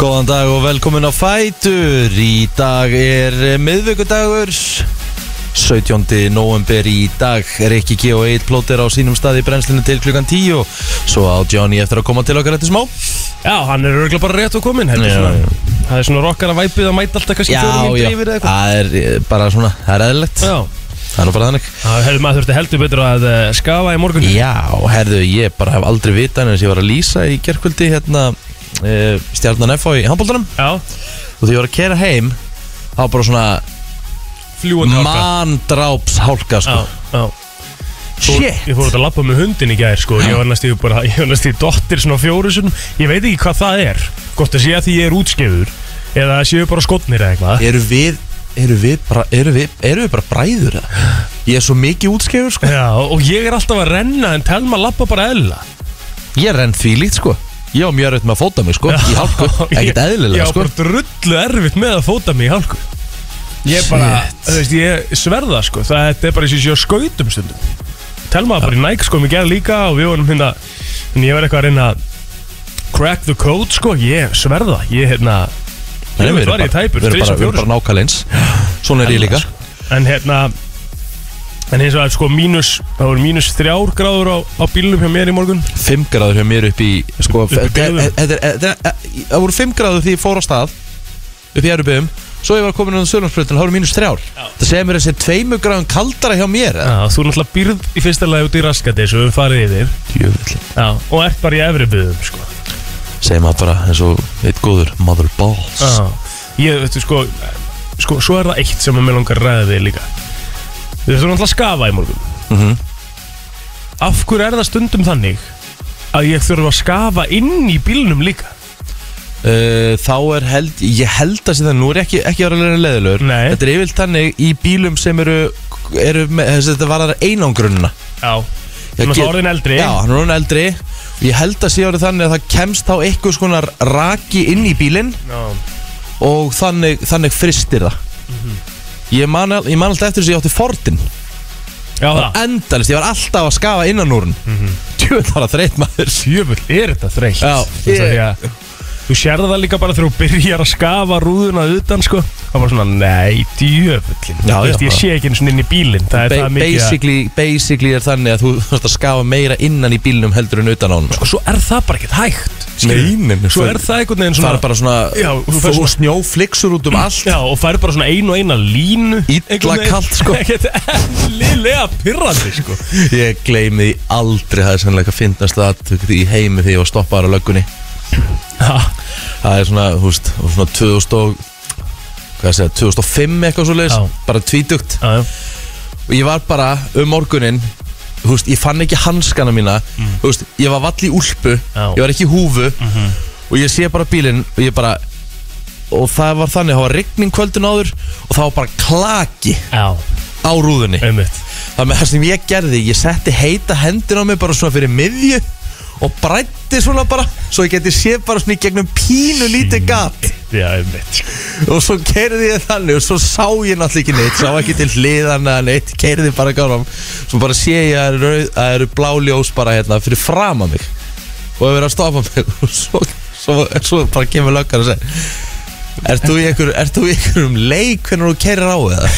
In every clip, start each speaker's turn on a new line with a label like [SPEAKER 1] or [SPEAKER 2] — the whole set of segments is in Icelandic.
[SPEAKER 1] Góðan dag og velkomin á Fætur Í dag er eh, miðvikudagur 17. november í dag Rikki G og Eid plótir á sínum staði í brennslinu til klukkan 10 Svo á Johnny eftir að koma til okkar eftir smá
[SPEAKER 2] Já, hann er örgulega bara rétt og kominn þetta er
[SPEAKER 1] Já,
[SPEAKER 2] svona- Það er svona rokkar að væpið að mæta alltaf kannski fjórum minn dreifir eða eitthvað
[SPEAKER 1] það er eh, bara svona, það er eðlilegt
[SPEAKER 2] Já,
[SPEAKER 1] Það er nú bara þannig
[SPEAKER 2] það hefur maður þurfti heldur betur að eh, skafa í morgun
[SPEAKER 1] Já, herðu, ég bara hef aldrei vitað en þess að ég var að lýsa í gerkvöldi hérna e, stjarnan FH í handbóltanum
[SPEAKER 2] Já,
[SPEAKER 1] og því ég var að kera heim þá var bara svona
[SPEAKER 2] fljúandi
[SPEAKER 1] mandráps hálka
[SPEAKER 2] Já,
[SPEAKER 1] sko.
[SPEAKER 2] já Fór-
[SPEAKER 1] Shit,
[SPEAKER 2] Ég fór út að lappa með hundin í gær sko. Ég var næstu bara, ég var næstu dottir svona fjórusun Ég veit ekki hvað það er Hvort að sé að því ég er útskefur Eða að séu bara skotnir eða eitthvað
[SPEAKER 1] eru við eru við bara, eru við, eru við bara bræður eða? ég er svo mikið útskefur sko.
[SPEAKER 2] Já, og ég er alltaf að renna en telma lappa bara eðla
[SPEAKER 1] ég er enn því lít sko. ég á mjög raut með að fóta mig sko, í hálku, ekkert
[SPEAKER 2] Ég
[SPEAKER 1] eðlilega
[SPEAKER 2] á
[SPEAKER 1] sko.
[SPEAKER 2] bara drullu erfitt með að fóta mig í hálku Ég bara, þú veist, ég sverða sko Það þetta er bara eins og ég sé á skautum stundum Telma var bara í næk sko, mér gerði líka og við vorum hérna En ég var eitthvað að reyna að crack the code sko, ég sverða Ég hérna,
[SPEAKER 1] Nei,
[SPEAKER 2] ég
[SPEAKER 1] við erum
[SPEAKER 2] var
[SPEAKER 1] bara,
[SPEAKER 2] ég tæpur,
[SPEAKER 1] við erum
[SPEAKER 2] þrís
[SPEAKER 1] bara,
[SPEAKER 2] og
[SPEAKER 1] við erum
[SPEAKER 2] fjóru
[SPEAKER 1] bara nákvæmleins svona er ég líka
[SPEAKER 2] En hérna, en eins og að sko mínus, það voru mínus þrjár gráður á, á bílnum hjá mér í morgun
[SPEAKER 1] 5 gráður hjá mér upp í sko,
[SPEAKER 2] Upp í
[SPEAKER 1] þetta er-
[SPEAKER 2] byggðum.
[SPEAKER 1] þetta er- þetta er- það voru 5 gráður því ég fór á stað upp í Erubum svo ég var komin á Sörnarspröðin þá voru mínus 3 það segir mér að þessi 2 gráðum kaldara hjá mér eða?
[SPEAKER 2] Já, þú náttúrulega býrð í fyrsta lagi út í raskati Svo við farið yfir Já, og ert bara í efri byðum sko.
[SPEAKER 1] segir maður bara eins og eitt góður mother balls
[SPEAKER 2] Já, ég, veitu, sko, sko, svo er það eitt sem að mér langar að ræða við líka. Við þurfum alltaf að skafa í morgun.
[SPEAKER 1] Mhm.
[SPEAKER 2] Af hverju er það stundum þannig að ég þurf að skafa inn í bílnum líka?
[SPEAKER 1] uh, þá er held ég held að sé það nú er ég ekki, ekki að vera leðilegur
[SPEAKER 2] Nei.
[SPEAKER 1] þetta er yfirlt þannig í bílum sem eru, eru með, þessi, þetta varðar einangrunna
[SPEAKER 2] Já.
[SPEAKER 1] Ég
[SPEAKER 2] Þannig að
[SPEAKER 1] get-
[SPEAKER 2] það orðin eldri.
[SPEAKER 1] Já, hann er orðin eldri og ég held að sé árið þannig að það kemst þá eitthvað svona raki inn í bílinn
[SPEAKER 2] Já.
[SPEAKER 1] og þannig, þannig fristir það ég, man, al- ég man alltaf eftir þess að ég átti Fordin
[SPEAKER 2] Mhm. Já, það.
[SPEAKER 1] endalist, ég var alltaf að skafa innan úr hann
[SPEAKER 2] Mhm.
[SPEAKER 1] mm -hmm. var að þreyt maður
[SPEAKER 2] Sjöfull, er þetta þreytt?
[SPEAKER 1] Já.
[SPEAKER 2] Þú veist að því að þú sérðu það líka bara þegar þú byrjar að skafa rúðuna utan, sko. Það var svona, nei, djöfullin.
[SPEAKER 1] Já,
[SPEAKER 2] Þú veist,
[SPEAKER 1] já,
[SPEAKER 2] ég
[SPEAKER 1] bara-
[SPEAKER 2] sé ekki eins og inn í bílinn. Það er
[SPEAKER 1] Ba
[SPEAKER 2] það mikið að...
[SPEAKER 1] basically, basically er þannig að þú þarfst að skafa meira innan í bílnum heldur en utan á hann
[SPEAKER 2] Og svo er það bara ekkert hægt. skilurðu.
[SPEAKER 1] Nei, nei, nei,
[SPEAKER 2] Svo
[SPEAKER 1] það-
[SPEAKER 2] er það einhvern veginn
[SPEAKER 1] það
[SPEAKER 2] svona...
[SPEAKER 1] er bara svona
[SPEAKER 2] Já, þú fer
[SPEAKER 1] fó
[SPEAKER 2] svona- Mm,
[SPEAKER 1] snjófliksur út um allt
[SPEAKER 2] Já, og fær bara svona einu og eina línu
[SPEAKER 1] Illa
[SPEAKER 2] einhvern veginn.
[SPEAKER 1] kalt, sko.
[SPEAKER 2] Ekkert eðlilega pirrandi, sko
[SPEAKER 1] ég gleymi því aldrei það er sannlega að finnast það atvik í heimi því ég var stoppaður á löggunni
[SPEAKER 2] Já,
[SPEAKER 1] það er svona, þú veist, svona 2000 og, hvað að segja, 2005 eitthvað svo leiðis,
[SPEAKER 2] Já.
[SPEAKER 1] bara tvítugt
[SPEAKER 2] já,
[SPEAKER 1] og ég var bara um morgunin þú veist, ég fann ekki hanskana mína þú veist, ég var vall í úlpu
[SPEAKER 2] Mm. Já. Mhm.
[SPEAKER 1] ég var ekki í húfu og ég sé bara bílinn og ég bara og það var þannig, það var rigning kvöldin áður og það var bara klaki
[SPEAKER 2] já,
[SPEAKER 1] á rúðunni
[SPEAKER 2] einmitt
[SPEAKER 1] það með það sem ég gerði, ég setti heita hendina á mig bara svona fyrir miðju og brætti svona bara svo ég geti sé bara svona í gegnum pínu lítið gat
[SPEAKER 2] Mm. Já, einmitt sko.
[SPEAKER 1] og svo keirði ég þannig og svo sá ég náttúrulega ekki neitt sá ekki til hliðan eða neitt, keirði bara gáðum svo bara sé ég að það eru, að eru blá ljós bara hérna fyrir fram að mig og hefur verið að stoppa mig og svo, svo, svo bara kemur löggan og segir Ert þú í einhver- ert þú í einhverjum leik hvernig þú keirir á eða?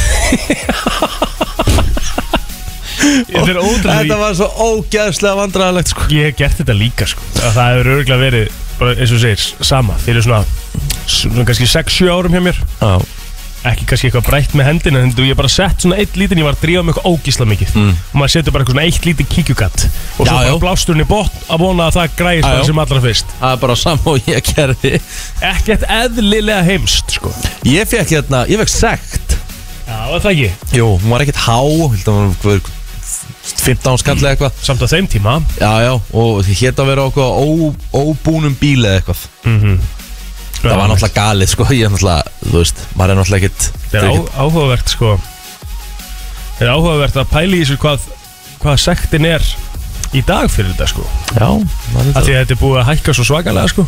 [SPEAKER 2] Þetta er
[SPEAKER 1] Þetta
[SPEAKER 2] ótrúlega
[SPEAKER 1] var svo ógæðslega vandræðalegt sko.
[SPEAKER 2] Ég hef gert þetta líka, sko Að Það hefur örgulega verið, bara eins og þú segir, sama Fyrir svona, svona kannski 6-7 árum hjá mér
[SPEAKER 1] Já,
[SPEAKER 2] Ekki kannski eitthvað brætt með hendina En þú- ég hef bara sett svona eitt lítinn Ég var að drífa mig eitthvað ógísla mikið
[SPEAKER 1] Mm.
[SPEAKER 2] Og maður setur bara eitthvað svona eitt lítið kíkjugatt Og svo
[SPEAKER 1] Já, já.
[SPEAKER 2] bara blástur hún í botn Að vona að það græðist
[SPEAKER 1] Já, já.
[SPEAKER 2] bara sem allra fyrst
[SPEAKER 1] það er bara saman og ég gerði
[SPEAKER 2] Ekkert eðlilega heimst sko.
[SPEAKER 1] Ég fekk hérna, ég fekk sekt
[SPEAKER 2] Já, var það ekki
[SPEAKER 1] Jú, hún var ekkert há, held að hún var 15 skall eða eitthvað
[SPEAKER 2] Samt á þeim tíma
[SPEAKER 1] Já, já, og því hétt að vera okkur á ó- óbúnum bíl eða eitthvað Það var náttúrulega galið, sko, ég er náttúrulega, þú veist, maður er náttúrulega ekkit
[SPEAKER 2] Það er á, áhugavert sko Það er áhugavert að pæli í þessu hvað, hvað sektin er í dag fyrir þetta sko
[SPEAKER 1] Já, maður er
[SPEAKER 2] Af
[SPEAKER 1] þetta
[SPEAKER 2] því að þetta er búið að hækka svo svakalega sko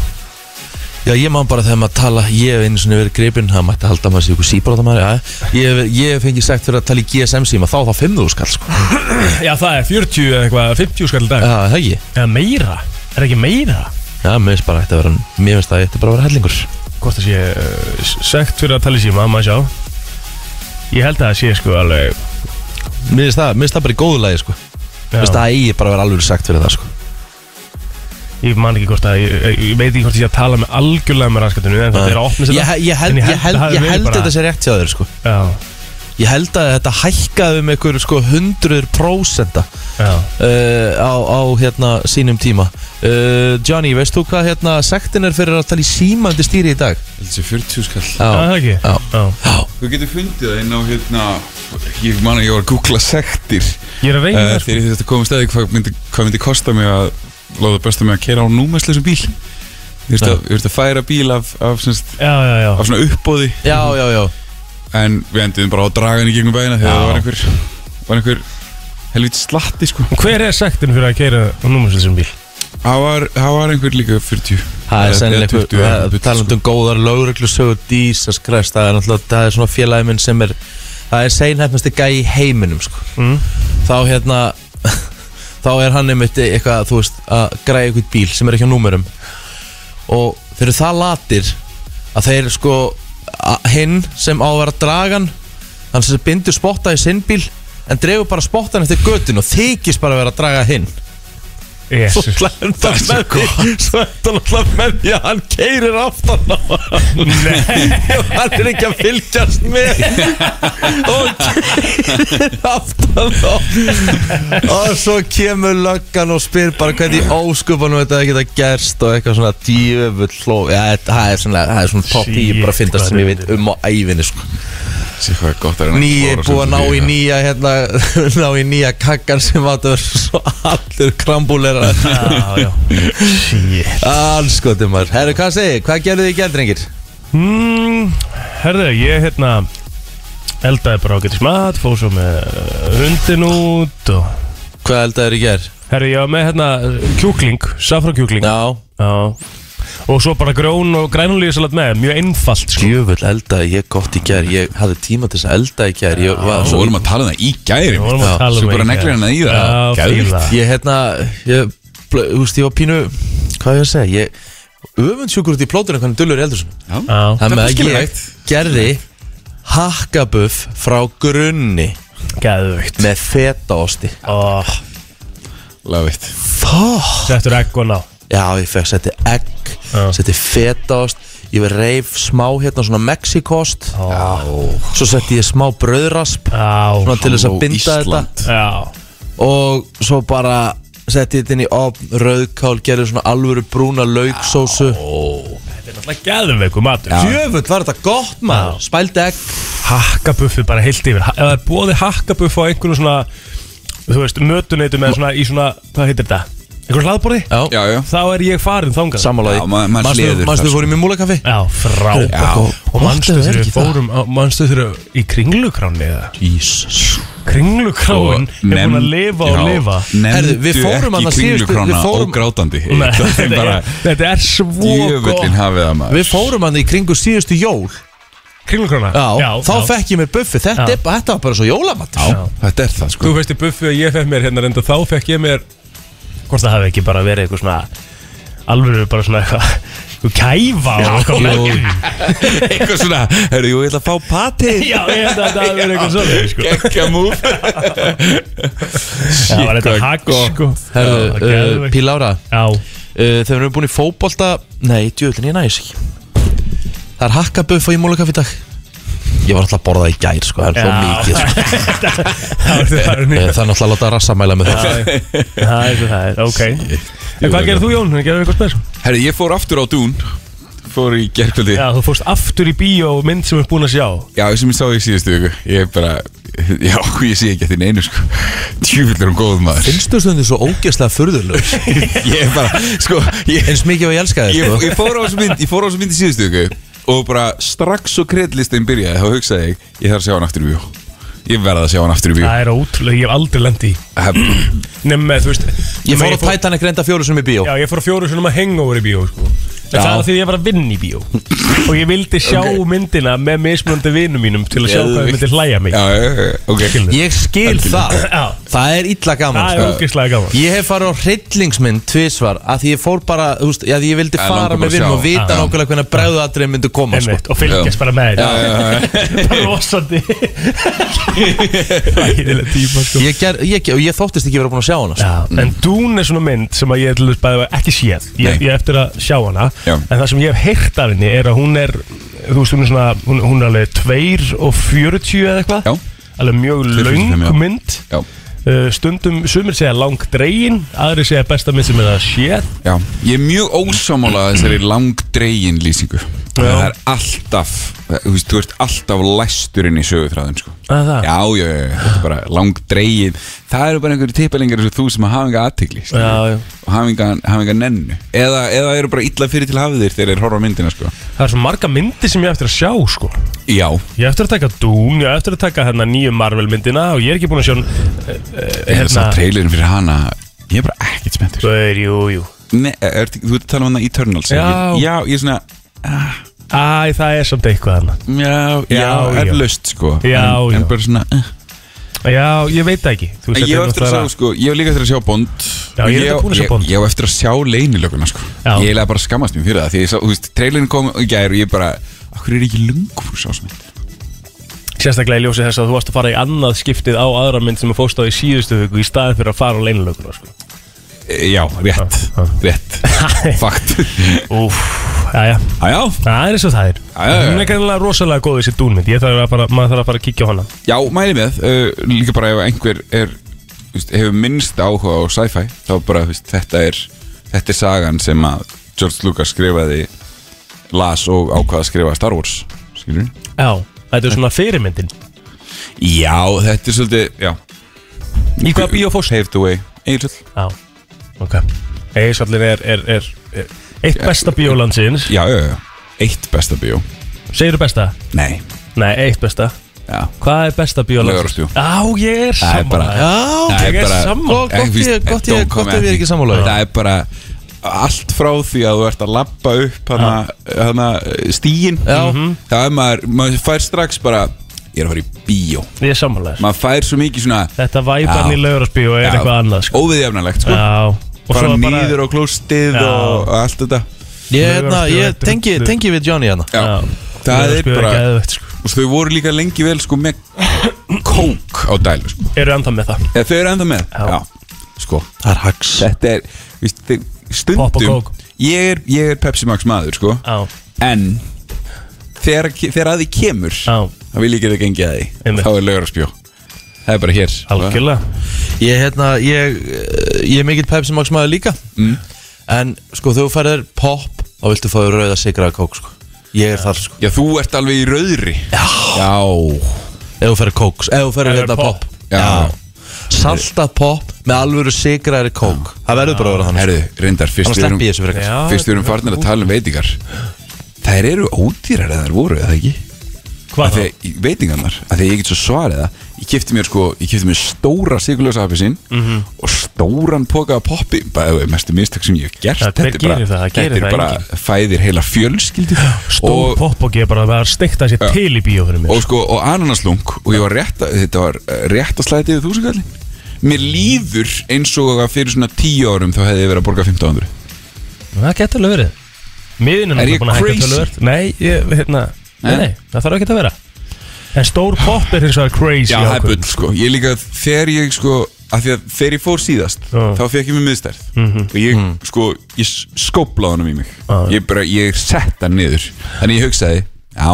[SPEAKER 1] Já, ég man bara þegar maður tala, ég hef einu svona verið gripinn Það mætti halda að maður sé ykkur síbróta maður, já Ég hef, ég hef fengið sagt fyrir að tala í GSM síma, þá þá 5.000 skall, sko Já,
[SPEAKER 2] Já, það er 40 eða eitthvað, 50 skall í dag
[SPEAKER 1] það ekki
[SPEAKER 2] Eða meira, er ekki meira
[SPEAKER 1] Já, mér finnst bara að þetta vera, mér finnst að þetta bara að vera hellingur
[SPEAKER 2] hvort það sé uh, sekt fyrir að tala í síma, maður sjá ég held að það sé sko alveg
[SPEAKER 1] Mér finnst það, mér finnst það bara í góðu lagi sko Mér
[SPEAKER 2] já,
[SPEAKER 1] finnst það eigi bara að vera alveg sagt fyrir það sko
[SPEAKER 2] ég man ekki hvort að ég, ég, ég veit ekki hvort ég sé að tala með algjörlega með raskatunni en þetta er að opna
[SPEAKER 1] Ég,
[SPEAKER 2] sér
[SPEAKER 1] ég, ég held,
[SPEAKER 2] En
[SPEAKER 1] ég held,
[SPEAKER 2] það hafi
[SPEAKER 1] ég
[SPEAKER 2] verið
[SPEAKER 1] held
[SPEAKER 2] bara-
[SPEAKER 1] þetta sé rétt hjá þér sko
[SPEAKER 2] já,
[SPEAKER 1] Ég held að þetta hækkaði um einhver sko hundruður prósenda
[SPEAKER 2] já,
[SPEAKER 1] uh, á, á hérna sínum tíma uh, Johnny, veist þú hvað hérna sektin er fyrir að tala í síma undir stýri í dag?
[SPEAKER 3] Þetta sé 40 skall
[SPEAKER 2] já, það
[SPEAKER 1] Já,
[SPEAKER 2] ekki
[SPEAKER 1] já,
[SPEAKER 2] já.
[SPEAKER 1] já
[SPEAKER 3] Þú getur fundið það inn á hérna Ég man að ég var að googla sektir
[SPEAKER 2] ég er
[SPEAKER 1] Eh,
[SPEAKER 2] að reyna
[SPEAKER 3] uh,
[SPEAKER 2] það sko
[SPEAKER 3] Þegar ég þurfti að komast að því hvað myndi, hvað myndi kosta mig að Láða bestu mig að kera á númestleysum bíl Ég þurfti að, ég þurfti að færa bíl af, af, semst,
[SPEAKER 2] já, já, já,
[SPEAKER 3] af svona uppbóði
[SPEAKER 1] Já, já, já
[SPEAKER 3] En við endiðum bara á dragan í gegnum bæina Þegar
[SPEAKER 1] Já.
[SPEAKER 3] það var einhver, var einhver helvítið slatti sko
[SPEAKER 2] hver er sektin fyrir að keira á númurslisum bíl
[SPEAKER 3] Það var, það var einhver líka 40
[SPEAKER 1] Það er
[SPEAKER 3] Eða- eða
[SPEAKER 1] sennilega
[SPEAKER 3] 20 eða
[SPEAKER 1] einhver
[SPEAKER 3] 20,
[SPEAKER 1] taland um góðar lögreglusögur dísas krest, það er náttúrulega það er svona félagi minn sem er það er seinhæfnasti gæi í heiminum sko.
[SPEAKER 2] Mm.
[SPEAKER 1] þá hérna þá er hann einmitt eitthvað þú veist að græja eitthvað bíl sem er ekki á númerum og þeir eru það latir að þeir sko að- hinn sem á að vera dragan hann sem bindur spotta í sinn bíl en dregur bara spottan eftir göttin og þykist bara að vera að draga hinn
[SPEAKER 2] yes.
[SPEAKER 1] Svo lendar hann með því Svo lendar hann alltaf með því að hann keirir aftan á hann Hann er ekki að fylgjast með Og keirir aftan á Og svo kemur löggan og spyr bara hvernig í óskupanum þetta geta gerst Og eitthvað svona djöfull hlóf Já, þetta- það er svona, það er svona top 10
[SPEAKER 2] Shit,
[SPEAKER 1] bara að fyndast sem
[SPEAKER 2] hvað
[SPEAKER 1] ég veit um á ævinni sko.
[SPEAKER 3] Sér hvað er gott að reyna að
[SPEAKER 1] Nýi
[SPEAKER 3] klóra
[SPEAKER 1] búið að
[SPEAKER 3] sig
[SPEAKER 1] ná í
[SPEAKER 3] bíl,
[SPEAKER 1] nýja hérna, Ná í nýja kakkan sem átt að vera Svo allir krambúlerar
[SPEAKER 2] já, já shit
[SPEAKER 1] Allskotum maður Herru, hvað segir, hvað gerðu þið í gerð, drengir?
[SPEAKER 2] Mm, herðu, ég hérna eldaði bara ágætis mat, fóð svo með eh, hundin út og
[SPEAKER 1] Hvað eldaður í gerð?
[SPEAKER 2] herðu, ég var með hérna kjúkling, safrakjúkling
[SPEAKER 1] Já
[SPEAKER 2] Já. og svo bara grjón og grænulíðisalat með, mjög einfalt sko.
[SPEAKER 1] Djöfull eldaði ég gott í gerð Ég hafði tíma til þess að elda í gerð Ég var
[SPEAKER 3] Svo
[SPEAKER 1] svo
[SPEAKER 3] vorum að tala um það í gæri
[SPEAKER 2] Við vorum að tala um
[SPEAKER 3] Svo bara
[SPEAKER 2] það í
[SPEAKER 3] neglir
[SPEAKER 2] gær.
[SPEAKER 3] hann að í
[SPEAKER 2] Já,
[SPEAKER 3] það Geðvikt.
[SPEAKER 2] fíla.
[SPEAKER 1] Ég hérna, ég, þú veist, ég var pínu Hvað ég að segja, ég Öfundsjúkur út í plóturinn hvernig dullur í eldursum
[SPEAKER 3] Já.
[SPEAKER 2] Já,
[SPEAKER 1] Þannig
[SPEAKER 3] er
[SPEAKER 1] að ég
[SPEAKER 3] skiljanlegt.
[SPEAKER 1] gerði Hakkabuff frá grunni
[SPEAKER 2] geðvögt
[SPEAKER 1] Með fetaosti
[SPEAKER 2] og
[SPEAKER 3] Lafið
[SPEAKER 1] Fuck
[SPEAKER 2] settur egg og ná
[SPEAKER 1] Já, ég fekk setti egg,
[SPEAKER 2] Já.
[SPEAKER 1] setti fetaost Ég verið reif smá hérna svona mexikost Svo setti ég smá bröðrasp
[SPEAKER 2] Já,
[SPEAKER 1] Svona til þess að
[SPEAKER 3] Halló,
[SPEAKER 1] binda
[SPEAKER 3] Ísland.
[SPEAKER 2] já,
[SPEAKER 1] þetta Og svo bara setti ég þetta inn í opn Rauðkál, gerði svona alvöru brúna lauksósu
[SPEAKER 2] alltaf geðveiku matur
[SPEAKER 1] Jöfull, var þetta gott maður Spældi egg
[SPEAKER 2] hakkabuffi bara heilt yfir Ha- ef það er bóði hakkabuff á einhvern svona þú veist, mötuneytum eða svona í svona hvað heitir þetta, einhvern hlaðborði
[SPEAKER 1] Já,
[SPEAKER 3] Já, já
[SPEAKER 2] þá er ég farin þangað
[SPEAKER 1] sammálaði
[SPEAKER 3] Já, maður- maður
[SPEAKER 1] Manstu-
[SPEAKER 3] hleður
[SPEAKER 1] Manstu
[SPEAKER 3] það,
[SPEAKER 1] við fórum í múlakaffi?
[SPEAKER 2] Já, frábært
[SPEAKER 3] Já.
[SPEAKER 2] Og
[SPEAKER 1] Gott að
[SPEAKER 2] manstu þegar
[SPEAKER 1] vera
[SPEAKER 2] við
[SPEAKER 1] ekki það.
[SPEAKER 2] fórum á- Manstu þegar í kringlukránni eða?
[SPEAKER 1] Jesus
[SPEAKER 3] Sko,
[SPEAKER 2] Kringlukráin er búin að lifa og lifa
[SPEAKER 1] Herðu,
[SPEAKER 3] Nefndu
[SPEAKER 1] við fórum
[SPEAKER 3] ekki
[SPEAKER 1] annað síðustu- við
[SPEAKER 3] kringlukrána
[SPEAKER 1] fórum-
[SPEAKER 3] og grátandi
[SPEAKER 2] Nei,
[SPEAKER 3] Það er
[SPEAKER 2] þetta
[SPEAKER 3] bara
[SPEAKER 2] er- Þetta er svo
[SPEAKER 3] Djöfullin
[SPEAKER 2] gott
[SPEAKER 3] hafið það maður
[SPEAKER 1] Við fórum hann í kringu síðustu jól
[SPEAKER 2] Kringlukrána
[SPEAKER 1] Já, þá fekk ég mér buffi Þetta,
[SPEAKER 2] Já.
[SPEAKER 1] er- þetta var bara svo jólamat
[SPEAKER 3] Já, þetta er það sko
[SPEAKER 4] Þú veist í buffi að ég fekk mér hérna reynda þá fekk ég mér
[SPEAKER 2] Hvort það hafi ekki bara verið eitthvað svona Alvöru bara svona eitthvað Þú kæfa og eitthvað merkilegt.
[SPEAKER 3] Eitthvað svona, herru, jú, ég ætla að fá pati
[SPEAKER 2] Já, ég held að það hafi verið eitthvað svona sko.
[SPEAKER 3] Gekka múf
[SPEAKER 2] Það var þetta hagg sko Já, það er
[SPEAKER 1] Herðu, uh,
[SPEAKER 2] geðveikt.
[SPEAKER 1] Pílára
[SPEAKER 2] Já,
[SPEAKER 1] uh, Þegar við erum búin í fótbolta Nei, djöðlin, ég næs ekki Það er hakkabuff og ég múlakaff í dag Ég var alltaf að borða það í gær sko, Það er svo
[SPEAKER 2] Já.
[SPEAKER 1] mikið sko.
[SPEAKER 2] það var þetta farin í
[SPEAKER 1] Eh, Það er alltaf að láta rassamæla með það
[SPEAKER 2] Það er svo það er, ok En
[SPEAKER 3] Jú,
[SPEAKER 2] hvað gerir þú Jón? Gerir eitthvað spes?
[SPEAKER 3] Herru, ég fór aftur á dún Fór í gerkvöldi
[SPEAKER 2] Já, þú fórst aftur í bíó mynd sem er búin að sjá
[SPEAKER 3] Já, sem ég sá í síðustu viku Ég er bara, já, ég sé ekki eftir neinu sko Djúvill er hún góð maður
[SPEAKER 1] Finnstu stundu svo ógeðslega furðulegur
[SPEAKER 3] Ég er bara, sko ég,
[SPEAKER 1] Eins mikið og ég elska
[SPEAKER 3] ég,
[SPEAKER 1] þér sko.
[SPEAKER 3] ég fór á þessu mynd, ég fór á þessu mynd í síðustu viku og bara strax svo kreddlistin byrjaði þá hugsaði ég, ég þarf að sjá hann aftur í bíó ég verða að sjá hann aftur í bíó
[SPEAKER 2] Það er ótrúlega, ég hef aldrei lendi í
[SPEAKER 3] Hef-
[SPEAKER 2] Nefnum með, þú veist
[SPEAKER 1] Ég fór á Titanic reynda fjóru sem í bíó
[SPEAKER 2] Já, ég fór á fjóru svona að henga over í bíó sko. En það var því að ég var að vinna í bíó Og ég vildi sjá myndina með mismunandi vinum mínum Til að sjá hvað þau myndi hlæja mig
[SPEAKER 3] Já, já, já, ok
[SPEAKER 1] Ég skil það
[SPEAKER 2] Já.
[SPEAKER 1] Það er illa gaman
[SPEAKER 2] Það
[SPEAKER 1] sko.
[SPEAKER 2] er ógeðslega gaman
[SPEAKER 1] Ég hef farið á hryllingsmynd tvisvar að því ég fór bara, þú veist, að ég vildi
[SPEAKER 3] Já,
[SPEAKER 1] fara
[SPEAKER 3] langar bara
[SPEAKER 1] með
[SPEAKER 3] að
[SPEAKER 1] vinum
[SPEAKER 3] sjá.
[SPEAKER 1] og vita
[SPEAKER 2] Já.
[SPEAKER 1] nákvæmlega hvernig bregðu aðrið myndu koma sko.
[SPEAKER 2] Einmitt, og fylgjast bara með
[SPEAKER 3] Já, já, já,
[SPEAKER 2] þetta
[SPEAKER 3] já.
[SPEAKER 2] Bara rosandi Ræðilega tíma sko
[SPEAKER 1] ég, ger, ég, ger- og ég þóttist ekki vera búin að sjá hana sko.
[SPEAKER 2] Já, en Dún er svona mynd sem að ég til þess bæði ekki séð ég,
[SPEAKER 3] Mm. Nei.
[SPEAKER 2] ég eftir að sjá hana
[SPEAKER 3] Já.
[SPEAKER 2] en það sem ég hef heyrt af henni er að hún er þú veist, hún er svona, hún, hún er alveg 2 og 40 eða eitthvað
[SPEAKER 3] Já.
[SPEAKER 2] alveg mjög
[SPEAKER 3] 2:45, já.
[SPEAKER 2] löng mynd
[SPEAKER 3] Já,
[SPEAKER 2] uh, stundum, sumir segja lang dregin aðri segja besta mynd sem er að sé
[SPEAKER 3] já. Ég er mjög ósámála þessari langdregin lýsingu Það er alltaf, þú veist, þú ert alltaf læsturinn í sögutræðin sko.
[SPEAKER 2] að það,
[SPEAKER 3] Já, já, já, já, þetta er bara langdregin Það eru bara einhverju tippalengar eins og þú sem að hafa enga aðtegli
[SPEAKER 2] já, já.
[SPEAKER 3] og hafa enga, hafa enga nennu eða, eða eru bara illa fyrir til hafið þér þegar þeir horfa á myndina sko.
[SPEAKER 2] það er svo marga myndi sem ég hef eftir að sjá sko.
[SPEAKER 3] Já,
[SPEAKER 2] ég hef eftir að taka Dún, ég hef eftir að taka hérna nýju Marvel myndina og ég er ekki búin að sjá uh,
[SPEAKER 3] ég er sá
[SPEAKER 2] hérna,
[SPEAKER 3] trailerin fyrir hana Ég er bara ekkert spenntur
[SPEAKER 2] Bör, jú, jú
[SPEAKER 3] Nei, er, Þú ert að tala um hana Eternals
[SPEAKER 2] Sko. Já.
[SPEAKER 3] ekki? já ég er svona
[SPEAKER 2] Æ, það er samt eitthvað annað
[SPEAKER 3] Já, já,
[SPEAKER 2] Já,
[SPEAKER 3] er
[SPEAKER 2] já.
[SPEAKER 3] löst sko
[SPEAKER 2] Já,
[SPEAKER 3] en,
[SPEAKER 2] já.
[SPEAKER 3] En bara svona eh.
[SPEAKER 2] Já, ég veit það ekki Þú veist,
[SPEAKER 3] Ég
[SPEAKER 2] þetta
[SPEAKER 3] hef
[SPEAKER 2] er
[SPEAKER 3] eftir að sjá,
[SPEAKER 2] náttúrulega-
[SPEAKER 3] sko, ég hef líka eftir að sjá Bond
[SPEAKER 2] Já, ég er
[SPEAKER 3] Og
[SPEAKER 2] þetta búin að sjá Bond.
[SPEAKER 3] Ég, ég hef eftir að sjá leynilöguna, sko
[SPEAKER 2] Já.
[SPEAKER 3] Ég hef bara skammast mér fyrir það Því ég sá, þú veist, trailerin kom í gær og ég bara Akkur er ekki lungur sá sem þetta
[SPEAKER 2] Sérstaklega í ljósi þess að þú varst að fara í annað skiptið á aðra mynd sem er fóst á í síðustu viku Í staðin fyrir að fara á leinilöguna sko.
[SPEAKER 3] E, Já, rétt,
[SPEAKER 2] Já, já.
[SPEAKER 3] rétt Fakt
[SPEAKER 2] Úf, já, já
[SPEAKER 3] Já, já,
[SPEAKER 2] Það er eins og það er
[SPEAKER 3] Já, já, já.
[SPEAKER 2] Hún er kannilega rosalega góð þessi dúnmynd Ég þarf að fara, maður þarf að fara að kíkja á hana
[SPEAKER 3] já, mæli með uh, Líka bara ef einhver er þú veist, Hefur minnst áhuga á sci-fi Þá bara, þú veist, þetta er Þetta er sagan sem að George Lucas skrifaði Las og ákvaða að skrifa Star Wars Skilur við?
[SPEAKER 2] Já, þetta er svona fyrirmyndin
[SPEAKER 3] Já, þetta er svolítið, já
[SPEAKER 2] Í hvaða bíó fórst?
[SPEAKER 3] Paved the way Egilsöld
[SPEAKER 2] Já, ok Eisallin er, er, er, er eitt besta bíólandsins
[SPEAKER 3] Já, já, já Eitt besta bíó
[SPEAKER 2] Segirðu besta?
[SPEAKER 3] Nei
[SPEAKER 2] Nei, eitt besta
[SPEAKER 3] Já
[SPEAKER 2] Hvað er besta bíólandsins?
[SPEAKER 3] Laugarásbíó.
[SPEAKER 2] Já, ég er
[SPEAKER 3] Það er
[SPEAKER 2] saman
[SPEAKER 3] bara-
[SPEAKER 1] Já,
[SPEAKER 3] Það
[SPEAKER 2] Ég er
[SPEAKER 3] bara-
[SPEAKER 2] sammála.
[SPEAKER 3] Ekki
[SPEAKER 1] Gott
[SPEAKER 3] víst-
[SPEAKER 1] ég- gott ég-
[SPEAKER 3] don't
[SPEAKER 1] gott
[SPEAKER 3] come
[SPEAKER 1] ef ég er
[SPEAKER 3] at
[SPEAKER 1] ekki
[SPEAKER 3] me.
[SPEAKER 1] sammála því.
[SPEAKER 3] Það er bara Allt frá því að þú ert að labba upp hana, hana stíin
[SPEAKER 1] Já.
[SPEAKER 3] Það er maður, maður fær strax bara Ég er að fara í bíó
[SPEAKER 2] Ég er samanlega
[SPEAKER 3] Maður fær svo mikið svona
[SPEAKER 2] Þetta væpan
[SPEAKER 3] Já.
[SPEAKER 2] í laugararsbíu er
[SPEAKER 3] Já.
[SPEAKER 2] eitthvað annað sko.
[SPEAKER 3] Óviðjafnalegt sko
[SPEAKER 2] Já Og
[SPEAKER 3] Fara
[SPEAKER 2] svo bara
[SPEAKER 3] nýður á klóstið
[SPEAKER 2] Já.
[SPEAKER 3] og allt þetta
[SPEAKER 1] Ég, hérna, ég tengi, tengi við Johnny hérna
[SPEAKER 3] Já, Það er bara
[SPEAKER 2] sko.
[SPEAKER 3] Og þau voru líka lengi vel sko með Kók á dælu sko
[SPEAKER 2] Eru enda með það
[SPEAKER 3] Eða þau eru enda með
[SPEAKER 2] Já.
[SPEAKER 3] Sko
[SPEAKER 1] Það er hags
[SPEAKER 3] Þetta er, víst, þið-
[SPEAKER 2] Popp og
[SPEAKER 3] stundum
[SPEAKER 2] kók.
[SPEAKER 3] ég er, ég er Pepsi Max maður, sko
[SPEAKER 2] Já,
[SPEAKER 3] En þegar, þegar að því kemur
[SPEAKER 2] Já.
[SPEAKER 3] þá vil ég geta gengið að því
[SPEAKER 2] Einmitt.
[SPEAKER 3] Þá er laugararsbjó Það er bara hér
[SPEAKER 2] algjörlega
[SPEAKER 1] Ég, hérna, ég, eh, ég er mikill Pepsi Max maður líka En sko þegar þú færðir pop þá viltu fá þér rauða sigraða kók sko. Ég er þar sko
[SPEAKER 3] Já, þú ert alveg í rauðri Já Já,
[SPEAKER 1] Ef þú færðir kók, ef þú færðir
[SPEAKER 2] Ef
[SPEAKER 1] hérna
[SPEAKER 2] þú færð
[SPEAKER 1] pop, Salta pop með alvöru sigraðari kók Það verður bara að vera þannig sko.
[SPEAKER 3] Herðu, reyndar fyrst við
[SPEAKER 1] Þannig
[SPEAKER 3] erum-
[SPEAKER 1] sleppi ég þessu frekar
[SPEAKER 2] Já,
[SPEAKER 3] Fyrst við erum farnir að tala um veitingar Þær eru ódýrar eða þær voru, eða ekki?
[SPEAKER 2] Hvað
[SPEAKER 3] að
[SPEAKER 2] þá?
[SPEAKER 3] því veitingarnar að því ég get svo svarið það ég kefti mér sko, ég kefti mér stóra sigurlösa appelsín
[SPEAKER 2] Mhm.
[SPEAKER 3] og stóran poka af poppi, bara þau mestu mistök sem ég hef gert
[SPEAKER 2] Já, hver
[SPEAKER 3] er bara,
[SPEAKER 2] gerir það? Það gerir
[SPEAKER 3] þetta er
[SPEAKER 2] það
[SPEAKER 3] bara fæðir heila fjölskyldu
[SPEAKER 2] Stór
[SPEAKER 3] og,
[SPEAKER 2] poppoki er bara að vera steikt að sér til í bíó fyrir
[SPEAKER 3] og
[SPEAKER 2] mér
[SPEAKER 3] sko, og ananaslung og ég var rétt að, þetta var eh, rétt að slæti yfir þúsugallin mér líður eins og að fyrir svona tíu árum þá hefði ég verið að borga 1500
[SPEAKER 2] sko. Það getur alveg verið Miðin er
[SPEAKER 3] Er ég
[SPEAKER 2] náttúrulega búin að hækka
[SPEAKER 3] crazy?
[SPEAKER 2] tölvöld Nei, ég, hérna Nei,
[SPEAKER 3] Eh?
[SPEAKER 2] nei, það þarf ekki að vera En stór popp er hins vegar crazy
[SPEAKER 3] Já, það er
[SPEAKER 2] ákvörðun.
[SPEAKER 3] bull, sko Ég líka, þegar ég, sko að Því að þegar ég fór síðast
[SPEAKER 2] Já. Mhm.
[SPEAKER 3] Þá fekk ég mér miðstærð Og ég, sko, ég skóplaði honum í mig
[SPEAKER 2] Já.
[SPEAKER 3] Ég bara, ég sett hann niður Þannig ég hugsaði, já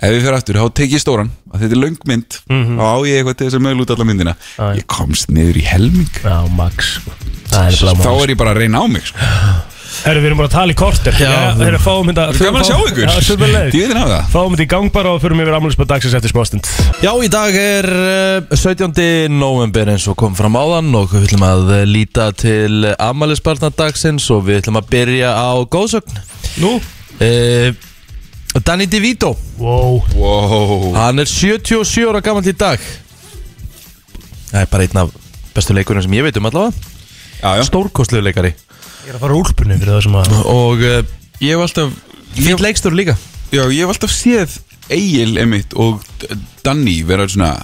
[SPEAKER 3] Ef við fyrir aftur, þá tek ég stóran að Þetta er löng mynd, þá á ég eitthvað til þess að möglu út alla myndina
[SPEAKER 2] Mhm. Já.
[SPEAKER 3] Ég komst niður í helming
[SPEAKER 2] Já, max sko. Það er blá
[SPEAKER 3] Þá er ég bara að reyna á mig, sko
[SPEAKER 2] Herru, við erum bara að tala í korter
[SPEAKER 1] Já.
[SPEAKER 2] það er að fáum þetta
[SPEAKER 3] Gaman að sjá ykkur
[SPEAKER 2] Já, sömuleiðis.
[SPEAKER 3] Djöðin hafa það
[SPEAKER 2] Fáum þetta í gang bara og förum yfir afmælisbað dagsins eftir smástund
[SPEAKER 1] Já, í dag er eh, 17. november eins og kom fram áðan og við ætlum að eh, líta til amalisbarnadagsins og við ætlum að byrja á góðsögn
[SPEAKER 2] Nú?
[SPEAKER 1] uh, Danny DeVito,
[SPEAKER 2] Wow
[SPEAKER 3] Wow
[SPEAKER 1] hann er 77 ára gammal í dag Það er bara einn af bestu leikurinn sem ég veit um allavega
[SPEAKER 3] Já, já
[SPEAKER 1] Stórkostlegu leikari
[SPEAKER 2] Ég er að fara úlpunni fyrir það sem að
[SPEAKER 1] og uh,
[SPEAKER 3] ég hef alltaf ég,
[SPEAKER 1] Fýll leikstur líka
[SPEAKER 3] Já, ég hef alltaf séð Egil emitt og D- Danny vera svona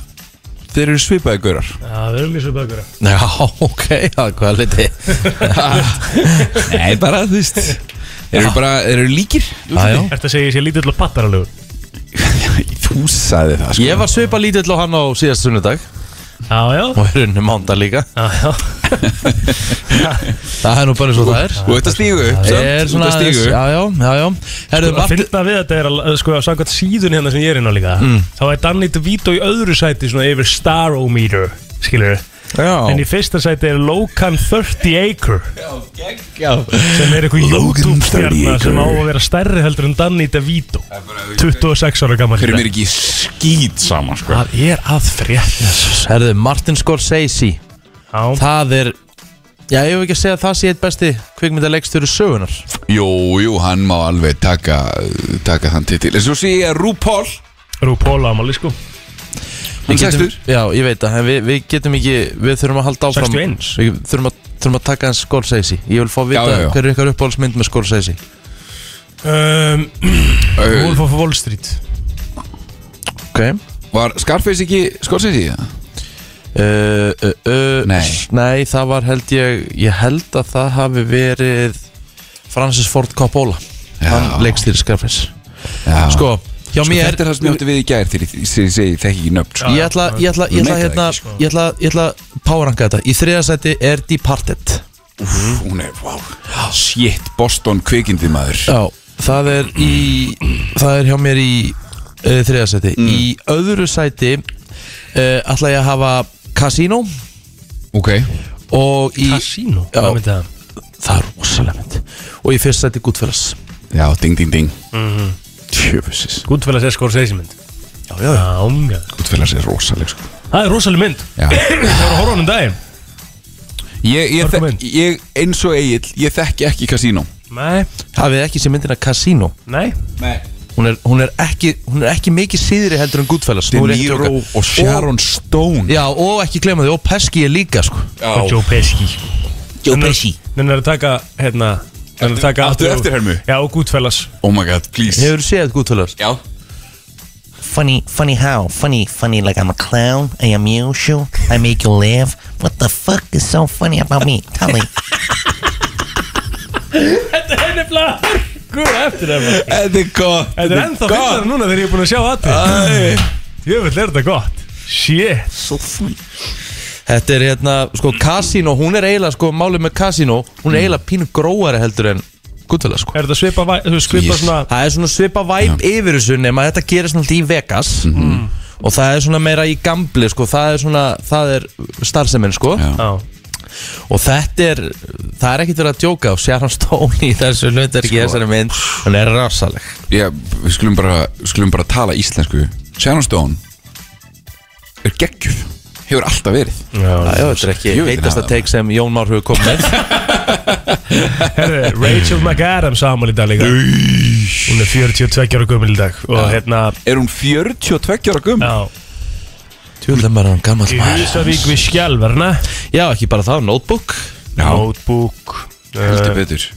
[SPEAKER 3] Þeir eru svipaði gaurar
[SPEAKER 2] Já, við erum mjög svo bakur
[SPEAKER 1] Já, ok, það er hvað liti
[SPEAKER 3] Nei, bara þú veist Þeir eru bara, þeir eru líkir
[SPEAKER 1] Já, Ah, já.
[SPEAKER 2] Ertu að segja ég sé lítill og pattaralegur?
[SPEAKER 3] Þú sagði það sko
[SPEAKER 1] Ég var svipa lítill á hann á síðast sunnudag
[SPEAKER 2] Já, já
[SPEAKER 1] Og er unni mánda líka
[SPEAKER 2] Já, já
[SPEAKER 1] Það er nú bara eins og það er
[SPEAKER 3] Þú ert að stígu
[SPEAKER 1] Það er svona aðeins
[SPEAKER 3] stígu
[SPEAKER 1] Já, já, já, já Herðu,
[SPEAKER 2] Það
[SPEAKER 1] Martin
[SPEAKER 2] finna við að þetta er að, sko, að sagða síðun hérna sem ég er inn á líka Þá er Danny DeVito í öðru sæti svona yfir Starometer, skilur En í
[SPEAKER 1] Já,
[SPEAKER 2] fyrsta sæti er Locan 30 Acre
[SPEAKER 1] já
[SPEAKER 2] Sem er eitthvað
[SPEAKER 3] Logan 30
[SPEAKER 2] YouTube-stjarnar sem á
[SPEAKER 3] Acre.
[SPEAKER 2] að vera stærri heldur en Danny DeVito 26 ára gammal
[SPEAKER 3] Þeir eru mér ekki skýt saman sko
[SPEAKER 2] Það er að frétt
[SPEAKER 1] Herðu, Martin Scorsese
[SPEAKER 2] Já,
[SPEAKER 1] Það er Já, ég hef ekki að segja að það sé eitt besti kvikmyndaleikstjóri sögunar
[SPEAKER 3] Jú, jú, hann má alveg taka, taka þann titil En svo sé ég að RuPaul
[SPEAKER 2] Rúpóla ámáli sko
[SPEAKER 3] Hann
[SPEAKER 1] getum,
[SPEAKER 3] sextur
[SPEAKER 1] Já, ég veit það, en við, við getum ekki Við þurfum að halda áfram
[SPEAKER 2] 61.
[SPEAKER 1] Við þurfum að, þurfum að taka hans Scorsese Ég vil fá að vita
[SPEAKER 3] Já, já, já.
[SPEAKER 1] hver er ykkar uppáhaldsmynd með Scorsese
[SPEAKER 2] um,
[SPEAKER 3] Ö,
[SPEAKER 2] Wolf of Wall Street
[SPEAKER 1] Ok uh,
[SPEAKER 3] Var Scarface ekki skorsins í það?
[SPEAKER 1] uh, uh,
[SPEAKER 3] Nei.
[SPEAKER 1] s- Nei, það var held ég Ég held að það hafi verið Francis Ford Coppola
[SPEAKER 3] Já.
[SPEAKER 1] Hann leikstýri Scarface
[SPEAKER 3] Já.
[SPEAKER 1] Sko, hjá
[SPEAKER 3] Sko,
[SPEAKER 1] mér
[SPEAKER 3] þetta er það sem ég átti við í gær þegar ég segi- segi þekki ekki nöfn sko.
[SPEAKER 1] Ég ætla, ég ætla, ég ætla,
[SPEAKER 3] Þú neitar
[SPEAKER 1] hérna,
[SPEAKER 3] ekki, sko.
[SPEAKER 1] ég ætla, ég ætla að poweranga þetta Í þriðasæti er Departed
[SPEAKER 3] Hún er, wow, shit, Boston kvikindi maður
[SPEAKER 1] Já, það er í Það er hjá mér í uh, þriðasæti
[SPEAKER 3] Mm.
[SPEAKER 1] Í öðru sæti uh, ætla ég að hafa Casino
[SPEAKER 3] Ok
[SPEAKER 1] og í,
[SPEAKER 2] Casino
[SPEAKER 1] Já.
[SPEAKER 2] Hvað myndi það?
[SPEAKER 1] Það er rosalega mynd Og í fyrst sæti Goodfellas
[SPEAKER 3] Já, ding, ding, ding Tjöfusis,
[SPEAKER 2] Gúndfélags er skor mynd
[SPEAKER 1] Já, já, já
[SPEAKER 2] Já, já
[SPEAKER 3] útfélags er rosaleg sko.
[SPEAKER 2] Það er rosalega mynd
[SPEAKER 3] Já.
[SPEAKER 2] Það var að horfa á hann um daginn
[SPEAKER 3] ég, ég,
[SPEAKER 2] Þar kom
[SPEAKER 3] þek- ég, eins og Egil, ég þekki ekki kasínó
[SPEAKER 2] Nei,
[SPEAKER 1] Hafið þið ekki sé myndina Casino
[SPEAKER 2] nei
[SPEAKER 3] Nei
[SPEAKER 1] Hún er, hún er, ekki, hún er ekki mikið síðri heldur en Goodfellas
[SPEAKER 3] De
[SPEAKER 1] Nú er ég ekki að
[SPEAKER 3] Niro
[SPEAKER 1] djóka.
[SPEAKER 3] og Sharon Stone
[SPEAKER 1] Já, og ekki gleyma því, og Pesky er líka sko.
[SPEAKER 2] Og Joe Pesci Joe Pesci Þannig er að taka, hérna Þannig er að taka
[SPEAKER 3] Áttu eftirhermu?
[SPEAKER 2] Já, og Gúndfélags
[SPEAKER 3] Oh my god, please
[SPEAKER 1] Hefur þið séð Goodfellas?
[SPEAKER 3] Já
[SPEAKER 5] Funny, funny how? Funny, funny like I'm a clown. I amuse you. I make you laugh. What the fuck is so funny about me? Tell me.
[SPEAKER 2] Þetta er nefnilega Góð eftir það
[SPEAKER 3] Þetta er gott
[SPEAKER 2] Þetta er ennþá finnar núna þegar ég er búin að sjá aðri Jöfull er þetta gott Shit
[SPEAKER 1] Þetta er hérna, sko, Casino, hún er eiginlega, sko, málið með Casino, hún
[SPEAKER 3] Mm.
[SPEAKER 1] er eiginlega pínu gróari heldur en Goodfellas, sko.
[SPEAKER 2] Er þetta svipa, væ- þú veist, svipa
[SPEAKER 3] Yes.
[SPEAKER 2] svona
[SPEAKER 1] Það er svona svipa væp yfir þessu nema þetta gerir svona alltaf í Vegas
[SPEAKER 3] Mhm.
[SPEAKER 1] Mm. og það er svona meira í gambli, sko, það er svona, það er starfseminn, sko,
[SPEAKER 3] Já.
[SPEAKER 2] Já
[SPEAKER 1] og þetta er, það er ekkert verið að djóka og Sharon Stone í þessu hlutverki
[SPEAKER 3] Sko.
[SPEAKER 1] í þessari mynd, hún er rasaleg.
[SPEAKER 3] Já, við skulum bara, við skulum bara tala íslensku Sharon Stone er geggjur hefur alltaf verið
[SPEAKER 1] Það er þetta
[SPEAKER 3] Jú,
[SPEAKER 1] er ekki
[SPEAKER 3] þetta er
[SPEAKER 1] heitasta
[SPEAKER 3] það.
[SPEAKER 1] teik sem Jón Már hefur komið með.
[SPEAKER 2] Herri, Rachel McAdams ámali í dag líka Hún er 42 ára gömul í dag Og hérna
[SPEAKER 3] Er hún 42 ára gömul?
[SPEAKER 2] Já,
[SPEAKER 1] Tjóðlega maður er hann gammal
[SPEAKER 2] í
[SPEAKER 1] um maður.
[SPEAKER 2] Húsavík við Skjálverna
[SPEAKER 1] Já, ekki bara það, Notebook.
[SPEAKER 2] Notebook
[SPEAKER 3] heldur
[SPEAKER 2] uh,
[SPEAKER 3] betur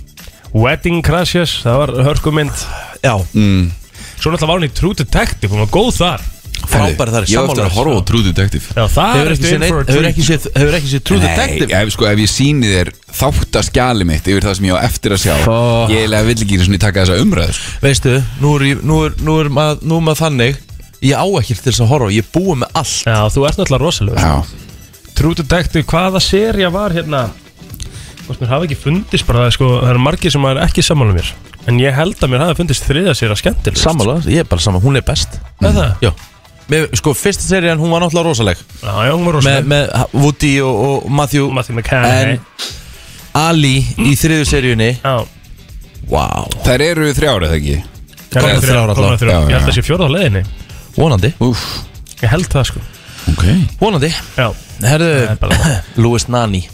[SPEAKER 2] Wedding Crashes, það var hörkumynd
[SPEAKER 1] Já,
[SPEAKER 2] Svo náttúrulega var hún í True Detective, hún var góð þar
[SPEAKER 1] frábæri þar í
[SPEAKER 3] Ég á eftir að horfa á True Detective
[SPEAKER 2] Já, það
[SPEAKER 1] Hefur ekki séð
[SPEAKER 2] in for a
[SPEAKER 1] neinn- hefur
[SPEAKER 2] treat.
[SPEAKER 1] ekki séð- hefur ekki séð True Detective
[SPEAKER 3] ef, sko, ef ég sýni þér þáttaskjali mitt yfir það sem ég á eftir að sjá
[SPEAKER 1] Ó.
[SPEAKER 3] Ég eiginlega vill ekki svona taka þessa umræðu sko.
[SPEAKER 1] Veistu, nú er, ég- nú er, nú er, mað, nú er maður þannig Ég á ekkert til þess að horfa, ég er búið með allt
[SPEAKER 2] Já, þú ert náttúrulega rosalegur
[SPEAKER 3] Já,
[SPEAKER 2] True Detective, hvaða serja var hérna Hvort mér hafi ekki fundist bara það, sko, það eru margir sem er ekki sammála mér En ég held að mér hafi fundist þriða sér að skemmtilegust
[SPEAKER 1] Sammála, ég er bara saman, hún er best
[SPEAKER 2] Er það?
[SPEAKER 1] Já Mér, sko, fyrsta serían, hún var náttúrulega rosaleg
[SPEAKER 2] Já, já, hún var
[SPEAKER 1] Með,
[SPEAKER 2] rosaleg
[SPEAKER 1] með Woody og, og Matthew
[SPEAKER 2] Matthew McCann
[SPEAKER 1] En- Ali í þriðu seríunni
[SPEAKER 2] Já,
[SPEAKER 1] Vá
[SPEAKER 3] þær eru þrjár eða ekki
[SPEAKER 2] það
[SPEAKER 1] Komnar
[SPEAKER 2] er
[SPEAKER 1] þrjár
[SPEAKER 2] þrjár
[SPEAKER 1] allavega.
[SPEAKER 2] komnar þrjár.
[SPEAKER 3] Já,
[SPEAKER 2] Ég
[SPEAKER 3] já.
[SPEAKER 2] held að sé fjórða á leiðinni
[SPEAKER 1] Vonandi
[SPEAKER 3] Úf,
[SPEAKER 2] Ég held það sko
[SPEAKER 3] ok
[SPEAKER 1] Vonandi
[SPEAKER 2] Já, það
[SPEAKER 1] Herðu,
[SPEAKER 2] er bara
[SPEAKER 1] Louis Nani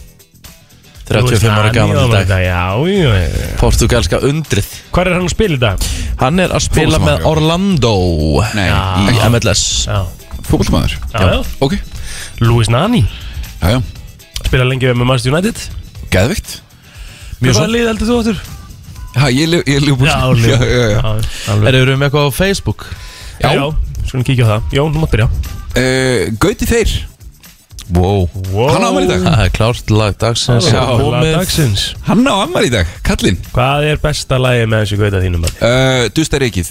[SPEAKER 1] 35 ára gaman í dag
[SPEAKER 2] Já, já, já
[SPEAKER 1] Portugalska undrið
[SPEAKER 2] Hvað er hann að spila í dag?
[SPEAKER 1] Hann er að spila
[SPEAKER 3] Fótboltamaður,
[SPEAKER 1] með
[SPEAKER 3] já.
[SPEAKER 1] Orlando
[SPEAKER 3] Nei,
[SPEAKER 2] Já.
[SPEAKER 1] Í
[SPEAKER 3] ekki
[SPEAKER 1] MLS
[SPEAKER 2] Já,
[SPEAKER 3] fótboltmaður
[SPEAKER 2] já, já.
[SPEAKER 3] Ok,
[SPEAKER 2] Louis Nani
[SPEAKER 3] já, já,
[SPEAKER 2] Spila lengi með Manchester United
[SPEAKER 3] geðvikt
[SPEAKER 1] Mjög svo
[SPEAKER 2] Hvaða lið heldur þú áttur?
[SPEAKER 3] Já, ég er Liverpool
[SPEAKER 2] Já, alveg.
[SPEAKER 3] já, já, já.
[SPEAKER 2] alveg.
[SPEAKER 1] Erum við með eitthvað á Facebook?
[SPEAKER 2] Já, já skulum kíkja á það Jón, þú mátt byrja
[SPEAKER 3] Uh, Gauti Þeir
[SPEAKER 1] Wow,
[SPEAKER 2] wow.
[SPEAKER 3] Hann á afmæli í dag.
[SPEAKER 1] það er klárt lag dagsins
[SPEAKER 2] Já,
[SPEAKER 1] Komið.
[SPEAKER 2] lag dagsins
[SPEAKER 3] Hann á ammar í dag, kallinn
[SPEAKER 2] Hvað er besta lagi með þessu gauta þínum? maður?
[SPEAKER 3] uh, Dustaríkið,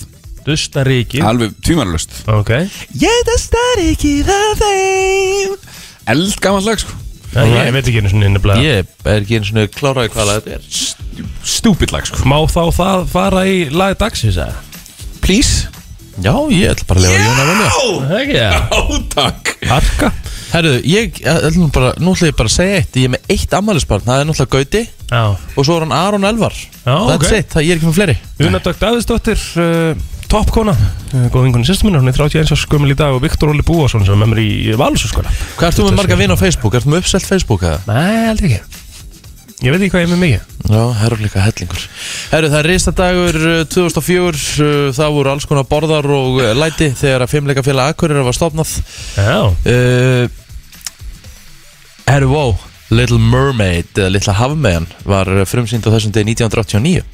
[SPEAKER 2] Dustaríki
[SPEAKER 3] alveg tvímarlust
[SPEAKER 2] Ok
[SPEAKER 3] Ég dustaríkið af þeim Eld gaman lag sko
[SPEAKER 2] Nei, Ég veit ekki einu svona inniblega
[SPEAKER 1] Ég er ekki eins og kláraði hvað lag þetta er
[SPEAKER 3] Stúpid lag sko
[SPEAKER 2] Má þá það fara í lag dagsins eða?
[SPEAKER 3] Please
[SPEAKER 1] Já, ég ætla bara að lefa Jón að velja
[SPEAKER 2] Það ekki það
[SPEAKER 3] Átak
[SPEAKER 2] Harka
[SPEAKER 1] Herru, ég ætla nú bara, nú ætla ég bara að segja eitt Ég er með eitt ammælisbarn, það er náttúrulega Gauti
[SPEAKER 2] Já
[SPEAKER 1] Og svo er hann Aron Elvar
[SPEAKER 2] Já,
[SPEAKER 1] That's
[SPEAKER 2] ok.
[SPEAKER 1] it, það, ég er ekki með fleiri
[SPEAKER 2] Unabdögt Davidsdóttir uh, Toppkona uh, Góð vingunni sýstum minna Hún er 31 árs gömul í dag Og Viktor Óli Búason Sem er með mér í Valsúskona
[SPEAKER 1] Hvað ert þú með marga vinn á Facebook? Ert þú með uppselt Facebook eða?
[SPEAKER 2] Nei, aldrei ekki Ég veit ekki hvað ég er með mikið
[SPEAKER 1] Já, herru líka hellingur Herru, það er eh, ristadagur 2004 uh, Það voru alls konar borðar og uh, læti Þegar að fimmleika félag Akureyra var stofnað
[SPEAKER 2] Já
[SPEAKER 1] uh, Herru, wow Little Mermaid, eða Little Hafmeyjan var eh, frumsýnd á þessum degi 1989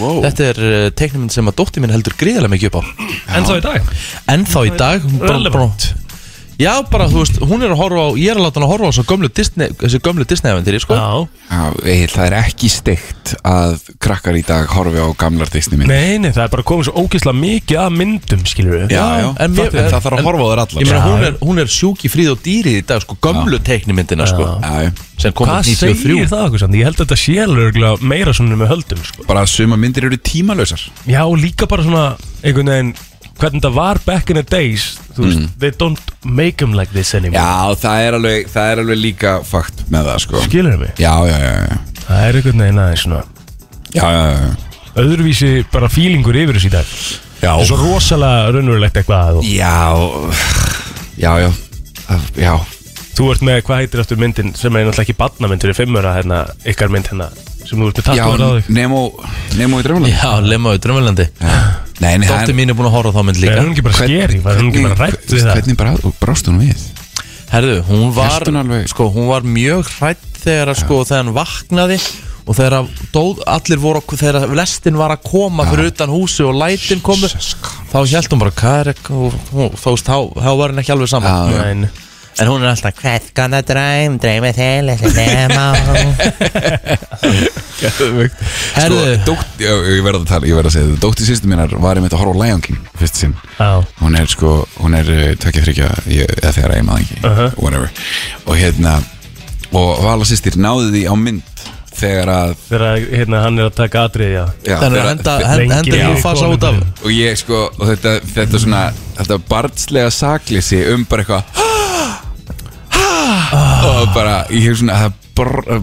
[SPEAKER 3] wow.
[SPEAKER 1] Þetta er uh, teiknuminn sem að dótti minn heldur gríðarlega mikið upp á
[SPEAKER 2] En þá í dag
[SPEAKER 1] Ennþá í dag hún bara-
[SPEAKER 2] Relevant.
[SPEAKER 1] bara- Já, bara, þú veist, hún er að horfa á Ég er að láta hann að horfa á þessu gömlu Disney Þessu gömlu Disney-eventyri, sko
[SPEAKER 2] Já
[SPEAKER 3] Já, Egil, það er ekki steikt að krakkar í dag horfi á gamlar Disney minn
[SPEAKER 2] Nei, nei, það er bara komið svo ógeðslega mikið að myndum, skilur við
[SPEAKER 3] Já, já,
[SPEAKER 1] en mér-
[SPEAKER 3] það þarf að
[SPEAKER 1] en-
[SPEAKER 3] horfa á þær
[SPEAKER 1] Ég
[SPEAKER 3] allar
[SPEAKER 1] meina,
[SPEAKER 3] Já,
[SPEAKER 1] hún er, hún er sjúk í fríð og dýrið í dag, sko, gömlu teiknimyndina, sko,
[SPEAKER 3] já.
[SPEAKER 1] sem kom
[SPEAKER 2] Hvað
[SPEAKER 1] út
[SPEAKER 2] segir
[SPEAKER 1] 93.
[SPEAKER 2] það okkur samt? Ég held að þetta sé alveg meira svona með höldum, sko
[SPEAKER 3] Bara að suma myndir eru tímalösar
[SPEAKER 2] Já, og líka bara svona, einhvern veginn Hvernig þetta var back in the days Þú veist, they don't make them like this anymore
[SPEAKER 3] Já, það er alveg, það er alveg líka fakt með það sko
[SPEAKER 2] Skilur við mig?
[SPEAKER 3] Já, já, já, já,
[SPEAKER 2] Það er einhvern veginn aðeins svona
[SPEAKER 3] já, já, já.
[SPEAKER 2] Öðruvísi bara fílingur yfir þessu í dag
[SPEAKER 3] Já.
[SPEAKER 2] Það er svo rosalega raunverulegt eitthvað og
[SPEAKER 3] Já Já, já Það- Já,
[SPEAKER 2] Þú ert með, hvað heitir eftir myndin sem er náttúrulega ekki badnamynd fyrir fimmura hérna, ykkar mynd hérna sem þú ert með
[SPEAKER 3] já
[SPEAKER 2] tattuður á þig
[SPEAKER 3] Nemo Nemo í drömmulega
[SPEAKER 1] Já, lemma við drömmelandi.
[SPEAKER 3] Nei, nei,
[SPEAKER 1] Dóttir mín er búin að horfa á þá mynd
[SPEAKER 2] Er
[SPEAKER 1] líka.
[SPEAKER 2] hún ekki bara skeri? Var hún ekki bara rætt við það?
[SPEAKER 3] Hvernig bara, og brást hún við?
[SPEAKER 1] Herðu, hún var,
[SPEAKER 3] Hélt hún alveg?
[SPEAKER 1] sko, hún var mjög hrætt þegar, að, sko, þegar hann vaknaði og þegar að dóð, allir voru, að- þegar að lestin var að koma fyrir utan húsi og lætin komu, þá held hún bara, hvað er ekki, og hún- þú veist, þá, þá var henn ekki alveg saman.
[SPEAKER 3] Já, já.
[SPEAKER 2] Nein.
[SPEAKER 1] En hún er alltaf,
[SPEAKER 5] Kvælgan að dræm, dræmi þeirlega sem nema
[SPEAKER 3] Sko,
[SPEAKER 1] herðu,
[SPEAKER 3] dótt, já, ég verða að tala, ég verða að segja þetta Dótti sýstu mínar var ég með að horfa á Lion King Fyrst sinn
[SPEAKER 2] Já.
[SPEAKER 3] Hún er sko, hún er tökja þryggja Eða þegar ég maður ekki
[SPEAKER 2] Uh-huh.
[SPEAKER 3] Whatever Og hérna Og Vala sýstir náði því á mynd Þegar að
[SPEAKER 2] Þegar hérna, hann er að taka atrið, já
[SPEAKER 3] já,
[SPEAKER 1] þannig
[SPEAKER 3] þegar-
[SPEAKER 1] að henda, henda,
[SPEAKER 2] lengi
[SPEAKER 1] henda
[SPEAKER 2] í
[SPEAKER 1] hún fasa
[SPEAKER 2] konunni.
[SPEAKER 1] út af.
[SPEAKER 3] og ég sko og þetta, þetta svona þetta barnslega saklisi um bara eitthvað og bara ég hef svona það br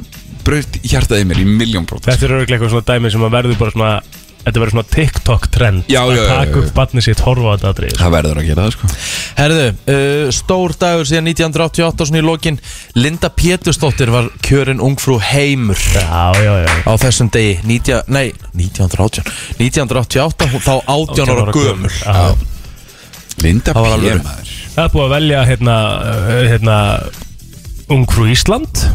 [SPEAKER 3] braut hjartaði mér í miljón brót
[SPEAKER 2] Þetta er örglega eitthvað svona dæmi sem að verður bara svona Þetta verður svona TikTok trend
[SPEAKER 3] Já, já, já,
[SPEAKER 2] Að
[SPEAKER 3] já,
[SPEAKER 2] taka
[SPEAKER 3] já.
[SPEAKER 2] upp badni sitt, horfa á þetta atrið
[SPEAKER 3] það verður að gera það sko
[SPEAKER 1] Herðu, uh, stór dagur síðan 1988 og svona í lokin Linda Pétursdóttir var kjörin ungfrú heimur
[SPEAKER 2] Já, já, já
[SPEAKER 1] á þessum degi 19, Nei, 1918 1988, hún- þá 18 ára gömul
[SPEAKER 2] Já.
[SPEAKER 3] Linda
[SPEAKER 1] Það var alvöru.
[SPEAKER 3] P. maður
[SPEAKER 2] Það er búið að velja hérna, uh, hérna Ungfrú Ísland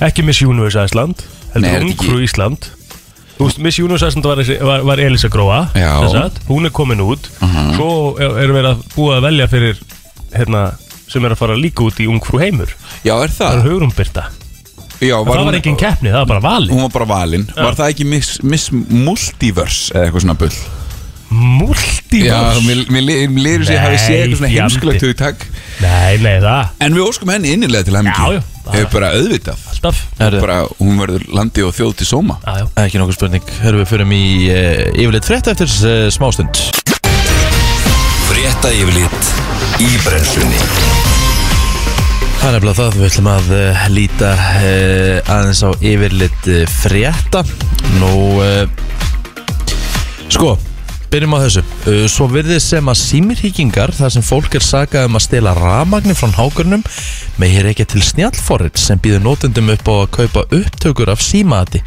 [SPEAKER 2] Ekki Miss Universe Æsland
[SPEAKER 3] Nei, er
[SPEAKER 2] Heldur
[SPEAKER 3] þetta
[SPEAKER 2] Ungfrú
[SPEAKER 3] ekki-
[SPEAKER 2] Ísland Þú veist, Miss Universe Æsland var, þessi- var, var Elisa Gróa
[SPEAKER 3] Já.
[SPEAKER 2] sem sagt. Hún er komin út Svo er- erum við að búið að velja fyrir hérna, sem er að fara líka út í Ungfrú Heimur
[SPEAKER 3] já er
[SPEAKER 2] Það
[SPEAKER 3] það
[SPEAKER 2] er Hugrún Birta
[SPEAKER 3] já,
[SPEAKER 2] Það
[SPEAKER 3] Ah. hún-
[SPEAKER 2] var engin keppni, það var bara valið
[SPEAKER 3] hún var bara valinn var það ekki Miss, miss Multiverse eða eitthvað svona bull já
[SPEAKER 2] Multiverse
[SPEAKER 3] mér- mér lýður sér að hafi séð eitthvað svona
[SPEAKER 2] Nei,
[SPEAKER 3] heimskulegt
[SPEAKER 2] fjandi.
[SPEAKER 3] hugtak
[SPEAKER 2] Nei, nei, það
[SPEAKER 3] en við óskum henni innilega til
[SPEAKER 2] Já, já,
[SPEAKER 3] henni
[SPEAKER 2] það-
[SPEAKER 3] hefur bara auðvitað
[SPEAKER 2] Alltaf
[SPEAKER 1] Herðu,
[SPEAKER 3] bara hún verður landi og þjóð til sóma
[SPEAKER 2] Já, já.
[SPEAKER 1] ekki nokkuð spurning Herðu, við förum í uh, yfirleitt frétt eftir uh, smástund
[SPEAKER 6] Frétta yfirlit í brennslunni
[SPEAKER 1] Það er nefnilega það, við ætlum að uh, líta uh, aðeins á yfirleitt uh, frétta Nú, uh, sko, byrjum á þessu uh, Svo virðist sem að símirhíkingar, þar sem fólk er sakað um að stela rafmagnir frá hákurnum Megir ekki til snjallforrit sem býður notendum upp á að kaupa upptökur af símaðati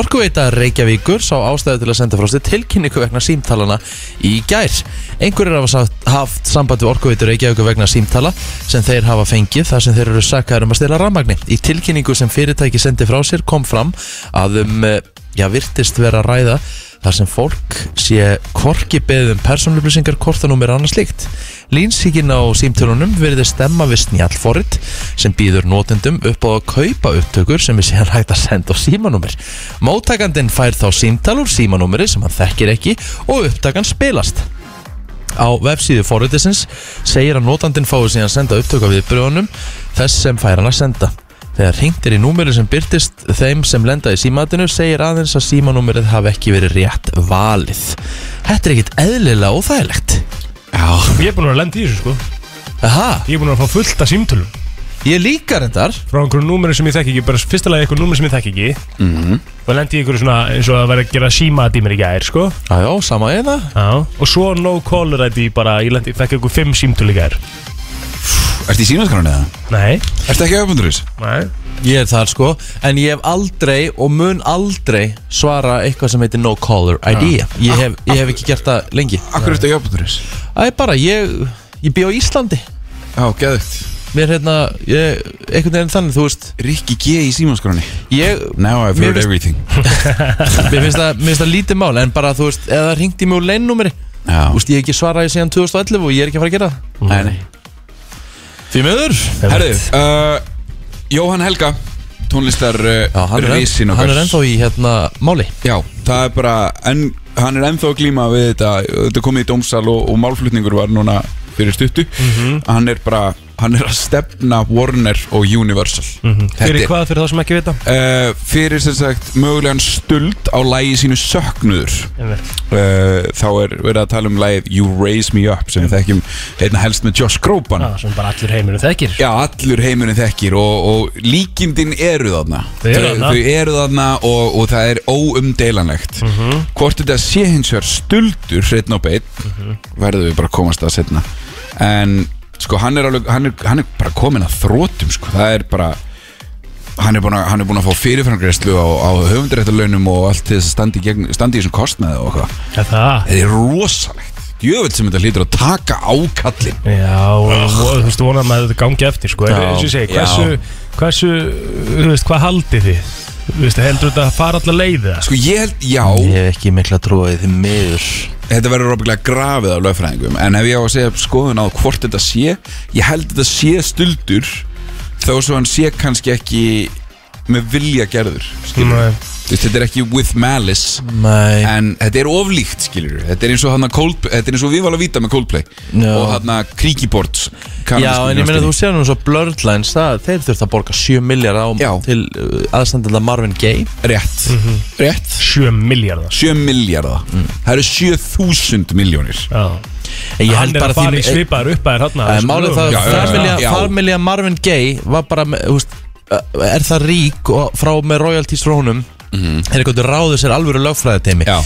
[SPEAKER 1] Orkuveita Reykjavíkur sá ástæðu til að senda frá sér tilkynningu vegna símtalana í gær Einhverjir hafa sagt- haft samband við Orkuveitu Reykjavíkur vegna símtala sem þeir hafa fengið þar sem þeir eru sakkaður um að stela rafmagni. Í tilkynningu sem fyrirtæki sendi frá sér kom fram að um eh, já, virtist vera að ræða þar sem fólk sé korki beðið um persónlöflýsingar, kortanúmer annars slíkt. Línsíkin á símtölunum verði stemma við snjallforrit sem býður notendum upp á að kaupa upptökur sem er síðan hægt að senda á símanúmer. Móttakandinn fær þá símtal úr símanúmeri sem hann þekkir ekki og upptakan spilast. Á vefsíðu forritisins segir að notandinn fái síðan senda upptöku af viðbröðunum þess sem fær hann að senda. Þegar hringt er í númeru sem byrtist þeim sem lenda í símatinu segir aðeins að símanúmerið hafi ekki verið rétt valið. Þetta er ekkit eðlilega óþægilegt.
[SPEAKER 2] Ég er búin að vera að lenda í þessu sko
[SPEAKER 1] Aha,
[SPEAKER 2] Ég er búin að fá fullt af símtölum
[SPEAKER 1] ég líka reyndar.
[SPEAKER 2] Frá einhverjum númeri sem ég þekki ekki Bara fyrsta lagi einhverjum númeri sem ég þekki ekki mm -hmm. Og lendi í einhverju svona eins og að vera að gera símat í mér í gær sko
[SPEAKER 1] Jájá, sama eina.
[SPEAKER 2] Já Og svo no caller ID bara Ég lendi, þekki einhver fimm símtöl í gær
[SPEAKER 3] Ertu í símaskránu eða?
[SPEAKER 2] Nei,
[SPEAKER 3] Ertu ekki öfundur þess?
[SPEAKER 2] nei
[SPEAKER 1] Ég er þar sko, en ég hef aldrei og mun aldrei svara eitthvað sem heitir no caller ID. Ég hef, ég hef ekki gert það lengi.
[SPEAKER 3] Akkur ertu ekki öfundur þess?
[SPEAKER 1] Það er bara, ég, ég bý á Íslandi.
[SPEAKER 3] Já, geðugt
[SPEAKER 1] mér hérna, ég, einhvern veginn þannig, þú veist
[SPEAKER 3] Rikki G í símaskránu
[SPEAKER 1] ég,
[SPEAKER 3] Now I've
[SPEAKER 1] Mér
[SPEAKER 3] heard
[SPEAKER 1] finnst-
[SPEAKER 3] everything
[SPEAKER 1] mér finnst það, mér finnst það lítið mál en bara, þú veist, ef það ringt í mig úr leinnúmeri þú
[SPEAKER 3] Já,
[SPEAKER 1] veist, ég hef ekki svaraði síðan 2011 og ég er ekki að fara að gera það
[SPEAKER 3] nei, nei
[SPEAKER 1] því miður
[SPEAKER 3] Herðu, uh, Jóhann Helga Tónlistar
[SPEAKER 1] já,
[SPEAKER 3] uh,
[SPEAKER 1] hann, er,
[SPEAKER 3] risin
[SPEAKER 1] enn,
[SPEAKER 3] okkar
[SPEAKER 1] hann er ennþá í hérna máli
[SPEAKER 3] Já, það er bara en, Hann er ennþá að glíma við þetta Þetta er komið í dómsal og, og málflutningur var núna Fyrir stuttu
[SPEAKER 1] Mhm.
[SPEAKER 3] Hann er bara, hann er að stefna Warner og Universal
[SPEAKER 1] Mhm.
[SPEAKER 3] Þetta
[SPEAKER 2] Mhm. Fyrir
[SPEAKER 3] er-
[SPEAKER 2] hvað, fyrir þá sem ekki vita
[SPEAKER 3] uh, fyrir sem sagt mögulegan stuld á lægi sínu söknuður
[SPEAKER 2] Einmitt.
[SPEAKER 3] uh, þá er verið að tala um lægið You Raise Me Up sem við þekkjum einna helst með Josh Groban
[SPEAKER 2] Já, sem bara allir heiminu þekkir
[SPEAKER 3] Já, allur heimurinn þekkir og, og líkindin eru þarna
[SPEAKER 2] Þau eru þarna.
[SPEAKER 3] Þau eru þarna og, og það er óumdeilanlegt
[SPEAKER 2] Mhm.
[SPEAKER 3] Hvort þetta sé hins vegar stuldur hreitn og beitt
[SPEAKER 2] Mhm.
[SPEAKER 3] verðum við bara að komast að setna en sko hann er, alveg, hann er, hann er bara komin að þrótum sko. það er bara hann er búin að, hann er búin að fá fyrirframgreyslu á, á höfundrættalönum og allt til þess að standi, gegn, standi í þessum kostnaði og eitthvað
[SPEAKER 2] Já, það
[SPEAKER 3] þetta er rosalegt djöfell sem þetta hlýtur að taka ákallin
[SPEAKER 2] Já, og þú veist, vonað maður þetta gangi eftir sko. En
[SPEAKER 1] Já.
[SPEAKER 2] eins og ég segi, hversu, hversu Þú veist, hvað haldið þið? Þú veist, heldur þetta að fara allar leiðið
[SPEAKER 3] sko ég held, já
[SPEAKER 1] ég hef ekki mikla trúið því miður
[SPEAKER 3] þetta verður óbyggilega grafið af lögfræðingum en ef ég á að segja skoðun á hvort þetta sé ég held þetta sé stuldur þó svo hann sé kannski ekki með vilja gerður skilur
[SPEAKER 2] Nei.
[SPEAKER 3] Þú veist, þetta er ekki with malice
[SPEAKER 1] Nei,
[SPEAKER 3] en þetta er oflíkt skilur þetta er eins og hann að Coldplay þetta er eins og við varum að vita með Coldplay
[SPEAKER 1] Já.
[SPEAKER 3] og hann að Kríkibords
[SPEAKER 1] já, en ég meina þú sér nú svo Blurred Lines, það, þeir þurft að borga 7 miljard á
[SPEAKER 3] Já.
[SPEAKER 1] til uh, aðstandanda Marvin Gaye
[SPEAKER 3] rétt
[SPEAKER 1] Mhm.
[SPEAKER 3] rétt
[SPEAKER 2] 7 miljardar
[SPEAKER 3] 7 miljardar
[SPEAKER 1] Mm.
[SPEAKER 3] það eru 7000 miljónir
[SPEAKER 2] Já,
[SPEAKER 1] En ég
[SPEAKER 2] hann
[SPEAKER 1] held
[SPEAKER 2] er
[SPEAKER 1] bara
[SPEAKER 2] að fara
[SPEAKER 1] því-
[SPEAKER 2] í svipaður uppæðir hann
[SPEAKER 1] Það er málið það
[SPEAKER 3] já,
[SPEAKER 1] að
[SPEAKER 3] já,
[SPEAKER 1] familja,
[SPEAKER 3] já.
[SPEAKER 1] familja Marvin Gaye var bara með, þú veist, uh, er það rík og frá með royalties frá honum er eitthvað ráðu sér alvöru lögfræði teimi
[SPEAKER 3] Já.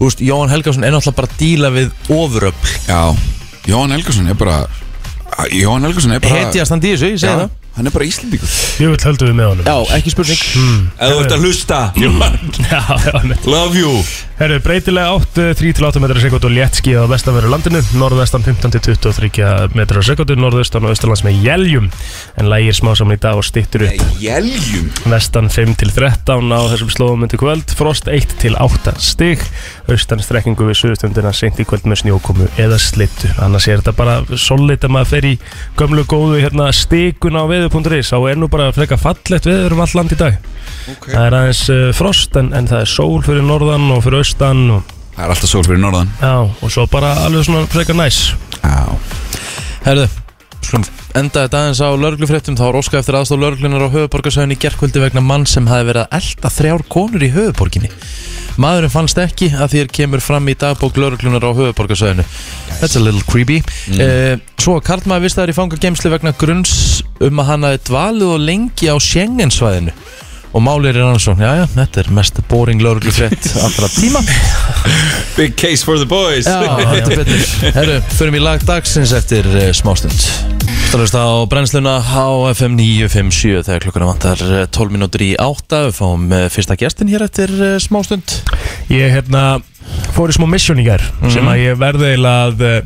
[SPEAKER 1] veist, Jóhann Helgason er náttúrulega bara að díla við ofuröp
[SPEAKER 3] já Jóhann Helgason er bara Jóhann Helgason er bara
[SPEAKER 1] hetjast hann dísu, ég segi
[SPEAKER 3] Já,
[SPEAKER 1] það
[SPEAKER 3] hann er bara íslendingur
[SPEAKER 2] Ég vil höldu við með honum
[SPEAKER 1] Já, ekki spurning
[SPEAKER 3] Ef þú ert að hlusta
[SPEAKER 2] Já, já, einmitt.
[SPEAKER 3] Love you
[SPEAKER 2] Herru, breytilega eh, 8, 3-8 metrar sekund og létt skíða á vestanverðu landinu, norðvestan 15-23 metrar sekund, norðaustan og austalands með jeljum, en lægir smá saman í dag og stittur upp
[SPEAKER 3] Jeljum
[SPEAKER 2] vestan 5-13 á þessum slóðum undir kvöld, frost 1-8 stig, austan strekkingu við suðustundina seint í kvöld með snjókomu eða slittu, annars er þetta bara solid að maður fer í gömlu góðu hérna, stikun á veður.is, þá er nú bara freka fallegt veður um all land í dag það er aðeins uh, frost en, en það er sól fyrir norðan og fyrir austan og,
[SPEAKER 3] Það er alltaf sól fyrir norðan
[SPEAKER 2] já, og svo bara alveg svona freka næs
[SPEAKER 3] Já
[SPEAKER 1] Herðu, skulum enda þetta aðeins á lörglufréttum þá er óska eftir aðstof lörglunar á höfuborgarsöðin í gerkvöldi vegna mann sem hafi verið að elda þrjár konur í höfuborginni Maðurinn fannst ekki að þér kemur fram í dagbók lörglunar á höfuborgarsöðinu That's a little creepy mm. Svo að Karlmaður vistaður í fangagemsli vegna grunns um að hann hafi dvalið og lengi á Schengensvæðinu og málið er í rannsókn, já já, þetta er mest boring lörglufrétt allra tíma
[SPEAKER 3] Big case for the boys
[SPEAKER 1] Já, já, betur Herru, förum í lag dagsins eftir uh, smástund Það lögst á brennsluna HFM 957 þegar klukkuna vantar eh, 12 mínútur í 8 Við fáum uh, fyrsta gestin hér eftir uh, smástund
[SPEAKER 2] Ég hérna fór í smá mission í gær sem að ég verði eiginlega að eh,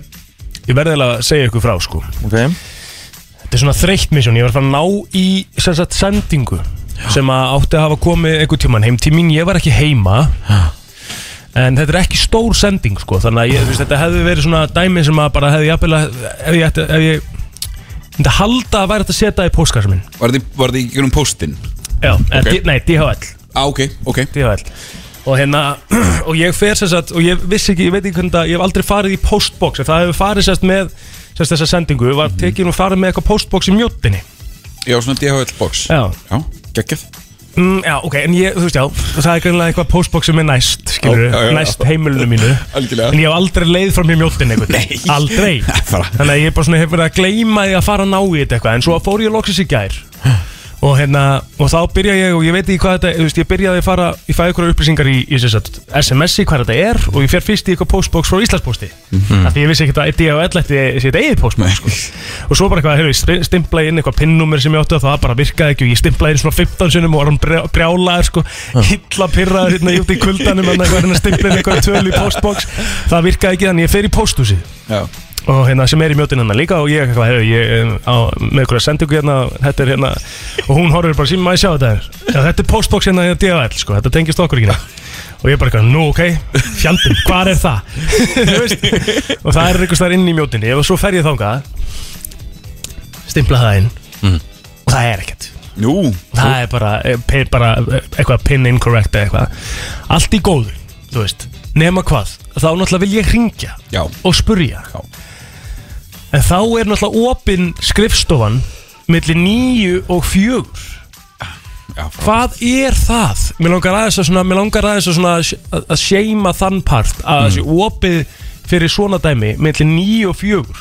[SPEAKER 2] ég verði eiginlega að segja ykkur frá sko
[SPEAKER 1] Ok
[SPEAKER 2] Þetta er svona þreytt misjón, ég var að fara að ná í sem sagt sendingu sem að átti að hafa komið einhver tíman heim til mín, ég var ekki heima en þetta er ekki stór sending sko, þannig að ég, þú veist, þetta hefði verið svona dæmi sem að bara hefði jafnvel að ef ég ætti, ef ég myndi halda að væri þetta að setja í póstkassa minn
[SPEAKER 3] Var þið, var þið í gegnum póstinn?
[SPEAKER 2] Já, okay.
[SPEAKER 3] Ok.
[SPEAKER 2] en, nei, DHL
[SPEAKER 3] Á, ok, ok
[SPEAKER 2] DHL og hérna, og ég fer sem sagt og ég vissi ekki, ég veit ekki hvernig það, ég hef aldrei farið í postbox en það hefur farið sem sagt með sem sagt þessa sendingu, var tekin og farið með eitthvað postbox í mjóttinni
[SPEAKER 3] Já, svona DHL box
[SPEAKER 2] Já.
[SPEAKER 3] Já, geggjað
[SPEAKER 2] mm, Já, ok, en ég, þú veist já, það er greinlega eitthvað postbox sem er næst, skilur
[SPEAKER 3] Já, já, já.
[SPEAKER 2] næst heimilinu mínu
[SPEAKER 3] Algjörlega.
[SPEAKER 2] en ég hef aldrei leið fram í mjóttinni einhvern veginn. aldrei,
[SPEAKER 3] Bara-
[SPEAKER 2] þannig að ég bara svona hef verið að gleyma því að fara að ná í þetta eitthvað en svo fór ég loksins í gær og hérna, og þá byrja ég og ég veit ekki hvað þetta, þú veist, ég byrjaði að fara ég fæði ykkur upplýsingar í, í sem sagt, SMS-i hvað þetta er og ég fer fyrst í eitthvað postbox frá Íslandsposti, af því ég vissi ekki að DHL ætti sitt eigið postbox sko. og svo bara eitthvað, hefur, stimplaði inn eitthvað pinnúmer sem ég átti og það bara virkaði ekki og ég stimplaði inn svona 15 sinnum og var hann brjá- brjálaður sko, illa pyrraður hérna ég úti í kuldanum en það var hérna stimplaði inn eitthvað töl í postbox, það virkaði ekki þannig ég fer í posthúsið
[SPEAKER 3] Já,
[SPEAKER 2] og hérna sem er í mjótin hennar líka og ég, eitthvað, hef, ég um, á, með ykkur að senda ykkur hérna, þetta er hérna og hún horfir bara síma að sjá þetta er Já, þetta er postbox hérna í DHL sko, þetta tengist okkur ekki neitt. og ég bara eitthvað, nú ok, fjandinn, hvar er það Þú veist? og það er einhvers þar inn í mjótinni ef svo fer ég þangað stimpla það inn og það er ekkert
[SPEAKER 3] nú
[SPEAKER 2] það er bara, eh, pe- bara eh, eitthvað pin incorrect eða eitthvað allt í góðu, þú veist nema hvað, þá náttúrulega vil ég hringja
[SPEAKER 3] Já.
[SPEAKER 2] og spurja
[SPEAKER 3] Já.
[SPEAKER 2] en þá er náttúrulega opin skrifstofan milli nýju og fjögur
[SPEAKER 3] Já, frá-
[SPEAKER 2] hvað er það? Mér langar aðeins að, svona, mér langar aðeins að, svona, að- að seima þann part að
[SPEAKER 1] Mm.
[SPEAKER 2] það sé opið fyrir svona dæmi milli nýju og fjögur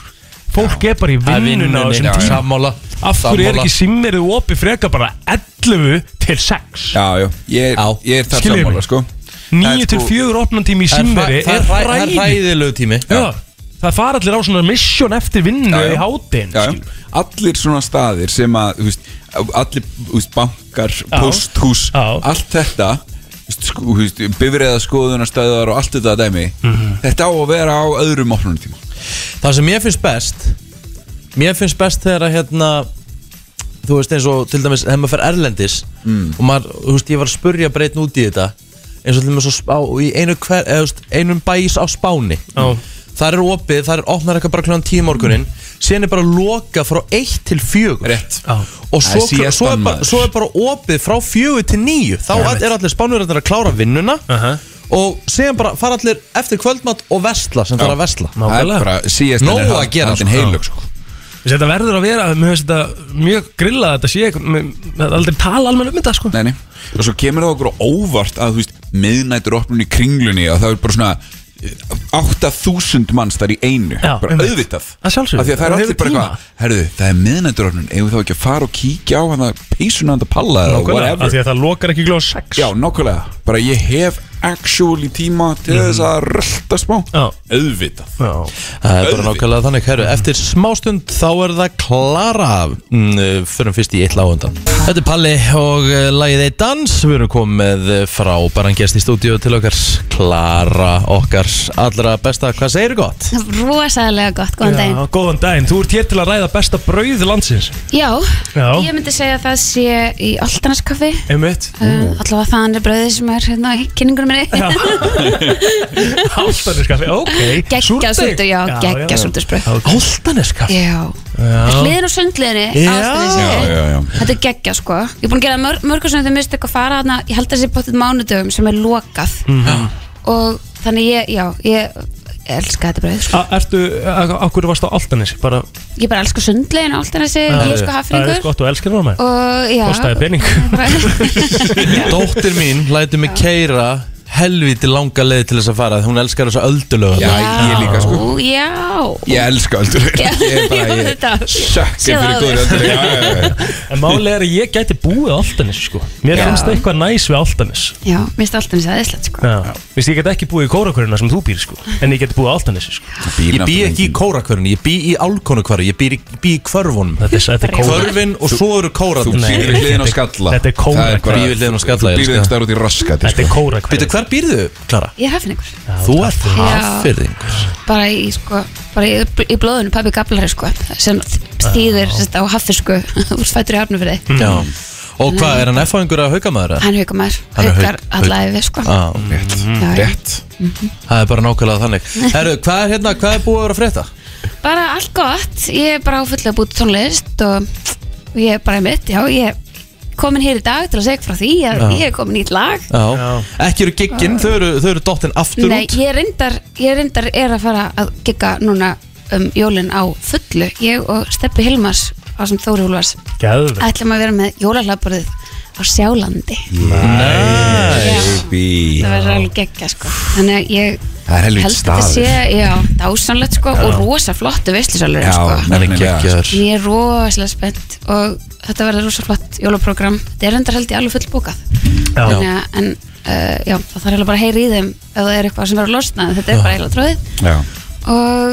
[SPEAKER 2] fólk er bara í
[SPEAKER 1] Það er
[SPEAKER 2] vinnuna á
[SPEAKER 1] vinnunni,
[SPEAKER 2] þessum
[SPEAKER 1] já, já.
[SPEAKER 2] tíma
[SPEAKER 1] Sammála
[SPEAKER 2] af hverju er
[SPEAKER 1] sammála.
[SPEAKER 2] ekki simmerið opið frekar bara 11 til 6
[SPEAKER 3] já, já Ég er,
[SPEAKER 1] Já.
[SPEAKER 3] ég er þar
[SPEAKER 2] Skiljiði
[SPEAKER 3] sammála,
[SPEAKER 2] mig?
[SPEAKER 3] sko
[SPEAKER 2] 9 til 4 opnum tími í
[SPEAKER 1] Það er
[SPEAKER 2] simmeri
[SPEAKER 1] hræ-
[SPEAKER 2] er
[SPEAKER 1] Það er hræ- það er
[SPEAKER 2] ræði
[SPEAKER 1] hræðilegu tími
[SPEAKER 2] Það fara allir á svona mission eftir vinnu
[SPEAKER 3] Já, já.
[SPEAKER 2] í hátinn
[SPEAKER 3] Já, já. Allir svona staðir sem að þú veist, allir þú veist, bankar, posthús
[SPEAKER 2] Já.
[SPEAKER 3] allt þetta þú veist, sko, þú veist, bifreiða skoðunarstæðar og allt þetta dæmi þetta á að vera á öðrum opnum tíma
[SPEAKER 1] Það sem mér finnst best Mér finnst best þegar að hérna Þú veist eins og til dæmis Þegar maður fer erlendis
[SPEAKER 3] Mm.
[SPEAKER 1] Og maður, þú veist, ég var að spurja breytn út í þetta Eins og til dæmis á, Spá- í einu hver, eða, þú veist, einum bæs á Spáni
[SPEAKER 2] Já.
[SPEAKER 1] Það er opið, það er opnar eitthvað bara kljóðan tíu morgunin Síðan er bara loka frá 1 til 4
[SPEAKER 3] Rétt.
[SPEAKER 2] Já.
[SPEAKER 1] Og
[SPEAKER 3] Það
[SPEAKER 1] svo,
[SPEAKER 3] er síðasta
[SPEAKER 1] svo, er bara,
[SPEAKER 3] maður.
[SPEAKER 1] svo er bara opið frá 4 til 9 Þá er allir spánverðarnir að klára vinnuna
[SPEAKER 2] Aha.
[SPEAKER 1] Og síðan bara fara allir eftir kvöldmatt og vesla sem þarf að vesla
[SPEAKER 3] það er
[SPEAKER 2] Nákvæmlega.
[SPEAKER 3] bara síðast
[SPEAKER 1] Nóg að gera,
[SPEAKER 3] haldin
[SPEAKER 1] sko.
[SPEAKER 3] heilug sko.
[SPEAKER 2] Þessi, Þetta verður að vera, mér finnst þetta mjög grillað að Þetta sé, eitthvað- mér- það er aldrei tala almenn um þetta sko.
[SPEAKER 3] Nei, nei. og svo kemur það okkur á óvart að þú veist, miðnættur opnum í kringlunni og það er bara svona eh, 8000 manns þar í einu
[SPEAKER 2] Já,
[SPEAKER 3] bara
[SPEAKER 2] einmitt.
[SPEAKER 3] auðvitað
[SPEAKER 2] Að sjálfsögðu.
[SPEAKER 3] Af því að það er
[SPEAKER 2] Það
[SPEAKER 3] allir
[SPEAKER 2] hefur
[SPEAKER 3] bara
[SPEAKER 2] tíma.
[SPEAKER 3] eitthvað herðu, það er miðnættur opnum, eigum við þá ekki að fara og kíkja á hann að peysuna hann að palla eða
[SPEAKER 2] Nákvæmlega, af
[SPEAKER 3] whatever
[SPEAKER 2] því að það lokar ekki glóð 6
[SPEAKER 3] Já, nokkulega, bara ég hef actually tíma til þess
[SPEAKER 2] Mhm.
[SPEAKER 3] að rölda smá
[SPEAKER 2] Já.
[SPEAKER 3] auðvitað
[SPEAKER 1] Það
[SPEAKER 2] Já.
[SPEAKER 1] er bara
[SPEAKER 3] Auðvitað.
[SPEAKER 1] nákvæmlega þannig, herru
[SPEAKER 3] Mhm.
[SPEAKER 1] Eftir smástund þá er það Klara mm, Förum fyrst í eitt lag á undan Þetta er Palli og uh, lagið eitt dans Við erum komið með frábæran gest í stúdíu til okkar Klara okkar allra besta, hvað segir gott?
[SPEAKER 7] Rosalega gott, góðan daginn
[SPEAKER 2] Já, góðan daginn, þú ert hér til að ræða besta brauð landsins
[SPEAKER 7] Já,
[SPEAKER 2] Já.
[SPEAKER 7] ég myndi segja að það sé í Altanarskaffi
[SPEAKER 2] Einmitt
[SPEAKER 7] Uh, allavega þannig bröðið sem er hérna í kynningunum minni
[SPEAKER 2] Áltaneskafi, ok
[SPEAKER 7] geggja
[SPEAKER 2] Súrdeig.
[SPEAKER 7] súrtur, já, geggja súrtursbröð
[SPEAKER 1] Áltaneskaf
[SPEAKER 7] já, hliðin og sundliðinni
[SPEAKER 1] Já.
[SPEAKER 3] Já, já, já.
[SPEAKER 7] þetta er geggja sko ég er búin að gera mörg, mörgur sem þau mistu eitthvað fara hana, ég held að þessi bóttið mánudögum sem er lokað
[SPEAKER 2] Mhm.
[SPEAKER 7] og þannig ég, já ég elska þetta bröð sko.
[SPEAKER 2] A- Ertu, okkur varst á Áltanes bara,
[SPEAKER 7] ég bara elska sundliðin og allt hann þessi ég sko
[SPEAKER 2] Ah. Það er
[SPEAKER 7] hafringur
[SPEAKER 2] gott og elskir það með
[SPEAKER 7] og já
[SPEAKER 2] Kostaði pening.
[SPEAKER 1] Dóttir mín lætur mig keira helviti langa leið til þess að fara Hún elskar þessa öldulög
[SPEAKER 3] Já, ég líka sko
[SPEAKER 7] Ó, já
[SPEAKER 3] Ég elska öldur
[SPEAKER 7] Já,
[SPEAKER 3] Ég er bara,
[SPEAKER 7] já,
[SPEAKER 3] ég
[SPEAKER 7] þetta-
[SPEAKER 3] sökki
[SPEAKER 7] Séð
[SPEAKER 3] fyrir
[SPEAKER 7] á
[SPEAKER 3] góður
[SPEAKER 7] þér.
[SPEAKER 3] öldur Já, já, já, já
[SPEAKER 2] En málið er að ég gæti búið á Altanis sko Mér finnst það eitthvað næs við Altanis
[SPEAKER 7] já, mér finnst alltaf þessi aðeinslegt sko
[SPEAKER 2] Já Vist ég get ekki búið í kórakurina sem þú býr sko En ég geti búið á Altanis sko
[SPEAKER 1] Ég bý ekki í kórakvörun, ég bý í álkonukvörun Ég bý í, bý í kvörfunum
[SPEAKER 2] Þetta er, þetta er kóra
[SPEAKER 1] Kvörfin og svo eru
[SPEAKER 3] Þú
[SPEAKER 1] kóratnir
[SPEAKER 2] Nei.
[SPEAKER 3] býr við hliðin á skalla
[SPEAKER 2] Þetta er kóra-
[SPEAKER 3] Það bara-
[SPEAKER 1] Býr við hliðina á skalla,
[SPEAKER 3] Þú býr
[SPEAKER 1] ég
[SPEAKER 3] við
[SPEAKER 1] elska.
[SPEAKER 3] einhver staðar út í raskati
[SPEAKER 2] Þetta er kórakurina
[SPEAKER 1] Býtu, hver býrðu, Klara?
[SPEAKER 7] ég er hafningur
[SPEAKER 1] Þú ert
[SPEAKER 7] Já.
[SPEAKER 1] hafyrðingur
[SPEAKER 7] bara í, sko, bara í, í blóðinu pabbi gablari sko, sem þ- þýðir sérst, á haffi sko, úr fættur í hafnum fyrir þig
[SPEAKER 1] Já Og hvað, er hann F-fáingur að hauka maður?
[SPEAKER 7] hann hauka maður,
[SPEAKER 1] Hann er
[SPEAKER 7] haukar
[SPEAKER 1] hauk-
[SPEAKER 7] alla yfir sko
[SPEAKER 1] Ah, rétt.
[SPEAKER 7] Já, já.
[SPEAKER 3] Rétt
[SPEAKER 7] Mm-hmm.
[SPEAKER 1] Það er bara nákvæmlega þannig Herru, hvað er hérna, hvað er búið að vera að frétta?
[SPEAKER 7] bara allt gott, ég er bara á fullu að búið tónlist og og ég er bara mitt, já, ég er komin hér í dag til að segja frá því að
[SPEAKER 1] Já.
[SPEAKER 7] ég er komin í nýtt lag
[SPEAKER 1] Já, Ekki eru gigginn, þau eru, þau eru dottin aftur
[SPEAKER 7] Nei,
[SPEAKER 1] út
[SPEAKER 7] ég reyndar, ég reyndar er að fara að gigga núna um jólin á fullu ég og Steppi Hilmars á sem Þóri Úlfars
[SPEAKER 2] Gæður
[SPEAKER 7] ætlum að vera með jólahlaðborðið á Sjálandi
[SPEAKER 3] Baby
[SPEAKER 7] það verður alveg geggja sko þannig að ég
[SPEAKER 3] Það er helvítið
[SPEAKER 7] held að þetta sé já, dásanlegt sko og rosa flottu veislusalur
[SPEAKER 3] Já,
[SPEAKER 7] sko.
[SPEAKER 1] Hann er
[SPEAKER 3] nefnilega.
[SPEAKER 1] geggjaður
[SPEAKER 7] ég er rosalega spennt og þetta verður rosa flott jólaprogram þetta er reyndar held ég alveg fullbókað
[SPEAKER 2] Já,
[SPEAKER 7] þannig að en, uh, já, það þarf eiginlega bara að heyra í þeim ef það er eitthvað sem verður að losna en þetta er bara eiginlega tróðið
[SPEAKER 3] Já
[SPEAKER 7] og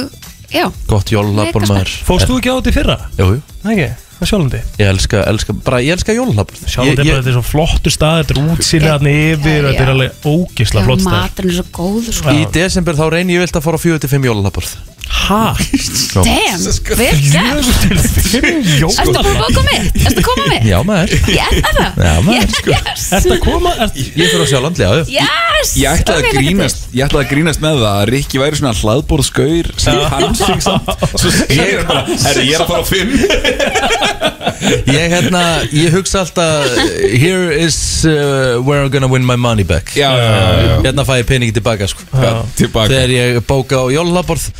[SPEAKER 7] já,
[SPEAKER 1] Gott jólabor
[SPEAKER 7] Mega
[SPEAKER 1] maður
[SPEAKER 2] fórst þú ekki á þetta í fyrra?
[SPEAKER 1] Jú, jú.
[SPEAKER 2] Nei ekki, það sjálfandi
[SPEAKER 1] ég elska, elska, bara ég elska jólabor
[SPEAKER 2] Sjálfandi er bara þetta er svo flottur stað, þetta er útsýnið hann yfir og þetta er
[SPEAKER 7] Já.
[SPEAKER 2] alveg
[SPEAKER 7] já
[SPEAKER 2] ógisla flott stað
[SPEAKER 7] maturinn er svo góð sko.
[SPEAKER 1] Í desember þá reynir ég vilt að fara á 45 jólaborð
[SPEAKER 2] Hæ?
[SPEAKER 7] damn, vel gert Ertu
[SPEAKER 2] sko.
[SPEAKER 7] búin að bóka mig? Ertu að koma mig?
[SPEAKER 1] Já maður,
[SPEAKER 7] Ég er það
[SPEAKER 1] já maður sko.
[SPEAKER 7] Yes,
[SPEAKER 2] Ertu að koma? Ert...
[SPEAKER 1] Ég fyrir á sjálfandi, já, já
[SPEAKER 7] yes
[SPEAKER 3] Ég ætlaði að
[SPEAKER 7] Ok, hlakka til.
[SPEAKER 3] grínast Ég ætlaði að grínast með það að Rikki væri svona hlaðborðskaur sem hann sig samt Svo ég er bara Herri, ég er að fara á fimm
[SPEAKER 1] Ég hérna, ég hugsa alltaf Here is uh, where I'm gonna win my money back
[SPEAKER 3] Já, já, já, já.
[SPEAKER 1] Hérna fæ ég peningi tilbaka sko
[SPEAKER 3] já Tilbaka
[SPEAKER 1] Þegar ég bóka á jólalaborð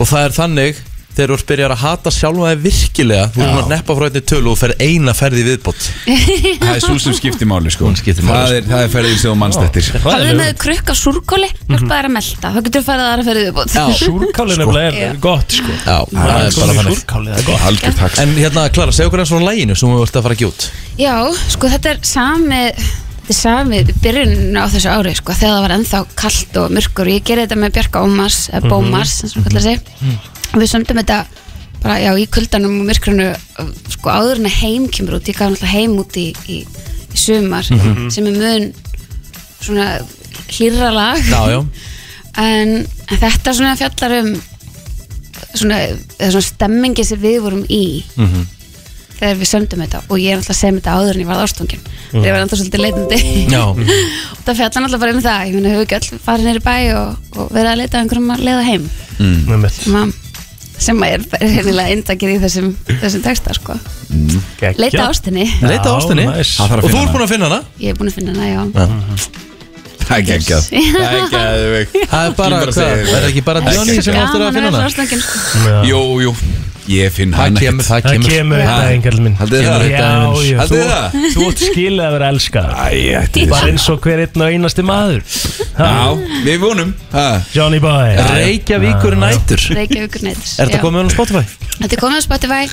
[SPEAKER 1] Og það er þannig Þegar þú ert byrjar að hata sjálfa þig virkilega Þú erum að neppa frá einni tölu og fer eina ferði viðbót
[SPEAKER 3] Það er svo sem skiptir máli sko
[SPEAKER 1] Hún skiptir máli,
[SPEAKER 3] Það er, það er ferðin sem þú mannst eftir
[SPEAKER 7] Hafðu með krukka súrkóli Hjálpa þær að melta, þá getur þú farið aðra ferðið upp
[SPEAKER 2] Súrkálið nefnilega er gott sko
[SPEAKER 1] Já, það er bara þannig
[SPEAKER 2] Súrkálið er gott
[SPEAKER 3] Algjör takk
[SPEAKER 1] En hérna, Klara, segja okkur eins frá læginu sem þú ert að fara að gjút
[SPEAKER 7] Já, sko þetta er sami Þetta er sami byrjun á þessu ári sko, Þegar það var ennþá kalt og myrkur Ég gerði þetta með Bjarka Ómars eh, Bómars, eins og kallar sig Við sömdum þetta bara, já, í kuldanum og myrkrunu sko, áður en að heim kemur út ég gaf náttúrulega heim út í, í, í sumar sem er mun svona hlýra lag
[SPEAKER 1] Já, já,
[SPEAKER 7] en, en þetta svona fjallar um svona, eða svona stemmingi sem við vorum í
[SPEAKER 1] Mhm.
[SPEAKER 7] þegar við sömdum þetta og ég er alltaf að segja þetta áður en ég varð ástöngin þegar
[SPEAKER 1] Mhm.
[SPEAKER 7] ég var alltaf svolítið leitandi
[SPEAKER 1] já
[SPEAKER 7] og það fjallar alltaf bara um það ég meina hefur ekki öll farið neyri bæ og, og verið að leita að einhverjum að leiða heim
[SPEAKER 2] Einmitt.
[SPEAKER 7] sem að sem að er reynilega inntakir í þessum, þessum texta sko leita ástinni,
[SPEAKER 1] Leita
[SPEAKER 2] Já,
[SPEAKER 1] ástinni
[SPEAKER 2] næs.
[SPEAKER 1] Og þú ert búin að finna hana
[SPEAKER 7] ég er búin að finna hana já,
[SPEAKER 3] Það er geggjað Það er geggjað
[SPEAKER 1] Það er bara,
[SPEAKER 3] Ég bara
[SPEAKER 1] hvað,
[SPEAKER 3] segi þér.
[SPEAKER 1] er ekki bara Djóni sem áttur að
[SPEAKER 7] gaman að
[SPEAKER 1] finna
[SPEAKER 7] vera
[SPEAKER 1] hana
[SPEAKER 7] ástöngin sko.
[SPEAKER 3] Jú, jú Ég finn hann
[SPEAKER 1] Það kemur, það
[SPEAKER 2] Það
[SPEAKER 1] kemur
[SPEAKER 2] kemur þetta
[SPEAKER 3] Ha.
[SPEAKER 2] engel minn
[SPEAKER 3] Haldið þið
[SPEAKER 1] Kemur
[SPEAKER 3] það?
[SPEAKER 1] þetta aðeins.
[SPEAKER 2] Já, já,
[SPEAKER 3] Haldið þið það?
[SPEAKER 2] þú, þú átt skilið að vera elskað
[SPEAKER 3] Æ, þetta er
[SPEAKER 2] Bara eins og hver einn og einasti maður Ha,
[SPEAKER 3] Já, við vonum ha,
[SPEAKER 2] Johnny boy
[SPEAKER 1] Reykjavíkur nætur Er
[SPEAKER 7] Reykjavíkur Nights,
[SPEAKER 1] þetta
[SPEAKER 7] já.
[SPEAKER 1] komið með hann á Spotify?
[SPEAKER 7] Þetta er komið á Spotify,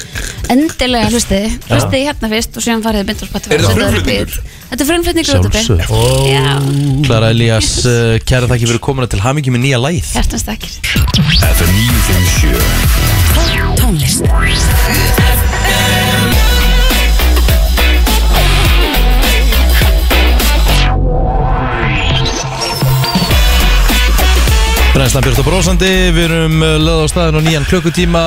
[SPEAKER 7] endilega hlustið Hlustið hérna fyrst og síðan farið beint á Spotify
[SPEAKER 3] Er þetta
[SPEAKER 7] Þetta
[SPEAKER 3] frumflutningur?
[SPEAKER 7] bit- Þetta er frumflutningur út af
[SPEAKER 1] Sjálfsög
[SPEAKER 7] Já,
[SPEAKER 1] Klara Elías, uh, kæra þakki fyrir komuna til hamingi með nýja læð
[SPEAKER 7] hjartanstakir
[SPEAKER 6] FM 957
[SPEAKER 8] Tónlist
[SPEAKER 1] Brennslan Björn og Brósandi, við erum uh, lögð á staðin og nýjan klukkutíma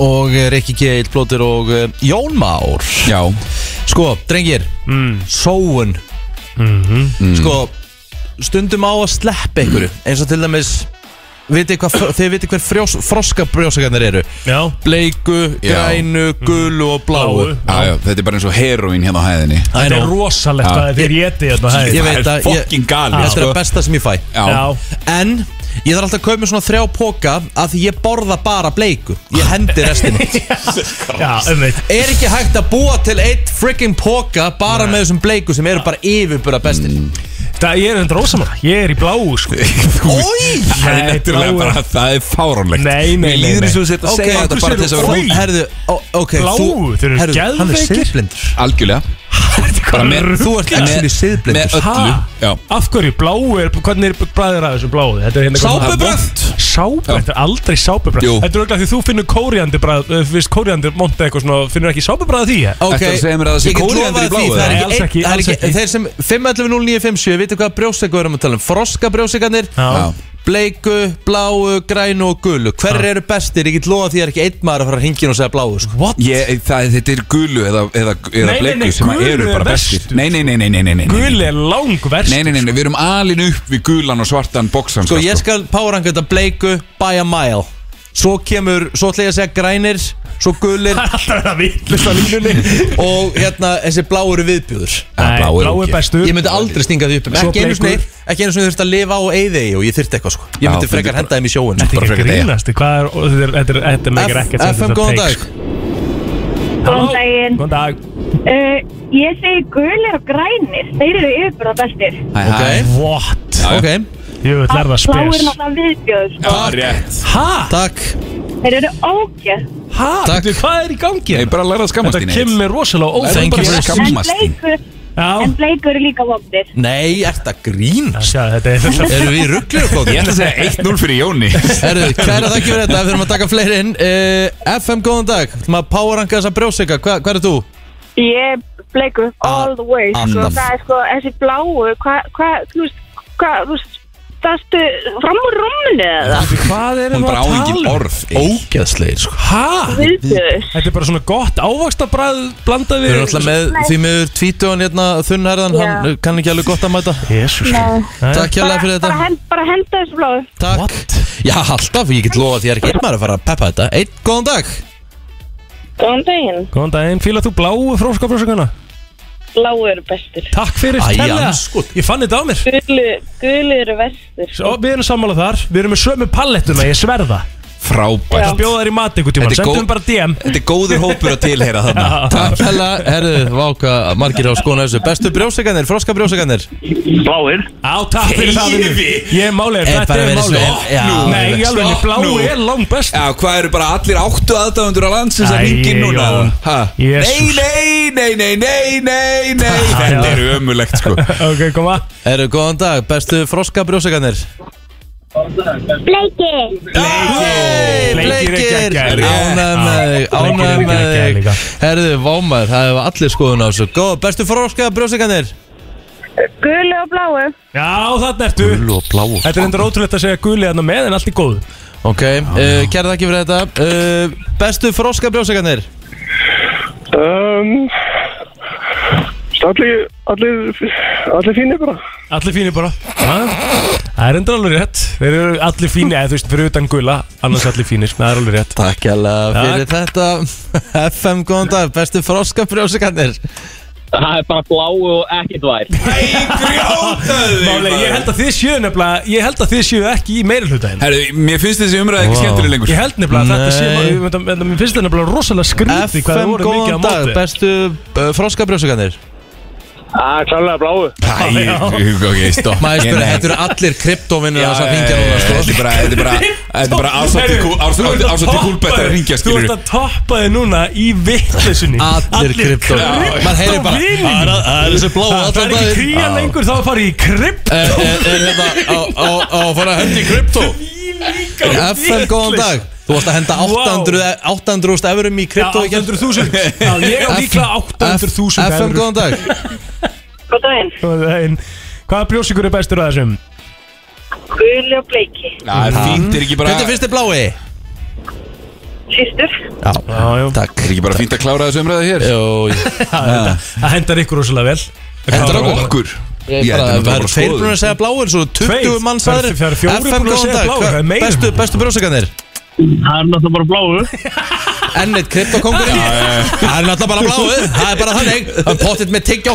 [SPEAKER 1] og uh, Rikki G. Blóttir og uh, Jón Már
[SPEAKER 3] Já,
[SPEAKER 1] Sko, drengir, sóun Sko, stundum á að sleppa einhverju eins og til dæmis vitið hvað, fr- þið vitið hver frjós, froska brjósakarnir eru
[SPEAKER 2] Já,
[SPEAKER 1] bleiku,
[SPEAKER 3] Já.
[SPEAKER 1] grænu, gulu og bláu
[SPEAKER 2] Bláu.
[SPEAKER 3] já, já, þetta er bara eins og heroín hérna á hæðinni
[SPEAKER 1] I
[SPEAKER 2] þetta er
[SPEAKER 1] know.
[SPEAKER 2] rosalegt
[SPEAKER 3] Já.
[SPEAKER 2] hvað þetta er getið hérna hæði
[SPEAKER 1] Ég veit
[SPEAKER 3] Það
[SPEAKER 1] að
[SPEAKER 3] er fokkin galið,
[SPEAKER 1] Þetta er
[SPEAKER 3] sko.
[SPEAKER 1] að besta sem ég fæ
[SPEAKER 3] Já,
[SPEAKER 2] Já,
[SPEAKER 1] En ég þarf alltaf að kaupa mér svona þrjá póka að því ég borða bara bleiku Ég hendi restinni
[SPEAKER 2] já, um einmitt
[SPEAKER 1] Er ekki hægt að búa til eitt freaking póka bara með þessum bleiku sem eru bara yfirbura bestir
[SPEAKER 2] Það ég er þetta rosamann, ég er í bláu sko
[SPEAKER 1] Ói!
[SPEAKER 3] það er náttúrulega
[SPEAKER 2] bláu.
[SPEAKER 3] bara, það er fáránlegt
[SPEAKER 2] Nei, nei, nei,
[SPEAKER 3] Líður
[SPEAKER 2] nei.
[SPEAKER 3] eins og þetta
[SPEAKER 1] Ok,
[SPEAKER 3] segja þetta bara til þess að vera
[SPEAKER 1] hún Herðu, ó- ok
[SPEAKER 2] Bláu,
[SPEAKER 1] þú-
[SPEAKER 2] þeir eru
[SPEAKER 1] herðu, Hann er
[SPEAKER 2] geðveikir.
[SPEAKER 1] siðblindur
[SPEAKER 3] Algjörlega Bara með,
[SPEAKER 2] Rugl.
[SPEAKER 1] Þú ert actually
[SPEAKER 3] með
[SPEAKER 1] siðblindur
[SPEAKER 3] öllu
[SPEAKER 2] Ha?
[SPEAKER 3] Já,
[SPEAKER 2] Af hverju bláu er, hvernig er bræðir að þessu bláu? Þetta er hérna
[SPEAKER 1] Sápubröð
[SPEAKER 2] Sápu,
[SPEAKER 3] Já.
[SPEAKER 2] þetta er aldrei sápubræð
[SPEAKER 3] Jú.
[SPEAKER 2] Þetta er auðvitað því þú finnur kóriandi bræð Fyrst kóriandi monta eitthvað svona Finnur ekki sápubræð því ég?
[SPEAKER 1] Ok,
[SPEAKER 3] Ertu að segja mér að það sé
[SPEAKER 1] ég get
[SPEAKER 3] kóríander í
[SPEAKER 1] lofað því,
[SPEAKER 3] bláu,
[SPEAKER 1] það er ekki
[SPEAKER 2] eða? Nei, alls
[SPEAKER 1] einn-
[SPEAKER 2] ekki,
[SPEAKER 1] það er
[SPEAKER 2] alls
[SPEAKER 1] ekki
[SPEAKER 2] ekki.
[SPEAKER 1] Þeir sem 511 0957, vitið hvað brjósegu erum að tala um Froska brjósegarnir
[SPEAKER 2] Já.
[SPEAKER 3] já
[SPEAKER 1] bleiku, bláu, grænu og gulu hver eru bestir, ég get lofa því að það er ekki einn maður að fara að hringin og segja bláu sko.
[SPEAKER 2] What?
[SPEAKER 3] Ég, eh, það, þetta er gulu eða, eða, eða
[SPEAKER 2] Nei, nei,
[SPEAKER 3] bleiku
[SPEAKER 2] nei,
[SPEAKER 3] sem að
[SPEAKER 2] gulu
[SPEAKER 3] eru
[SPEAKER 2] er
[SPEAKER 3] bara bestir
[SPEAKER 2] verst.
[SPEAKER 3] Nei, nei, nei, nei, nei, nei, nei, nei.
[SPEAKER 2] Gul er langverst
[SPEAKER 3] Nei, nei, nei, nei, við erum alin upp við gulan og svartan boksan
[SPEAKER 1] sko ég skal poweranga þetta bleiku by a mile svo kemur, svo ætla ég að segja grænir svo gulir
[SPEAKER 2] Það er alltaf að vera vittlust á línunni
[SPEAKER 1] og hérna þessi bláu eru viðbjöður
[SPEAKER 3] Nei, blá er
[SPEAKER 2] blá
[SPEAKER 3] ógeð.
[SPEAKER 2] er bestur
[SPEAKER 1] ég myndi aldrei stinga því upp
[SPEAKER 2] Svo
[SPEAKER 1] ekki einu sinni,
[SPEAKER 2] bleikur.
[SPEAKER 1] ekki einu sinni þurfti að lifa á eyði og ég þurfti eitthvað sko ég
[SPEAKER 3] Já,
[SPEAKER 1] myndi
[SPEAKER 3] myndi
[SPEAKER 1] frekar
[SPEAKER 3] bara-
[SPEAKER 1] henda þeim í sjóin sko.
[SPEAKER 2] Þetta er
[SPEAKER 3] bara
[SPEAKER 2] ekki
[SPEAKER 3] frekar deyja.
[SPEAKER 2] grínast Hvað er, og þetta er, þetta er, þetta er
[SPEAKER 1] F-
[SPEAKER 2] meikir ekkert sem
[SPEAKER 1] FM,
[SPEAKER 2] þetta
[SPEAKER 1] góðan
[SPEAKER 2] takes.
[SPEAKER 1] dag
[SPEAKER 2] Halló.
[SPEAKER 9] Góðan daginn.
[SPEAKER 2] Góðan dag
[SPEAKER 9] Uh, ég segi gulir og grænir, þeir eru yfirbúra bestir.
[SPEAKER 1] ok,
[SPEAKER 2] What?
[SPEAKER 1] ok,
[SPEAKER 2] Ég vil lærða
[SPEAKER 9] Blá er
[SPEAKER 2] spes
[SPEAKER 9] náttúrulega viðbjóður. sko.
[SPEAKER 3] Ah, rétt
[SPEAKER 2] Hæ?
[SPEAKER 1] takk
[SPEAKER 9] Þeir eru ógeð.
[SPEAKER 2] Hæ?
[SPEAKER 1] Takk.
[SPEAKER 2] Veitu, Hvað er í gangi? hérna?
[SPEAKER 3] Nei, bara læra að skammast
[SPEAKER 2] Þetta
[SPEAKER 3] þín
[SPEAKER 2] kemur
[SPEAKER 3] Egill.
[SPEAKER 2] mér rosalega
[SPEAKER 3] Læra
[SPEAKER 2] óþægilegt.
[SPEAKER 3] bara að
[SPEAKER 2] Já,
[SPEAKER 9] En
[SPEAKER 3] skammast þín
[SPEAKER 9] bleikur, en bleikur eru líka vondir.
[SPEAKER 1] nei, ert að grín
[SPEAKER 2] Já, sjá, þetta er þetta
[SPEAKER 1] erum við í rugglir og
[SPEAKER 3] Ég ætla að segja 1-0 fyrir Jóni
[SPEAKER 1] Herðu, kæra þakki fyrir þetta, við þurfum að taka fleiri inn uh, FM, góðan dag, þú maður poweranga þessa brjósika, Hva, hvað er þú?
[SPEAKER 9] Ég bleiku all the way sko.
[SPEAKER 1] annað.
[SPEAKER 9] Það er sko, þessi bláu Hvað, hva, þú veist Hvað, þú veist Dastu fram úr rúminu eða?
[SPEAKER 2] Hvað er
[SPEAKER 3] Hún
[SPEAKER 2] það
[SPEAKER 3] bara á
[SPEAKER 2] að
[SPEAKER 3] engin
[SPEAKER 2] tala um?
[SPEAKER 3] orð
[SPEAKER 1] Ógeðslegir, sko
[SPEAKER 2] Hæ?
[SPEAKER 9] Viðbjöður
[SPEAKER 2] Þetta er bara svona gott ávakstabræð blandað
[SPEAKER 1] Við
[SPEAKER 2] við
[SPEAKER 1] erum alltaf með því miður tvítuðan hérna þunnherðan, hann uh, kann ekki alveg gott að mæta
[SPEAKER 2] Jésús
[SPEAKER 1] Takk hérlega fyrir
[SPEAKER 9] bara,
[SPEAKER 1] þetta,
[SPEAKER 9] hend, bara henda þessu bláu
[SPEAKER 1] takk Já, alltaf, ég get lofa því að ég er ekki einn maður að fara að peppa þetta Einn, góðan dag
[SPEAKER 9] Góðan daginn
[SPEAKER 2] Góðan daginn, fílað þú bláu fróskafrósakana?
[SPEAKER 9] Bláu eru bestir
[SPEAKER 2] Takk fyrir,
[SPEAKER 1] Æ,
[SPEAKER 2] Stella.
[SPEAKER 1] andskot.
[SPEAKER 2] Ég fann þetta á mér
[SPEAKER 9] Gulu, gulu eru vestir
[SPEAKER 2] Svo, Við erum sammála þar, við erum með sömu palettuna, ég sverða
[SPEAKER 3] Frábært
[SPEAKER 2] Ég bjóða þær í mat einhvern tíma,
[SPEAKER 3] Þetta er góð-
[SPEAKER 2] sendum bara DM
[SPEAKER 3] Þetta er góður hópur að tilheyra þarna
[SPEAKER 1] Takk hella, herðu, váka, margir á skona þessu Bestu brjósikanir, froska brjósikanir
[SPEAKER 10] Bláir
[SPEAKER 2] Á, takk fyrir það vinur. Ég er málið,
[SPEAKER 1] Er
[SPEAKER 2] þetta
[SPEAKER 1] bara
[SPEAKER 2] er
[SPEAKER 1] verið
[SPEAKER 2] málið
[SPEAKER 1] svo- Já,
[SPEAKER 2] Nei,
[SPEAKER 1] alveg.
[SPEAKER 2] alveg,
[SPEAKER 3] Stopp
[SPEAKER 2] bláu
[SPEAKER 3] nú.
[SPEAKER 2] er langt best
[SPEAKER 3] Já, hvað eru bara allir áttu aðdáðundur á landsins að
[SPEAKER 2] Æ,
[SPEAKER 3] ringin núna?
[SPEAKER 2] Jón.
[SPEAKER 3] Ha? Nei,
[SPEAKER 2] Jesús.
[SPEAKER 3] nei, nei, nei, nei, nei, nei Þetta
[SPEAKER 2] já.
[SPEAKER 3] eru ömulegt sko
[SPEAKER 2] Ok, koma
[SPEAKER 1] Herðu, góðan dag, bestu froska brjósikanir
[SPEAKER 9] Bleiki
[SPEAKER 1] Hey,
[SPEAKER 2] Bleikir er
[SPEAKER 1] bleikir
[SPEAKER 2] geggjaðir.
[SPEAKER 1] Ánægð með þig,
[SPEAKER 2] Já, bleikir
[SPEAKER 1] ánægð
[SPEAKER 2] er
[SPEAKER 1] með
[SPEAKER 2] geggjaðir
[SPEAKER 1] þig
[SPEAKER 2] líka.
[SPEAKER 1] Herðu, vámaður, það hefur allir skoðun á þessu Góð, bestu froska brjósikanir
[SPEAKER 9] Gulu og bláu
[SPEAKER 2] Já, þarna ertu
[SPEAKER 1] og bláu
[SPEAKER 2] Þetta er endur ótrúlegt að segja guli þarna með en allt í góðu
[SPEAKER 1] Ok, uh, kæra þakki fyrir þetta uh, Bestu froska brjósikanir
[SPEAKER 10] um, allir, allir Allir fínir bara
[SPEAKER 2] Allir fínir bara Ha? Það er endur alveg rétt Þeir eru allir fínir, eða þú veist, fyrir utan gula Annars allir fínir, það er alveg rétt
[SPEAKER 1] Takk hella fyrir þetta FM, góðan dag, bestu froska brjósikanir
[SPEAKER 10] Það er bara bláu og ekkert vær
[SPEAKER 2] Máli, ég held að þið séu nefnilega Ég held að þið séu ekki í meira hluta hérna
[SPEAKER 3] Herru, mér finnst þessi umræði
[SPEAKER 1] Vá.
[SPEAKER 3] ekki skemmtileg lengur
[SPEAKER 2] Ég held nefnilega að þetta sé
[SPEAKER 1] Nei.
[SPEAKER 2] maður- ég myndi- myndi- Mér finnst þetta nefnilega rosalega skrýti Hvað það
[SPEAKER 1] FM,
[SPEAKER 2] voru mikið á
[SPEAKER 1] góðan dag,
[SPEAKER 2] móti
[SPEAKER 1] bestu uh, froska brjósikanir
[SPEAKER 10] Það er klálega bláu
[SPEAKER 3] Æ, ok, stopp
[SPEAKER 1] Maður
[SPEAKER 3] Ég-
[SPEAKER 1] spyrir,
[SPEAKER 3] nei.
[SPEAKER 1] þetta eru allir kryptovinnir
[SPEAKER 3] Já,
[SPEAKER 1] þess að
[SPEAKER 3] já,
[SPEAKER 1] hringja
[SPEAKER 3] já,
[SPEAKER 1] núna
[SPEAKER 3] já,
[SPEAKER 1] sko.
[SPEAKER 3] Þetta er bara, þetta er bara Þetta er bara ásatt í kú-
[SPEAKER 2] Þú ert
[SPEAKER 3] ását-
[SPEAKER 2] að
[SPEAKER 3] ásatt í
[SPEAKER 2] toppa
[SPEAKER 3] kúlbett að
[SPEAKER 2] þér.
[SPEAKER 3] ringja,
[SPEAKER 2] Þú
[SPEAKER 3] skilur
[SPEAKER 2] ert að toppa þið núna í vittlesunni
[SPEAKER 1] Allir krypto Maður heyrir bara "Það er- Það er þessi blá
[SPEAKER 2] Það er
[SPEAKER 1] allan
[SPEAKER 2] ekki
[SPEAKER 1] daginn
[SPEAKER 2] kríja lengur þá að fara í krypt
[SPEAKER 1] Er er hérna á- á- á að fara að henda í krypto FM, góðan dag Þú varst að henda 800 800.000 eurum í
[SPEAKER 2] Já,
[SPEAKER 1] krypto í gær.
[SPEAKER 2] 800.000 Já, ég á líklega 800.000
[SPEAKER 1] FM,
[SPEAKER 2] evrur.
[SPEAKER 1] góðan dag
[SPEAKER 9] Góðan daginn
[SPEAKER 2] Góðan daginn. Hvaða brjósikur er bestur að þessum?
[SPEAKER 9] Gulu og bleiki
[SPEAKER 3] Það er fínt, er ekki bara
[SPEAKER 1] Hvernig finnst þið blái?
[SPEAKER 9] Sýstur
[SPEAKER 2] Já, já
[SPEAKER 1] Takk
[SPEAKER 3] Er ekki bara fínt að klára þessu umræði hér?
[SPEAKER 1] Jó,
[SPEAKER 2] Það hendar ykkur rosalega vel
[SPEAKER 3] Þetta er okkur
[SPEAKER 1] ég
[SPEAKER 3] Ég- þetta
[SPEAKER 1] bara,
[SPEAKER 3] er
[SPEAKER 1] það
[SPEAKER 3] bara
[SPEAKER 1] eru tveir
[SPEAKER 3] skoðun.
[SPEAKER 1] búin að segja bláir Svo 20
[SPEAKER 2] Tveir?
[SPEAKER 1] manns
[SPEAKER 2] Það eru-
[SPEAKER 1] aðrir
[SPEAKER 2] það eru
[SPEAKER 1] FM,
[SPEAKER 2] fjórir búin að
[SPEAKER 1] góðan
[SPEAKER 2] segja
[SPEAKER 1] dag
[SPEAKER 2] bláir, það er
[SPEAKER 1] Hvað-
[SPEAKER 2] meira.
[SPEAKER 1] Bestu, bestu brjósakarnir
[SPEAKER 10] Það er náttúrulega bara bláu
[SPEAKER 1] Enn eitt kryptokongurinn Það er náttúrulega bara bláið Það er bara þannig Það er pottitt með tyggjó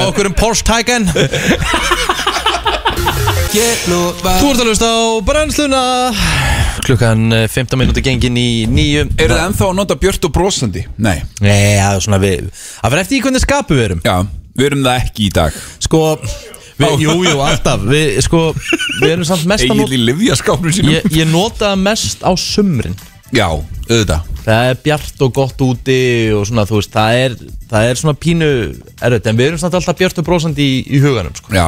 [SPEAKER 1] Og okkur um Porsche Taycan Þú ert að hlusta á brennsluna Klukkan eh, 15 minúti gengin í nýju
[SPEAKER 3] Er það ennþá að nota björt og brosandi? Nei,
[SPEAKER 1] Nei, það er svona við Það fyrir eftir í hvernig skapu við erum
[SPEAKER 3] já, við erum það ekki í dag
[SPEAKER 1] Sko við, Jú, jú, alltaf Við, sko, við erum samt mest að
[SPEAKER 3] Egil
[SPEAKER 1] nota
[SPEAKER 3] í livjaskápnum sínum
[SPEAKER 1] Ég, ég nota það mest á sumrin
[SPEAKER 3] Já, auðvitað
[SPEAKER 1] það er bjart og gott úti og svona þú veist, það er, það er svona pínu erfitt, en við erum samt alltaf bjart og brósandi í, í huganum, sko.
[SPEAKER 3] Já,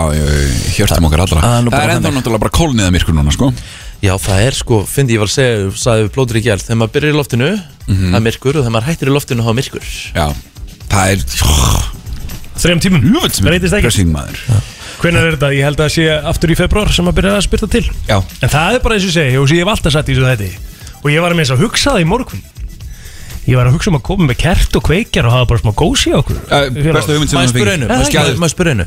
[SPEAKER 3] hjörtum okkar allra
[SPEAKER 1] það er nú
[SPEAKER 3] Það
[SPEAKER 1] bara
[SPEAKER 3] er ennþá
[SPEAKER 1] þannig.
[SPEAKER 3] náttúrulega bara kólniða myrkur núna, sko
[SPEAKER 1] Já, það er sko, fyndi ég var að segja, sagði við plótur í gæl, þegar maður byrjar í loftinu, það er myrkur og þegar maður hættir í loftinu, þá er myrkur.
[SPEAKER 3] Já, það er
[SPEAKER 2] Þrejum tímum
[SPEAKER 3] Ljúfut sem
[SPEAKER 2] Breytist ekki
[SPEAKER 3] pressing maður
[SPEAKER 2] Hvenær er þetta? Ég held að það sé aftur í februar sem að byrja að spyrta til Já. En það er bara eins og ég segi og sem ég hef alltaf satt í þessu þetta Og ég var að með þess að hugsa það í morgun Ég var að hugsa um að koma með kert og kveikjar og hafa bara smá gósi á okkur
[SPEAKER 1] Maður spyr einu, maður skjáður- maður spyr einu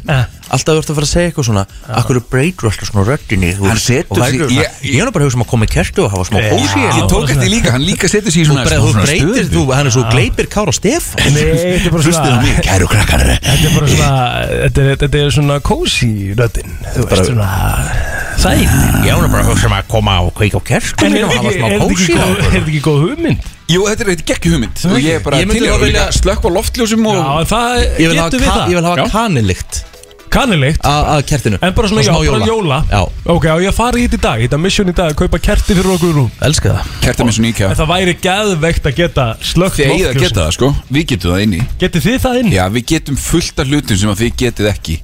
[SPEAKER 1] Alltaf þú ert að fara að segja eitthvað svona Akkur er breytur alltaf svona röddinni þú
[SPEAKER 3] Hann
[SPEAKER 1] veist,
[SPEAKER 3] setur
[SPEAKER 1] og
[SPEAKER 3] sig-
[SPEAKER 1] vægur
[SPEAKER 3] ég-
[SPEAKER 1] svona. Ég er nú bara að hugsa um að koma í kertu og hafa smá
[SPEAKER 3] Já,
[SPEAKER 1] hósi
[SPEAKER 3] ég tók eftir líka, hann líka setur sig í svona-
[SPEAKER 1] Þú
[SPEAKER 3] svona
[SPEAKER 1] breytir,
[SPEAKER 3] stöðu.
[SPEAKER 1] þú, hann er svo
[SPEAKER 3] Já.
[SPEAKER 1] gleipir Kára Stefán
[SPEAKER 2] Nei, þetta er bara svona-
[SPEAKER 1] Hlustið á mig, kæru krakkar
[SPEAKER 2] Þetta er bara svona Þetta er, þetta er svona kósi röddin Þú veist svona Sæl
[SPEAKER 1] Ég er nú bara að hugsa um að koma á kveik á kertu
[SPEAKER 2] En er þetta ekki- er þetta ekki góð- er þetta ekki góð hugmynd?
[SPEAKER 3] Jú, þetta er ekki ekki hugmynd Og ég er bara
[SPEAKER 1] Ég myndi
[SPEAKER 3] til í
[SPEAKER 1] þá
[SPEAKER 3] að
[SPEAKER 1] vilja-
[SPEAKER 3] vilja slökka loftljósum og
[SPEAKER 2] Já, en það
[SPEAKER 1] Ég vil hafa
[SPEAKER 2] getum við
[SPEAKER 1] ka-
[SPEAKER 2] það
[SPEAKER 1] ég vil hafa
[SPEAKER 2] Já.
[SPEAKER 1] kanilikt
[SPEAKER 2] Kanilikt?
[SPEAKER 1] Að kertinu
[SPEAKER 2] En bara svona,
[SPEAKER 1] Og
[SPEAKER 2] já,
[SPEAKER 1] smá
[SPEAKER 2] bara jóla
[SPEAKER 1] Já,
[SPEAKER 2] Ok, á ég að fara í þetta í dag, í þetta mission í dag, að kaupa kerti fyrir okkur rúm
[SPEAKER 1] elska það
[SPEAKER 3] Kertum eins og nýkja
[SPEAKER 2] En það væri geðveikt að geta slögt
[SPEAKER 3] Þið eigið að geta það sko, við getum það inni
[SPEAKER 2] Getið þið það inni?
[SPEAKER 3] Já, við getum fullt af hlutum sem að þið getið ekki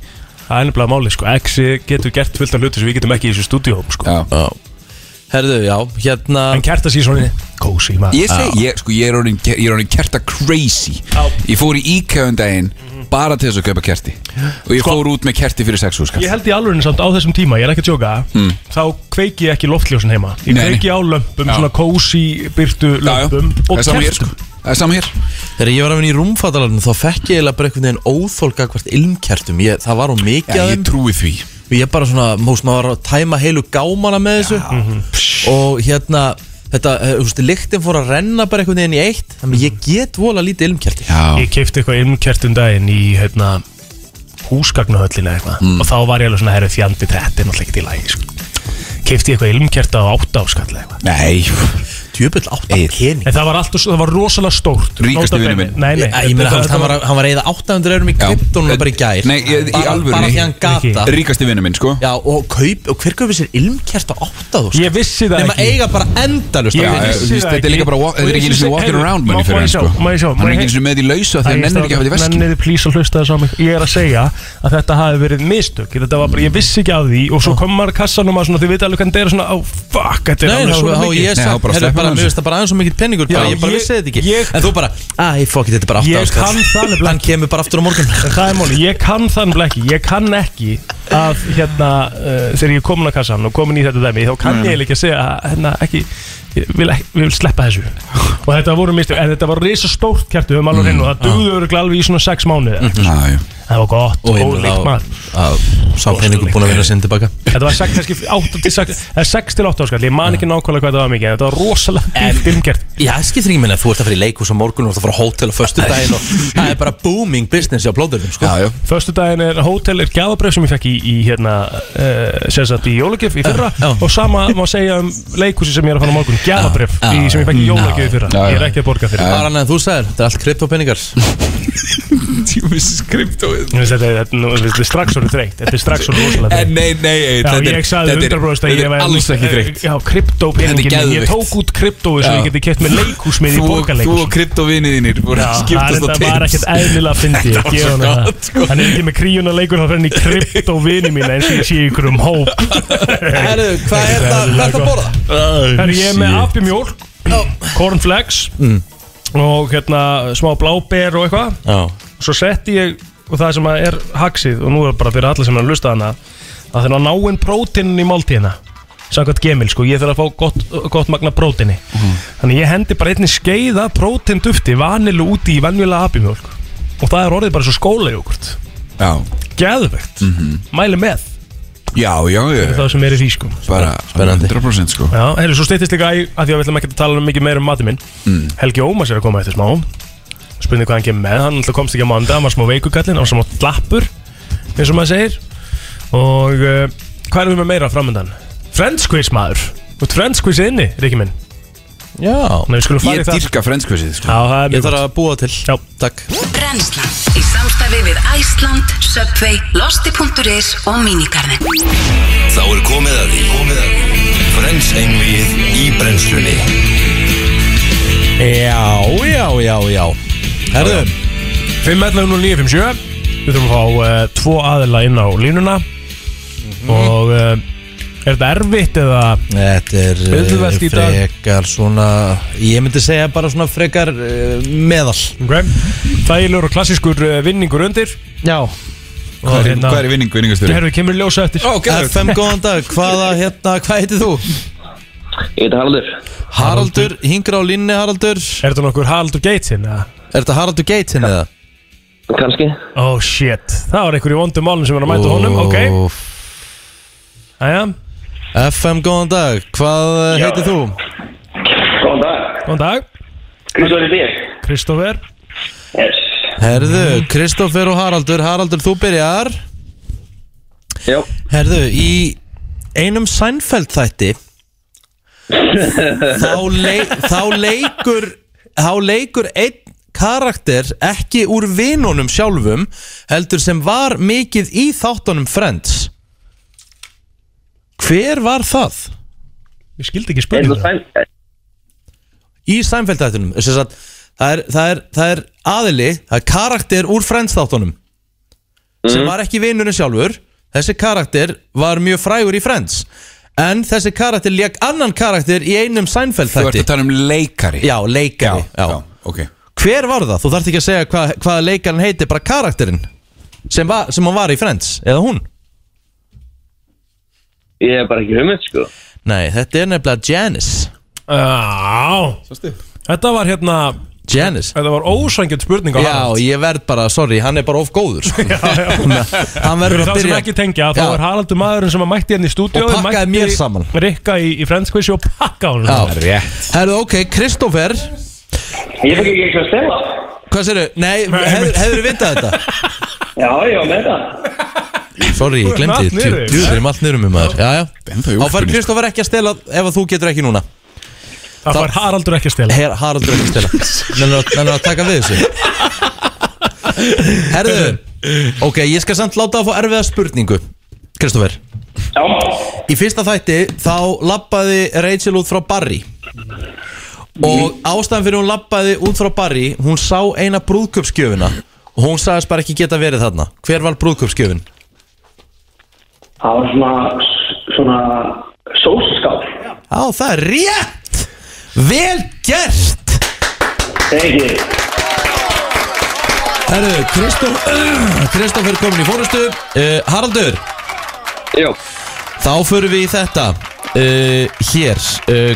[SPEAKER 2] Það er nefnilega máli sko, Exi getur gert fullt af hluti sem við getum ekki í þessu stúdíóum sko
[SPEAKER 3] Já.
[SPEAKER 1] Herðu, já, hérna
[SPEAKER 2] En kerta sér svona Kósi maður
[SPEAKER 3] Ég segi, ég, sko, ég er orðin, ég er orðin kerta crazy Ég fór í IKEA um daginn bara til þess að kaupa kerti Og ég fór út með kerti fyrir sex sko. húskall
[SPEAKER 2] Sko. Ég held í alvörinu samt á þessum tíma, ég er ekki að tjóka mm. Þá kveiki ég ekki loftljósin heima Ég
[SPEAKER 3] Nei, nei.
[SPEAKER 2] kveiki á lömpum,
[SPEAKER 3] Já.
[SPEAKER 2] svona kósi byrtu lömpum
[SPEAKER 3] Það
[SPEAKER 2] Og
[SPEAKER 3] er sama hér sko
[SPEAKER 2] kertum
[SPEAKER 3] Það er sama hér
[SPEAKER 1] Þegar ég var að vinna í rúmfattalarnu þá fekk ég eiginlega bara einhvern veginn óþólka hvert ilmkertum ég, Það var á mikið
[SPEAKER 3] Já,
[SPEAKER 1] af
[SPEAKER 3] ég
[SPEAKER 1] þeim
[SPEAKER 3] trúi því
[SPEAKER 1] og ég bara svona, múst maður var að tæma heilu gámana með þessu
[SPEAKER 2] Mhm.
[SPEAKER 1] og hérna, þetta, eh, þú veist, lyktin fór að renna bara einhvern veginn í eitt þannig að
[SPEAKER 2] Mhm.
[SPEAKER 1] ég get vola lítið ilmkerti
[SPEAKER 3] Já,
[SPEAKER 2] Ég keipti eitthvað ilmkertum daginn í hérna, húsgagnahöllina eitthvað
[SPEAKER 3] Mm.
[SPEAKER 2] Og þá var ég alveg svona herri fjandi þetta er náttúrulega ekki í lagi sko. Keipti eitthvað ilmkerta á átta áskall eitthvað
[SPEAKER 3] nei
[SPEAKER 1] Djöfull átt að pening
[SPEAKER 2] En það var alltaf, það var rosalega stórt
[SPEAKER 3] Ríkasti
[SPEAKER 2] Nota
[SPEAKER 3] vinur
[SPEAKER 2] bene.
[SPEAKER 3] minn.
[SPEAKER 2] Nei, nei,
[SPEAKER 1] Ég, ég meina, þú veist, hann var, að- hann var að reyða 800 eurum í
[SPEAKER 3] Já.
[SPEAKER 1] kryptónu bara í gær
[SPEAKER 3] Nei, ég- í
[SPEAKER 1] bara,
[SPEAKER 3] alvörunni.
[SPEAKER 1] Bara því hann gata
[SPEAKER 3] Ríkasti vinnu minn sko
[SPEAKER 1] Já, og, kaup, og hver kaupir sér ilmkert á 8000?
[SPEAKER 2] Ég vissi það
[SPEAKER 1] Nefna
[SPEAKER 2] ekki
[SPEAKER 1] eiga bara endalust
[SPEAKER 2] Ég
[SPEAKER 3] Já,
[SPEAKER 2] vissi
[SPEAKER 3] þú veist, þetta
[SPEAKER 2] það
[SPEAKER 3] er
[SPEAKER 2] ekki.
[SPEAKER 3] líka bara walk-
[SPEAKER 2] Og
[SPEAKER 3] Þetta er
[SPEAKER 2] ég
[SPEAKER 3] ekki eins
[SPEAKER 2] vissi-
[SPEAKER 3] og walking
[SPEAKER 2] heyrðu,
[SPEAKER 3] around
[SPEAKER 2] má-
[SPEAKER 3] manni
[SPEAKER 2] má
[SPEAKER 3] fyrir
[SPEAKER 2] ég
[SPEAKER 3] hann
[SPEAKER 2] sjá,
[SPEAKER 3] sko
[SPEAKER 2] má ég sjá,
[SPEAKER 3] Hann
[SPEAKER 2] má
[SPEAKER 3] er
[SPEAKER 2] ég-
[SPEAKER 3] ekki eins og með í lausa Þegar hann nennir ekki að hafa því veski
[SPEAKER 2] Nennið þið plís að hlusta þess á mig Ég er að segja að þetta hafi verið mistök Þetta var bara, ég vissi ekki af því Og svo kom maður kassan og maður svona Þið veit alveg hvernig þetta er svona Oh fuck, þetta er
[SPEAKER 1] Nei,
[SPEAKER 2] alveg
[SPEAKER 1] þá
[SPEAKER 2] svona
[SPEAKER 1] þá
[SPEAKER 2] mikið
[SPEAKER 1] ég
[SPEAKER 3] Nei, þá
[SPEAKER 1] sagt,
[SPEAKER 3] bara
[SPEAKER 1] herru,
[SPEAKER 3] sleppum hann
[SPEAKER 1] bara, mér
[SPEAKER 3] þessu.
[SPEAKER 1] finnst það bara aðeins svo mikill peningur bara,
[SPEAKER 2] Já,
[SPEAKER 1] ég bara
[SPEAKER 2] ég-
[SPEAKER 1] vissi þetta ekki
[SPEAKER 2] ég-
[SPEAKER 1] En þú bara, æ, fokk, þetta er bara
[SPEAKER 2] Ég
[SPEAKER 1] 8 áskall
[SPEAKER 2] kann það nefnilega
[SPEAKER 1] Hann kemur bara aftur á morgun
[SPEAKER 2] En það er máli, ég kann þannig ekki Ég kann ekki að hérna uh, Þegar ég er komin að kassan og komin í þetta dæmi Þá kann ég ekki að segja að, hérna, ekki, ég vil, ekki, ég vil sleppa þessu Og þetta voru mistök, en þetta var risa stórt kertu
[SPEAKER 3] Mm,
[SPEAKER 2] um alveg hreinu og það dugðu öruglega alveg í svona sex mánuði
[SPEAKER 3] Já, já
[SPEAKER 2] Það var gott og
[SPEAKER 1] ég
[SPEAKER 3] hérna
[SPEAKER 2] ólíkt maður
[SPEAKER 1] að sá peningur búin að vinna sinni tilbaka
[SPEAKER 2] Þetta var 6 til 8 til 6 Það er 6 til 8 áskall Ég man ekki nákvæmlega hvað þetta var mikið en Þetta var rosalega dýrt umgjert
[SPEAKER 1] Já, skil þrý minna, þú ert að fara í leikhús á morgun og þú ert að fara á hótel á föstu daginn og það er bara booming business á blóðurinn, sko
[SPEAKER 3] Já, já
[SPEAKER 2] Föstu daginn er hótel er gjafabref sem ég fekk í, í hérna uh, Sérsagt í jólagjöf í fyrra
[SPEAKER 1] Já, já.
[SPEAKER 2] Og sama má segja um leikhúsi sem ég er að fara á morgun Gjafabref
[SPEAKER 1] Já, já,
[SPEAKER 2] í, sem ég fekk í
[SPEAKER 1] já.
[SPEAKER 2] jólagjöf í fyrra
[SPEAKER 3] Já, já.
[SPEAKER 2] Ég er ekki að borga fyrir
[SPEAKER 1] Bara annað en þú sagðir, þetta er allt kryptopeningar
[SPEAKER 3] Tímis skriptóið
[SPEAKER 2] Þetta er, þetta er, nú- þetta er strax orðið þreytt Þetta er strax orðið rosalega
[SPEAKER 3] En
[SPEAKER 2] þreytt
[SPEAKER 3] Eh, nei, nei, ei,
[SPEAKER 2] Já,
[SPEAKER 3] þetta er
[SPEAKER 2] ég sagði
[SPEAKER 3] þetta er-
[SPEAKER 2] 100% að
[SPEAKER 3] þetta
[SPEAKER 2] ég
[SPEAKER 3] er
[SPEAKER 2] væri- eh,
[SPEAKER 3] alls ekki þreytt
[SPEAKER 2] Já, kryptópeningin Ég
[SPEAKER 3] geðveikt.
[SPEAKER 2] tók út kryptói svo
[SPEAKER 3] Já.
[SPEAKER 2] ég geti kett með leikhús minn í
[SPEAKER 3] Þú og- þú
[SPEAKER 2] borgarleikhús
[SPEAKER 3] og kryptovinniðinir voru
[SPEAKER 2] Já,
[SPEAKER 3] að
[SPEAKER 2] það
[SPEAKER 3] skiptast á
[SPEAKER 2] reyndar
[SPEAKER 3] tips
[SPEAKER 2] var ekkert eðlilega að fyndi
[SPEAKER 3] Þetta var svo gott, sko.
[SPEAKER 2] Hann er ekki með kríuna leikur Það fyrir hann í krypt og vini mín eins og ég sé ykkur um hóp
[SPEAKER 1] Herru, hvað er það, hvað er það að borða?
[SPEAKER 2] Það er ég með appi mjólk Cornflakes
[SPEAKER 3] Mm.
[SPEAKER 2] Og hérna smá bláber og eitthvað
[SPEAKER 1] Já,
[SPEAKER 2] Svo setti ég og það sem að er haxið Og nú er bara fyrir alla sem er að lusta hana Að þeirna náinn prótinin í máltíðina Samkvæmt gemil sko, ég þarf að fá gott, gott magna prótini
[SPEAKER 3] Mhm.
[SPEAKER 2] Þannig ég hendi bara einni skeiða prótindufti Vanilu úti í venjulega apimjólk Og það er orðið bara svo skólajókurt
[SPEAKER 3] Já,
[SPEAKER 2] Gæðvegt, mæli með
[SPEAKER 3] já, já, já
[SPEAKER 2] Það sem er í því sko
[SPEAKER 3] Bara
[SPEAKER 1] Spennandi.
[SPEAKER 3] 100% sko
[SPEAKER 2] Já, heyrðu, svo styttist líka í að því að við ætlum ekki að tala mikið meira um matið minn Helgi Ómas er að koma eftir smá Spurning hvað hann kemur með, hann alltaf komst ekki á manda Hann var smá veikugallin, hann var smá lappur eins og maður segir Og uh, hvað erum við með meira framöndan? Friends quiz maður Þú ert friends quiz inni, Riki minn
[SPEAKER 1] já
[SPEAKER 2] Nei, við skulum fara
[SPEAKER 3] Ég
[SPEAKER 2] í það Já,
[SPEAKER 3] dýrka frenskvissið sko
[SPEAKER 2] það er
[SPEAKER 1] Ég
[SPEAKER 2] mjög
[SPEAKER 1] þarf að búa til
[SPEAKER 2] Já.
[SPEAKER 1] Takk
[SPEAKER 8] Brennslan í samstarfi við Æsland, Subway, Losti.is og Minigarðin
[SPEAKER 6] Þá er komið að því Komið að því Frens einvið í brennslunni
[SPEAKER 1] Já, já, já, já Herðu,
[SPEAKER 2] 5.11.09.57 Við þurfum að fá uh, tvo aðila inn á línuna Og uh, er þetta erfitt eða
[SPEAKER 1] Þetta er eh,
[SPEAKER 2] Auðvelt í dag.
[SPEAKER 1] frekar svona Ég myndi segja bara svona frekar uh, meðal
[SPEAKER 2] Ok, þægilegur eh, og klassískur eh, vinningur undir
[SPEAKER 1] Já
[SPEAKER 3] Hvað er- hvað er í vinning, vinningasturinn?
[SPEAKER 2] Herru, kemur í ljósa eftir
[SPEAKER 1] Ó, geðveikt. FM, góðan dag, hvaða, hérna, hvað heitir þú?
[SPEAKER 10] Ég heiti Haraldur
[SPEAKER 1] Haraldur, hingra á línni Haraldur Er
[SPEAKER 2] þetta nokkur Haraldur Geitsin? Er
[SPEAKER 1] þetta Haraldur Geitsin eða?
[SPEAKER 10] Kanski
[SPEAKER 2] Oh shit, það var einhver í vondum málum sem er að mæta honum, ok Æja
[SPEAKER 1] FM, góðan dag, hvað eh, heitir þú?
[SPEAKER 10] Góðan dag
[SPEAKER 2] Góðan dag
[SPEAKER 10] Kristoffer Bík
[SPEAKER 2] Kristófer
[SPEAKER 10] Yes
[SPEAKER 1] Herðu, Kristoffer og Haraldur Haraldur, þú byrjar
[SPEAKER 10] Já
[SPEAKER 1] Herðu, í einum Seinfeld þætti þá, leik, þá leikur þá leikur einn karakter ekki úr vinunum sjálfum heldur sem var mikið í þáttunum Friends Hver var það?
[SPEAKER 2] Ég skildi ekki
[SPEAKER 10] spurninga
[SPEAKER 1] Í Seinfeld þættunum sem sagt, það, er, það, er, það er aðili það er karakter úr Friends þáttunum sem
[SPEAKER 10] Mhm.
[SPEAKER 1] var ekki vinnunum sjálfur þessi karakter var mjög frægur í Friends en þessi karakter lék annan karakter í einum Seinfeld
[SPEAKER 3] Þú ert
[SPEAKER 1] þætti
[SPEAKER 3] að tala um leikari
[SPEAKER 1] Já, leikari já, já.
[SPEAKER 3] ok
[SPEAKER 1] Hver var það? Þú þarft ekki að segja hva, hvaða leikarinn heiti bara karakterinn sem, va, sem hann var í Friends, eða hún
[SPEAKER 10] Ég er bara ekki hugmynd sko
[SPEAKER 1] Nei, þetta er nefnilega Janice
[SPEAKER 2] Á Þetta var hérna
[SPEAKER 1] Janice
[SPEAKER 2] Þetta var ósangjönd spurning á
[SPEAKER 1] Já, ég verð bara, sorry, hann er bara of góður sko. já, já. Hann verður að
[SPEAKER 2] Fyrir þá sem
[SPEAKER 1] byrja
[SPEAKER 2] ekki tengja, þá
[SPEAKER 1] Já.
[SPEAKER 2] er Haraldur maðurinn sem að mætti hérna í stúdíu
[SPEAKER 1] Og pakkaði mér saman.
[SPEAKER 2] Rikka í, í Friends Quiz og pakka honum
[SPEAKER 1] Já.
[SPEAKER 2] saman.
[SPEAKER 1] Herðu, ok, Kristoffer
[SPEAKER 10] Ég fikk ekki eitthvað að stela
[SPEAKER 1] Hvað sérðu? Nei, hefur, hefur við vitað þetta?
[SPEAKER 10] Já, já, með það
[SPEAKER 1] Sorry,
[SPEAKER 10] Þú
[SPEAKER 1] ég
[SPEAKER 10] ert
[SPEAKER 1] glemdi
[SPEAKER 10] allt niður í þessu.
[SPEAKER 1] Djúður er allt niður um maður Já, já
[SPEAKER 3] í
[SPEAKER 1] Þá fær
[SPEAKER 3] úlpunni,
[SPEAKER 1] Kristoffer ekki að stela ef að þú getur ekki núna
[SPEAKER 2] Það fær Haraldur ekki að stela
[SPEAKER 1] Her, Haraldur ekki að stela Nennar að, nennar að taka við þessu Herðu Ok, ég skal samt láta að fá erfiða spurningu Kristoffer Já Í fyrsta þætti þá lappaði Rachel út frá Barry Og ástæðan fyrir hún lappaði út frá Barry Hún sá eina brúðköpsgjöfina Og hún sagðist bara ekki geta verið þarna Hver var brúðköpsgjöfin?
[SPEAKER 10] Það var svona svona sóskál
[SPEAKER 1] Já, það er rétt Vel gert
[SPEAKER 10] Thank you
[SPEAKER 1] Herru, Kristoffer Kristoffer komin í fórustu uh, Haraldur
[SPEAKER 10] Jó
[SPEAKER 1] Þá förum við í þetta uh, Hér uh,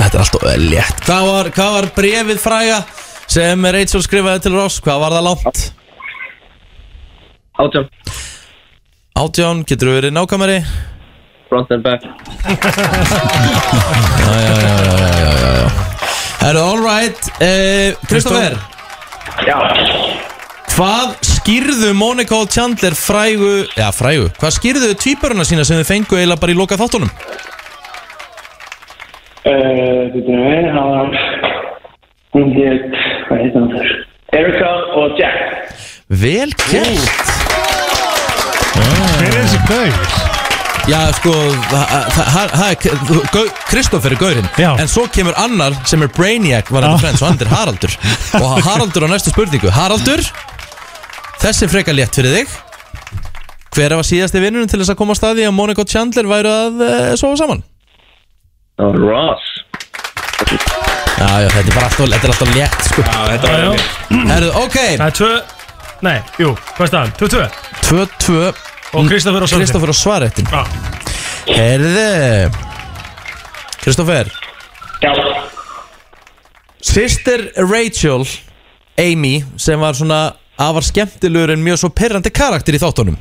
[SPEAKER 1] Þetta er alltaf eh, létt Hvað var, hvað var brefið fræga sem Rachel skrifaði til Ross? Hvað var það langt?
[SPEAKER 10] Átján
[SPEAKER 1] Átján, getur við verið nákvæmari?
[SPEAKER 10] Front and back
[SPEAKER 1] Já, já, já, já, já, já, já, já. Herru, all right eh, Kristoffer
[SPEAKER 10] Já
[SPEAKER 1] Hvað skýrðu Monika og Chandler frægu Já, frægu Hvað skýrðu þau tvíburuna sína sem þau fengu eiginlega bara í loka þáttunum?
[SPEAKER 10] Þetta er það var hún hétt hvað heit hann þess Erika og Jack
[SPEAKER 1] Vel gert Hver er þessi gaur? Já, sko, það- það það- það er þú- gau- Kristoffer er gaurinn Já. En svo kemur annar sem er Brainiac var þetta frends og hann er Haraldur Og Haraldur á næstu spurningu Haraldur, þessi er frekar létt fyrir þig Hver var síðasti vinnunum til þess að koma á staði að Monika og Chandler væru að uh, sofa saman?
[SPEAKER 10] Það var Ross
[SPEAKER 1] Já, já, þetta er bara alltaf, þetta er alltaf létt sko. Já,
[SPEAKER 3] þetta
[SPEAKER 2] var Já, já. létt.
[SPEAKER 1] Herðu, ok
[SPEAKER 2] Það er tvö Nei, jú, hvað er staðan? Tvö, tvö
[SPEAKER 1] 2-2
[SPEAKER 11] Mm.
[SPEAKER 2] Og Kristoffer á svarið.
[SPEAKER 1] Kristoffer á svarettin
[SPEAKER 2] Já.
[SPEAKER 1] Herðu Kristoffer
[SPEAKER 10] Já
[SPEAKER 1] Sister Rachel Amy sem var svona afar skemmtilegur en mjög svo perrandi karakter í þáttunum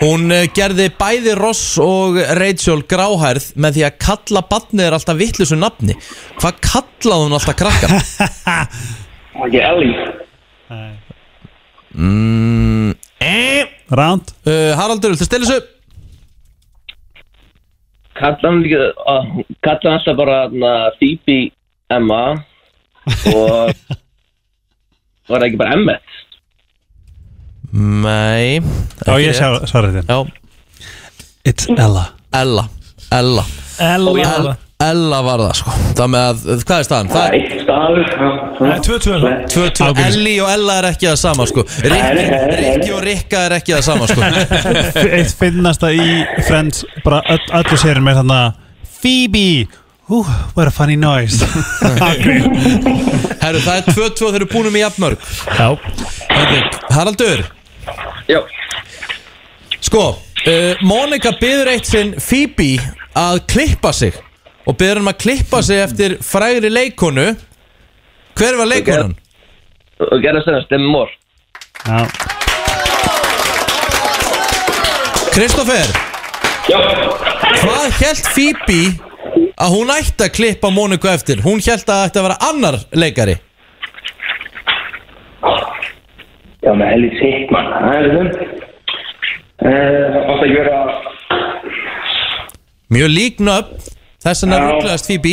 [SPEAKER 1] Hún eh, gerði bæði Ross og Rachel gráhærð með því að kalla badnið er alltaf vittlusu nafni Hvað kallaði hún alltaf krakkar?
[SPEAKER 10] Ekki Ellie
[SPEAKER 1] mm, Ránd uh, Haraldur, viltu stila þessu?
[SPEAKER 10] Kalla hann líka að- Kalla hann alltaf bara na, Phoebe Emma og var það ekki bara Emmet
[SPEAKER 1] Nei
[SPEAKER 11] Já, ég sá- sá réttinn. It's Ella
[SPEAKER 1] Ella Ella
[SPEAKER 2] Ella.
[SPEAKER 1] Ella, Ella var það sko Það með að, hvað er staðan? Það er
[SPEAKER 10] Nei,
[SPEAKER 2] tvö, tvö
[SPEAKER 1] Tvö, tvö Ellie og Ella er ekki það sama sko Rikki, Rikki og Rikka er ekki það sama sko
[SPEAKER 11] Eitt finnasta í Friends bara öll, öllu sérin með þarna Phoebe Ooh, what a funny noise
[SPEAKER 1] Herru, það er tvö, tvö þeir eru búin um í jafnmörg
[SPEAKER 2] Já
[SPEAKER 1] Herru, Haraldur
[SPEAKER 10] Já
[SPEAKER 1] Sko, uh, Monika byður eitt sinn Phoebe að klippa sig og byður hann að klippa sig eftir frægri leikonu Hver var leikonan?
[SPEAKER 10] Og gerða sem stemmi mór
[SPEAKER 11] Já
[SPEAKER 1] Kristoffer
[SPEAKER 10] Já
[SPEAKER 1] Hvað held Phoebe að hún ætti að klippa Moniku eftir? Hún held að það ætti að vera annar leikari
[SPEAKER 10] Já, með helið sitt mann Það er þeim Það átt að gera
[SPEAKER 1] Mjög lík nöfn Þess vegna
[SPEAKER 10] Já.
[SPEAKER 1] rugglaðast Phoebe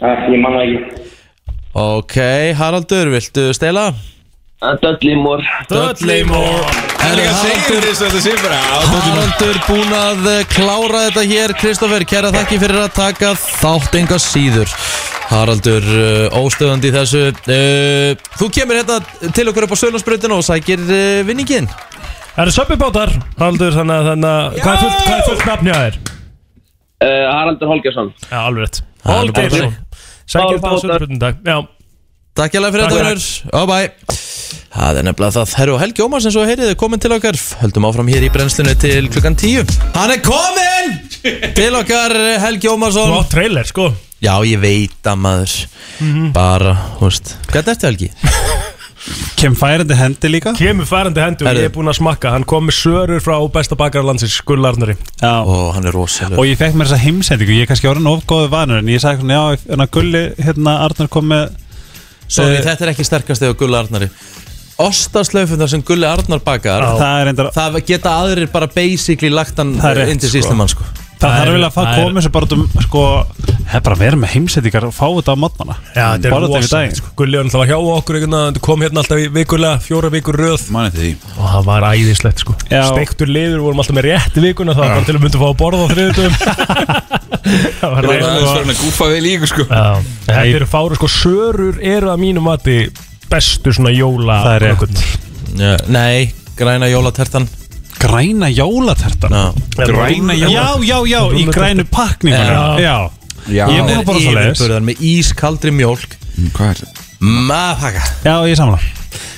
[SPEAKER 10] að Ah, Ég manna ekki
[SPEAKER 1] Ok, Haraldur, viltu stela?
[SPEAKER 10] Dudley Moore
[SPEAKER 1] Dudley Moore
[SPEAKER 3] Það er líka segjum þess að þetta sé bara á dóttum
[SPEAKER 1] Haraldur búin að eh, klára þetta hér Kristoffer, kæra þakki fyrir að taka þátt enga síður Haraldur, eh, óstöðandi í þessu Eh, Þú kemur hérna til okkur upp á Sölundsbrutinu og sækir eh, vinningin
[SPEAKER 2] Það eru söpibátar, Haldur, þannig að, þannig að hvað er fullt, hvað er fullt nafn hjá þér?
[SPEAKER 10] Uh, Haraldur Holgersson
[SPEAKER 2] Já, alveg rétt
[SPEAKER 1] Það er nú bara
[SPEAKER 2] Holgersson Sækir þetta á söpibátum dag Já
[SPEAKER 1] Takk hjá fyrir
[SPEAKER 2] Takk,
[SPEAKER 1] þetta, Rúnur Bye bye Það er nefnilega það Herru Helgi Ómars eins og heyrið er komin til okkar Höldum áfram hér í brennslunni til klukkan 10 Hann er komin til okkar eh, Helgi Ómarsson
[SPEAKER 2] Flott trailer, sko
[SPEAKER 1] Já, ég veit að maður
[SPEAKER 2] Mhm.
[SPEAKER 1] Bara, húst Hvernig ertu Helgi?
[SPEAKER 11] Kem færandi hendi líka
[SPEAKER 2] Kemur færandi hendur og
[SPEAKER 11] Herðu.
[SPEAKER 2] ég er búinn að smakka Hann kom með sörur frá besta bakar landsins, Gullarnari
[SPEAKER 11] Já
[SPEAKER 1] Ó, hann er rosalega
[SPEAKER 11] Og ég fekk mér þessa heimsendingu, ég er kannski orðin of góðu vanur en ég sagði svona, já, en að gulli hérna Arnar kom með
[SPEAKER 1] Sorry,
[SPEAKER 11] eh,
[SPEAKER 1] þetta er ekki sterkast eða Gulli Arnari Ostaslaufunar sem Gulli Arnar bakar
[SPEAKER 11] Já. Það er reyndar-
[SPEAKER 1] það geta aðrir bara basically lagt hann
[SPEAKER 11] Það er rétt,
[SPEAKER 1] Indis
[SPEAKER 11] sko.
[SPEAKER 1] íslumann sko
[SPEAKER 11] Það þarf vel að fá komið sem bara um, sko, það er bara að vera með heimsendingar og fá þetta á mótnana
[SPEAKER 2] Já, þetta er rosalegt
[SPEAKER 11] rosalegt
[SPEAKER 2] sko. Gulli var náttúrulega hjá okkur einhvern veginn, kom hérna alltaf í vikulega, fjóra vikur röð
[SPEAKER 3] Mann eftir því
[SPEAKER 2] Og það var æðislegt sko
[SPEAKER 11] Já.
[SPEAKER 2] Steiktur liður, vorum alltaf með rétt í vikuna Það var bara til að mynda að fá að borða á þriðutum Það
[SPEAKER 3] Það
[SPEAKER 2] var
[SPEAKER 3] er aðeins
[SPEAKER 2] ræðilega
[SPEAKER 3] farin að gúfa vel í ykkur sko
[SPEAKER 2] Þetta eru fári sko, sörur eru að mínu mati bestu svona jóla
[SPEAKER 11] Það er rétt.
[SPEAKER 1] Já, Nei, græna jólatertan
[SPEAKER 11] Græna jólatertan?
[SPEAKER 1] Já.
[SPEAKER 11] Já, já, já, í grænu pakningu
[SPEAKER 1] Já.
[SPEAKER 11] Já, Ég er búin að borða
[SPEAKER 1] Eh,
[SPEAKER 11] svo leiðis
[SPEAKER 1] Yfirburðar með ískaldri mjólk
[SPEAKER 3] Hvað er þetta?
[SPEAKER 1] Mafaka
[SPEAKER 11] Já, ég samla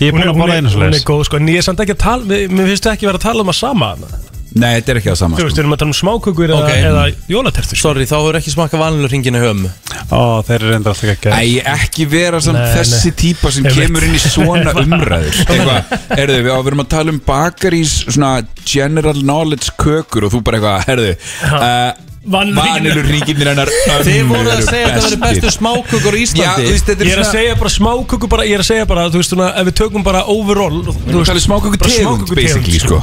[SPEAKER 11] Ég er
[SPEAKER 2] Hún
[SPEAKER 11] búin
[SPEAKER 2] er,
[SPEAKER 11] að
[SPEAKER 2] hún,
[SPEAKER 11] borða
[SPEAKER 2] er,
[SPEAKER 11] einu svo
[SPEAKER 2] hún er
[SPEAKER 11] leiðis
[SPEAKER 2] góð sko, en ég er samt ekki að tala Mér mér finnst ekki vera að tala um að sama þarna.
[SPEAKER 3] Nei, þetta er ekki það sama
[SPEAKER 2] Þú veist,
[SPEAKER 3] sko.
[SPEAKER 2] við erum að tala um smákökur eða,
[SPEAKER 1] Ok.
[SPEAKER 2] eða jólatertur
[SPEAKER 1] Sorry, þá hefur ekki smakað vanilur hringinu höm
[SPEAKER 11] Ó, þeir eru enda alltaf ekki
[SPEAKER 3] Æ, ekki vera samt
[SPEAKER 2] Nei,
[SPEAKER 3] þessi
[SPEAKER 2] nei.
[SPEAKER 3] típa sem
[SPEAKER 2] Ég veit.
[SPEAKER 3] kemur inn í svona umræður Eitthvað, herðu, við á- við erum að tala um bakarís svona general knowledge kökur og þú bara eitthvað, herðu uh,
[SPEAKER 2] Vanilluhringirnir.
[SPEAKER 3] Vanilur ríkinir hennar
[SPEAKER 1] Þið voru að segja að það verið bestu smákökur á
[SPEAKER 3] Já, þú
[SPEAKER 1] Íslandi
[SPEAKER 3] veist, þetta
[SPEAKER 2] Ég er
[SPEAKER 3] er
[SPEAKER 2] að
[SPEAKER 3] svona
[SPEAKER 2] segja bara smákökur bara, Ég er að segja bara, þú veist, svona, ef við tökum bara overall Þú
[SPEAKER 3] Við erum að tala um smákökur
[SPEAKER 2] bara
[SPEAKER 3] tegund,
[SPEAKER 2] smákökutegund,
[SPEAKER 3] basically, sko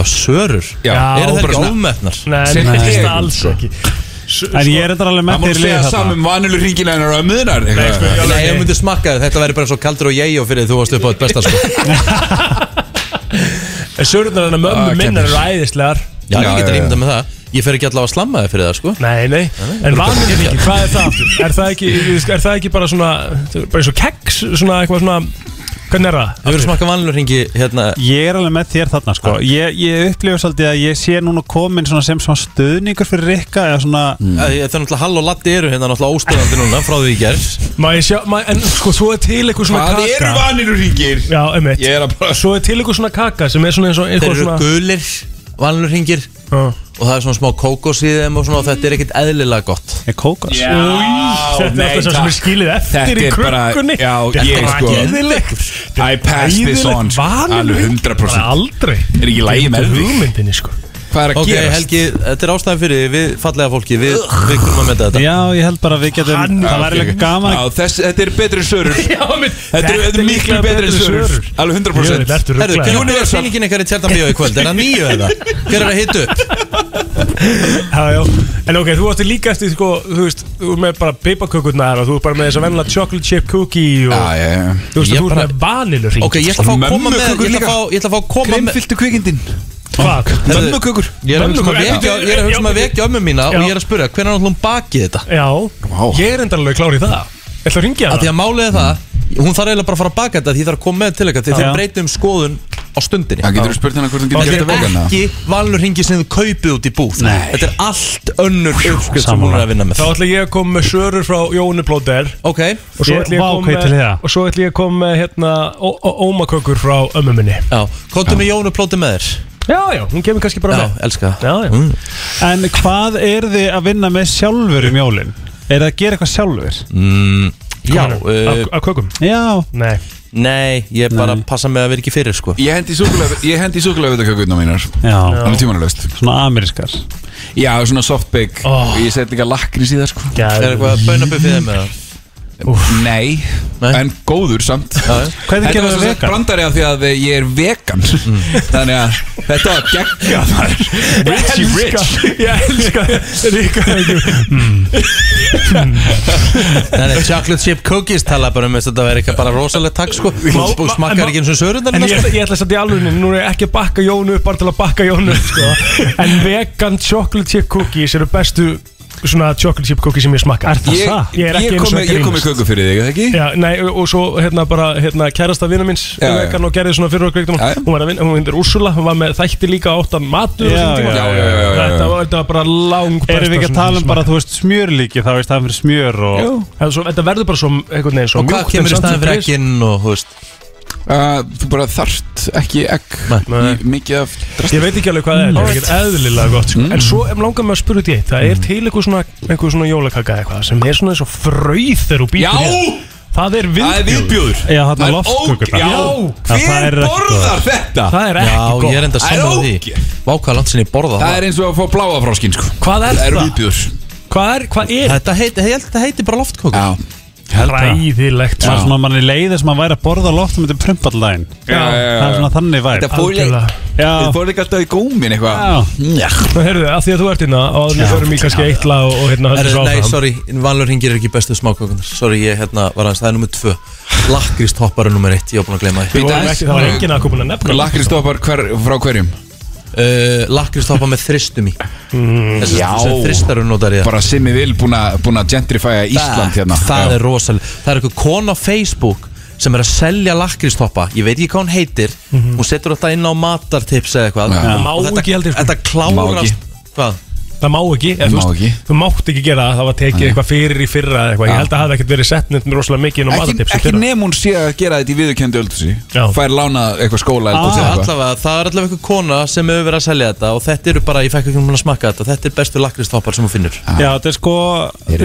[SPEAKER 1] Já, sörur
[SPEAKER 3] Já,
[SPEAKER 1] Eru
[SPEAKER 3] og
[SPEAKER 1] það
[SPEAKER 3] bara
[SPEAKER 1] ekki
[SPEAKER 3] svona-
[SPEAKER 1] ómetnar?
[SPEAKER 2] Nei,
[SPEAKER 3] Sem
[SPEAKER 2] mér finnst
[SPEAKER 3] tegund,
[SPEAKER 2] það alls
[SPEAKER 3] sko.
[SPEAKER 2] ekki
[SPEAKER 11] En ég er enda
[SPEAKER 3] Það
[SPEAKER 11] alveg með
[SPEAKER 3] má
[SPEAKER 11] þeir
[SPEAKER 3] segja
[SPEAKER 11] lið
[SPEAKER 3] saman
[SPEAKER 11] þarna
[SPEAKER 3] um vanilur ríkinir hennar á ömmuðinar
[SPEAKER 2] sko, já.
[SPEAKER 3] eitthvað.
[SPEAKER 1] Nei, ef myndi smakka þér, þetta væri bara svo kaldur og ég og fyrir þú varst upp á þitt besta sko
[SPEAKER 2] En sörurnar hennar
[SPEAKER 3] Ah,
[SPEAKER 2] mömmu minnar
[SPEAKER 3] kemur.
[SPEAKER 2] eru æðislegar
[SPEAKER 1] Já, ég
[SPEAKER 3] Já,
[SPEAKER 1] getur
[SPEAKER 3] já,
[SPEAKER 1] ímyndað með það Ég fer ekki allavega að slamma þig fyrir það sko
[SPEAKER 2] Nei, nei, en vanilurringi, hvað er það aftur? Er það ekki, er það ekki bara svona bara eins og keks, svona eitthvað svona hvernig er það?
[SPEAKER 1] Hefur smakkað vanilur hringi hérna
[SPEAKER 11] Ég er alveg með þér þarna sko Ég, ég upplifa svolítið að ég sé núna komin svona sem svona stuðningur fyrir Rikka eða svona
[SPEAKER 1] Það er náttúrulega Hall og Latti eru hérna náttúrulega óstöðandi núna frá því í gerð
[SPEAKER 2] Má ég sjá, má, en sko, svo er til eitthvað svona
[SPEAKER 3] Hvað
[SPEAKER 2] kaka
[SPEAKER 3] eru vanilur ríkir?
[SPEAKER 2] Já, einmitt
[SPEAKER 3] Ég er að bara
[SPEAKER 2] Svo er til eitthvað svona kaka sem er svona eins og
[SPEAKER 1] Þeir
[SPEAKER 2] eitthvað
[SPEAKER 1] eru
[SPEAKER 2] svona
[SPEAKER 1] gulir, vanilur hringir
[SPEAKER 2] Já.
[SPEAKER 1] og það er svona smá kókos í þeim og svona og þetta er ekkit eðlilega gott
[SPEAKER 11] Er kókas
[SPEAKER 3] Já,
[SPEAKER 2] Þetta er
[SPEAKER 3] nei,
[SPEAKER 2] alltaf svo sem
[SPEAKER 3] takk.
[SPEAKER 2] er skilið eftir
[SPEAKER 3] Þetta
[SPEAKER 2] í
[SPEAKER 3] er bara-
[SPEAKER 2] krukkunni
[SPEAKER 3] já, ég,
[SPEAKER 2] Þetta
[SPEAKER 3] sko.
[SPEAKER 2] var geðilegt
[SPEAKER 3] I pass this on sko. Alveg 100%
[SPEAKER 2] Aldrei
[SPEAKER 3] Er ekki í lagi með þig?
[SPEAKER 2] Hugmyndinni sko
[SPEAKER 3] Hvað er að
[SPEAKER 1] Ok,
[SPEAKER 3] gerast?
[SPEAKER 1] Helgi, þetta er ástæðan fyrir því, við fallega fólki Við, við komum að mynda þetta
[SPEAKER 11] Já, ég held bara að við getum
[SPEAKER 2] Hann-
[SPEAKER 11] Það væri
[SPEAKER 3] ok.
[SPEAKER 11] alveg gaman
[SPEAKER 3] Já, þess, Þetta er betri en sörur
[SPEAKER 2] Já, einmitt
[SPEAKER 3] Þetta er, þetta er miklu betri en sörur Alveg 100%
[SPEAKER 2] Þetta
[SPEAKER 1] Herru,
[SPEAKER 2] er
[SPEAKER 1] hvernig er sýningin ykkar í Tjarnabíó í kvöld? Er það nýju eða? Hver er að hitta upp?
[SPEAKER 2] Já, já, en ok, þú átti líka eftir sko, þú veist, þú er með bara pipakökurnar og þú er bara með þess að venla chocolate chip cookie og
[SPEAKER 3] Já, já, já.
[SPEAKER 2] þú veist,
[SPEAKER 1] Ég
[SPEAKER 2] þú er
[SPEAKER 1] bara-
[SPEAKER 2] með vanilur
[SPEAKER 1] Ok, ég ætla að fá að koma með
[SPEAKER 3] Mömmukökur
[SPEAKER 1] Ég ætla að fá- ég ætla að fá að koma með
[SPEAKER 3] Kremfylltu kvikindin
[SPEAKER 2] Hvað?
[SPEAKER 1] Herðu,
[SPEAKER 3] Mömmukökur
[SPEAKER 1] Ég er að hugsa um að
[SPEAKER 2] Mömmukökur.
[SPEAKER 1] vekja- ég er að hugsa um að vekja ömmu mína og
[SPEAKER 2] Já.
[SPEAKER 1] ég er að spura hvernig er hún bakið þetta?
[SPEAKER 2] Já,
[SPEAKER 3] Vá.
[SPEAKER 2] ég er enda alveg klár í það Ég ætla að ringja
[SPEAKER 1] Af
[SPEAKER 2] það
[SPEAKER 1] því að málið er það, hún þarf eiginlega bara að fara að baka þetta því ég þarf að koma með til eitthvað því þeir
[SPEAKER 11] Já.
[SPEAKER 1] breytum skoðun á stundinni
[SPEAKER 3] Það getur þú spurt hana hvort hún getur gert það vegan, eða?
[SPEAKER 1] Þetta er ekki valurringi sem þú kaupið út í búð
[SPEAKER 3] Nei.
[SPEAKER 1] Þetta er allt önnur uppskrift sem hún er að vinna með
[SPEAKER 2] Þá ætla ég að koma með sörur frá Jóni Blóter
[SPEAKER 1] Ok
[SPEAKER 2] Og svo ætla ég
[SPEAKER 1] Vá,
[SPEAKER 2] að
[SPEAKER 1] hvað
[SPEAKER 2] koma
[SPEAKER 1] ég til í
[SPEAKER 2] með
[SPEAKER 1] það.
[SPEAKER 2] Og svo ætla ég að koma með hérna ó- ó- Ómakökur frá ömmu minni
[SPEAKER 1] Já, komdu með Jónu Plóti með þér
[SPEAKER 2] Já, já, hún kemur kannski bara
[SPEAKER 1] Já,
[SPEAKER 2] með
[SPEAKER 1] elska Mm.
[SPEAKER 2] Já, já
[SPEAKER 11] En hvað er þið að vinna með sjálfur um jólin? Er það að gera eitthvað sjálfur?
[SPEAKER 1] Mm, já
[SPEAKER 11] Af-
[SPEAKER 1] uh,
[SPEAKER 2] Að kökum?
[SPEAKER 11] Já
[SPEAKER 2] Nei
[SPEAKER 1] Nei, ég bara passa með að vera ekki fyrir sko
[SPEAKER 3] Ég hendi súkulega, ég hendi súkulega við þetta kökurna mínar
[SPEAKER 11] Já
[SPEAKER 3] Það er tímanulegt
[SPEAKER 11] Svona amerískar
[SPEAKER 3] Já, svona softbake
[SPEAKER 11] Oh.
[SPEAKER 3] Ég seti líka lakrís í það sko
[SPEAKER 2] Gæður.
[SPEAKER 1] Er eitthvað baunabuffið með það?
[SPEAKER 3] Nei, en góður samt
[SPEAKER 11] Hvernig
[SPEAKER 3] Þetta
[SPEAKER 11] gerir
[SPEAKER 3] var
[SPEAKER 11] það
[SPEAKER 3] svo sett
[SPEAKER 11] vegan?
[SPEAKER 3] brandari af því að ég er vegan Þannig að þetta var geggjað maður. Richie Rich
[SPEAKER 2] Ég elska Ríka
[SPEAKER 1] Nei, nei, chocolate chip cookies tala bara um þess að þetta verður eitthvað bara rosalegt takk sko
[SPEAKER 2] Má-
[SPEAKER 1] Þú
[SPEAKER 2] ma-
[SPEAKER 1] smakkar
[SPEAKER 2] en-
[SPEAKER 1] ekki eins og sörundar
[SPEAKER 2] En ég, ég ætla samt í alveg Nú er ég ekki að bakka Jónu upp bara til að bakka Jónu upp, sko. En vegan chocolate chip cookies eru bestu svona chocolate chip cookies sem ég smakka Er
[SPEAKER 3] Ég,
[SPEAKER 2] Ég er
[SPEAKER 3] ég,
[SPEAKER 2] ekki
[SPEAKER 3] kom
[SPEAKER 2] eins og
[SPEAKER 3] með- ég kom með köku fyrir þig, eða ekki?
[SPEAKER 2] Já, nei, og og svo hérna bara hérna, kærasta vina minns
[SPEAKER 3] Já, já.
[SPEAKER 2] vegan og gerði svona fyrir okkur vegan hún var að vinna, hún vindur Úrsula, hún var með þætti líka áttan matur
[SPEAKER 11] Já,
[SPEAKER 2] og svona tíma.
[SPEAKER 11] já, já, já, já, já.
[SPEAKER 2] Þetta, var, þetta var bara lang
[SPEAKER 11] Erum við ekki að tala um bara, þú veist, smjörlíki þá í staðan fyrir smjör og
[SPEAKER 2] Jú, þetta svo- þetta verður bara svo einhvern veginn svo
[SPEAKER 1] Og hvað
[SPEAKER 2] mjúkt,
[SPEAKER 1] kemur í
[SPEAKER 2] en samt
[SPEAKER 1] staðinn fyrir
[SPEAKER 2] sem
[SPEAKER 1] egginn og þú veist
[SPEAKER 3] Uh, þú bara þarft ekki egg Í- Mikið af
[SPEAKER 2] Ég veit ekki alveg hvað það er, það er ekkert eðlilega gott sko. En svo em langar mig að spyrja út í eitt Það er til einhver svona, einhver svona jólakaka eitthvað sem er svona eins og fröyð þegar þú
[SPEAKER 3] Já!
[SPEAKER 2] býtur í það. Það er viðbjóður
[SPEAKER 3] Það er viðbjóður.
[SPEAKER 11] Já, þarna
[SPEAKER 3] Það er óg-
[SPEAKER 11] loftkökurnar.
[SPEAKER 3] Já,
[SPEAKER 11] Það- það
[SPEAKER 3] hver
[SPEAKER 11] er ekki
[SPEAKER 3] borðar
[SPEAKER 11] gott.
[SPEAKER 3] þetta?
[SPEAKER 2] Það er ekki
[SPEAKER 1] Já,
[SPEAKER 2] gott.
[SPEAKER 1] ég er enda
[SPEAKER 3] Það er
[SPEAKER 1] saman því
[SPEAKER 3] ógeð.
[SPEAKER 1] Vá, hvað langt sinni borða
[SPEAKER 3] Það er eins og að fá bláa fráskin sko
[SPEAKER 2] Hvað er
[SPEAKER 3] Það eru
[SPEAKER 2] það?
[SPEAKER 3] viðbjóður
[SPEAKER 2] Hvað er, hvað er
[SPEAKER 1] Þetta heiti, ég held að þetta heiti bara loftkokur
[SPEAKER 3] Já
[SPEAKER 2] Ræðilegt
[SPEAKER 11] Það er svona manni leiðir sem að væri að borða loft um þetta prumpallægin
[SPEAKER 3] Já, já, já.
[SPEAKER 11] Það er svona þannig væri
[SPEAKER 3] Þetta fór í-
[SPEAKER 11] Já.
[SPEAKER 3] Þið fór ekki alltaf í gómin
[SPEAKER 11] Já.
[SPEAKER 3] eitthvað Já
[SPEAKER 2] Nú heyrðu, að því að þú ert hérna og við förum í kannski eitt lag og, og hérna höldum
[SPEAKER 1] Er,
[SPEAKER 2] svo
[SPEAKER 1] nei,
[SPEAKER 2] áfram.
[SPEAKER 1] sorry, valur hingir er ekki bestu smákökunar Sorry, ég hérna var aðeins, það er nummið tvö Lakristhoppar er nummið eitt, ég var búin að gleyma því
[SPEAKER 2] Við vorum ekki- það var enginn að koma að nefna
[SPEAKER 3] Lakristoppar hver, frá hverjum?
[SPEAKER 1] uh, Lakristhoppar með þristum í Þessi
[SPEAKER 3] Mm, Já.
[SPEAKER 1] sem þristar eru notar í það
[SPEAKER 3] Bara Simmi Vil búin að búin að gentrifæja Ísland hérna
[SPEAKER 1] Það er rosalega Það er eitthvað kona á Facebook sem er að selja lakristoppa ég veit ekki hvað hún heitir hún setur þetta inn á matartips eða eitthvað
[SPEAKER 3] Mhm. Já.
[SPEAKER 1] Og
[SPEAKER 2] Má
[SPEAKER 1] þetta,
[SPEAKER 2] ekki heldur, sko.
[SPEAKER 1] þetta
[SPEAKER 3] Má ekki.
[SPEAKER 1] klárast hvað?
[SPEAKER 2] Það má ekki, eða,
[SPEAKER 3] Má
[SPEAKER 2] þú,
[SPEAKER 3] ekki.
[SPEAKER 2] veist, þú mátt ekki gera það, það var tekið eitthvað fyrir í fyrra eða eitthvað, ég held að það hafði ekkert verið sett nefnum rosalega mikið inn á
[SPEAKER 3] Ekki,
[SPEAKER 2] matatipsi
[SPEAKER 3] ekki nefn hún sé að gera þetta í viðurkendi öldursi
[SPEAKER 2] Já.
[SPEAKER 3] Fær lánað eitthvað skóla
[SPEAKER 11] Ah,
[SPEAKER 3] eldhúsi
[SPEAKER 1] Það
[SPEAKER 3] eða
[SPEAKER 1] er
[SPEAKER 3] eitthvað.
[SPEAKER 1] allavega, það er allavega eitthvað kona sem hefur verið að selja þetta og þetta eru bara, ég fekk ekki um að smakka þetta þetta er bestu lakristhoppar sem hún finnur
[SPEAKER 11] Já, þetta er sko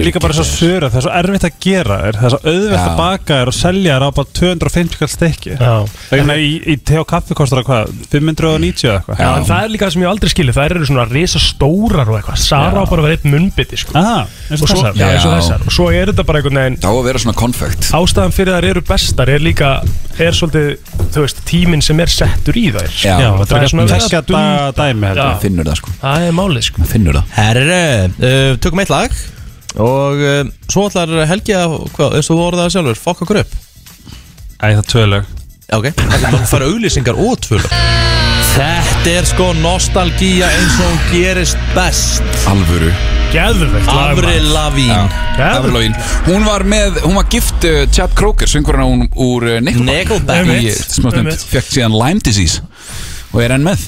[SPEAKER 11] líka bara svo söra Það er svo erfitt að gera þér Það er svo auðvelt að baka þér og selja þér á bara 250 kall stekki
[SPEAKER 2] Já.
[SPEAKER 11] Þegar í, í te og kaffi kostar það hvað 590 eða eitthvað
[SPEAKER 2] Já, en það er líka það sem ég aldrei skilið, það eru svona risa stórar og eitthvað, Sara á bara að vera eitt munnbytti sko.
[SPEAKER 11] Aha, eins
[SPEAKER 2] og,
[SPEAKER 11] og
[SPEAKER 2] svo,
[SPEAKER 11] þessar
[SPEAKER 2] já, eins og
[SPEAKER 3] Já.
[SPEAKER 2] þessar, og svo er þetta bara einhvern veginn
[SPEAKER 3] Það á að vera svona konfekt
[SPEAKER 2] Ástæðan fyrir þær eru bestar er líka, er svolítið, þú veist, tíminn sem er settur í þær
[SPEAKER 3] Já.
[SPEAKER 11] Já,
[SPEAKER 2] Það er svona verið að
[SPEAKER 11] Þessja
[SPEAKER 2] dunda-
[SPEAKER 11] dæmi heldur
[SPEAKER 2] Já.
[SPEAKER 11] ég.
[SPEAKER 3] Finnur það sko
[SPEAKER 2] Það er málið sko
[SPEAKER 3] Finnur það
[SPEAKER 1] Herre, uh, tökum eitt lag og uh, svo ætlar Helgi að, hvað, eins og þú orðaði sjálfur, fokk okkur upp
[SPEAKER 11] Æ, það er tvölög
[SPEAKER 1] Já, Ok, það fara auglýsingar og tvölu Þetta er sko nostalgía eins og hún gerist best
[SPEAKER 3] Alvöru
[SPEAKER 2] Geðvegt lag,
[SPEAKER 1] Afri
[SPEAKER 2] maður.
[SPEAKER 1] Lavín
[SPEAKER 2] Geðveikt.
[SPEAKER 3] Avril Lavigne. Hún var með, hún var gift uh, Chad Kroger, söngurinn hún úr uh, Nickelback
[SPEAKER 1] Nickelback.
[SPEAKER 3] í smástund,
[SPEAKER 2] Einmitt.
[SPEAKER 3] fekk síðan Lyme disease og er enn með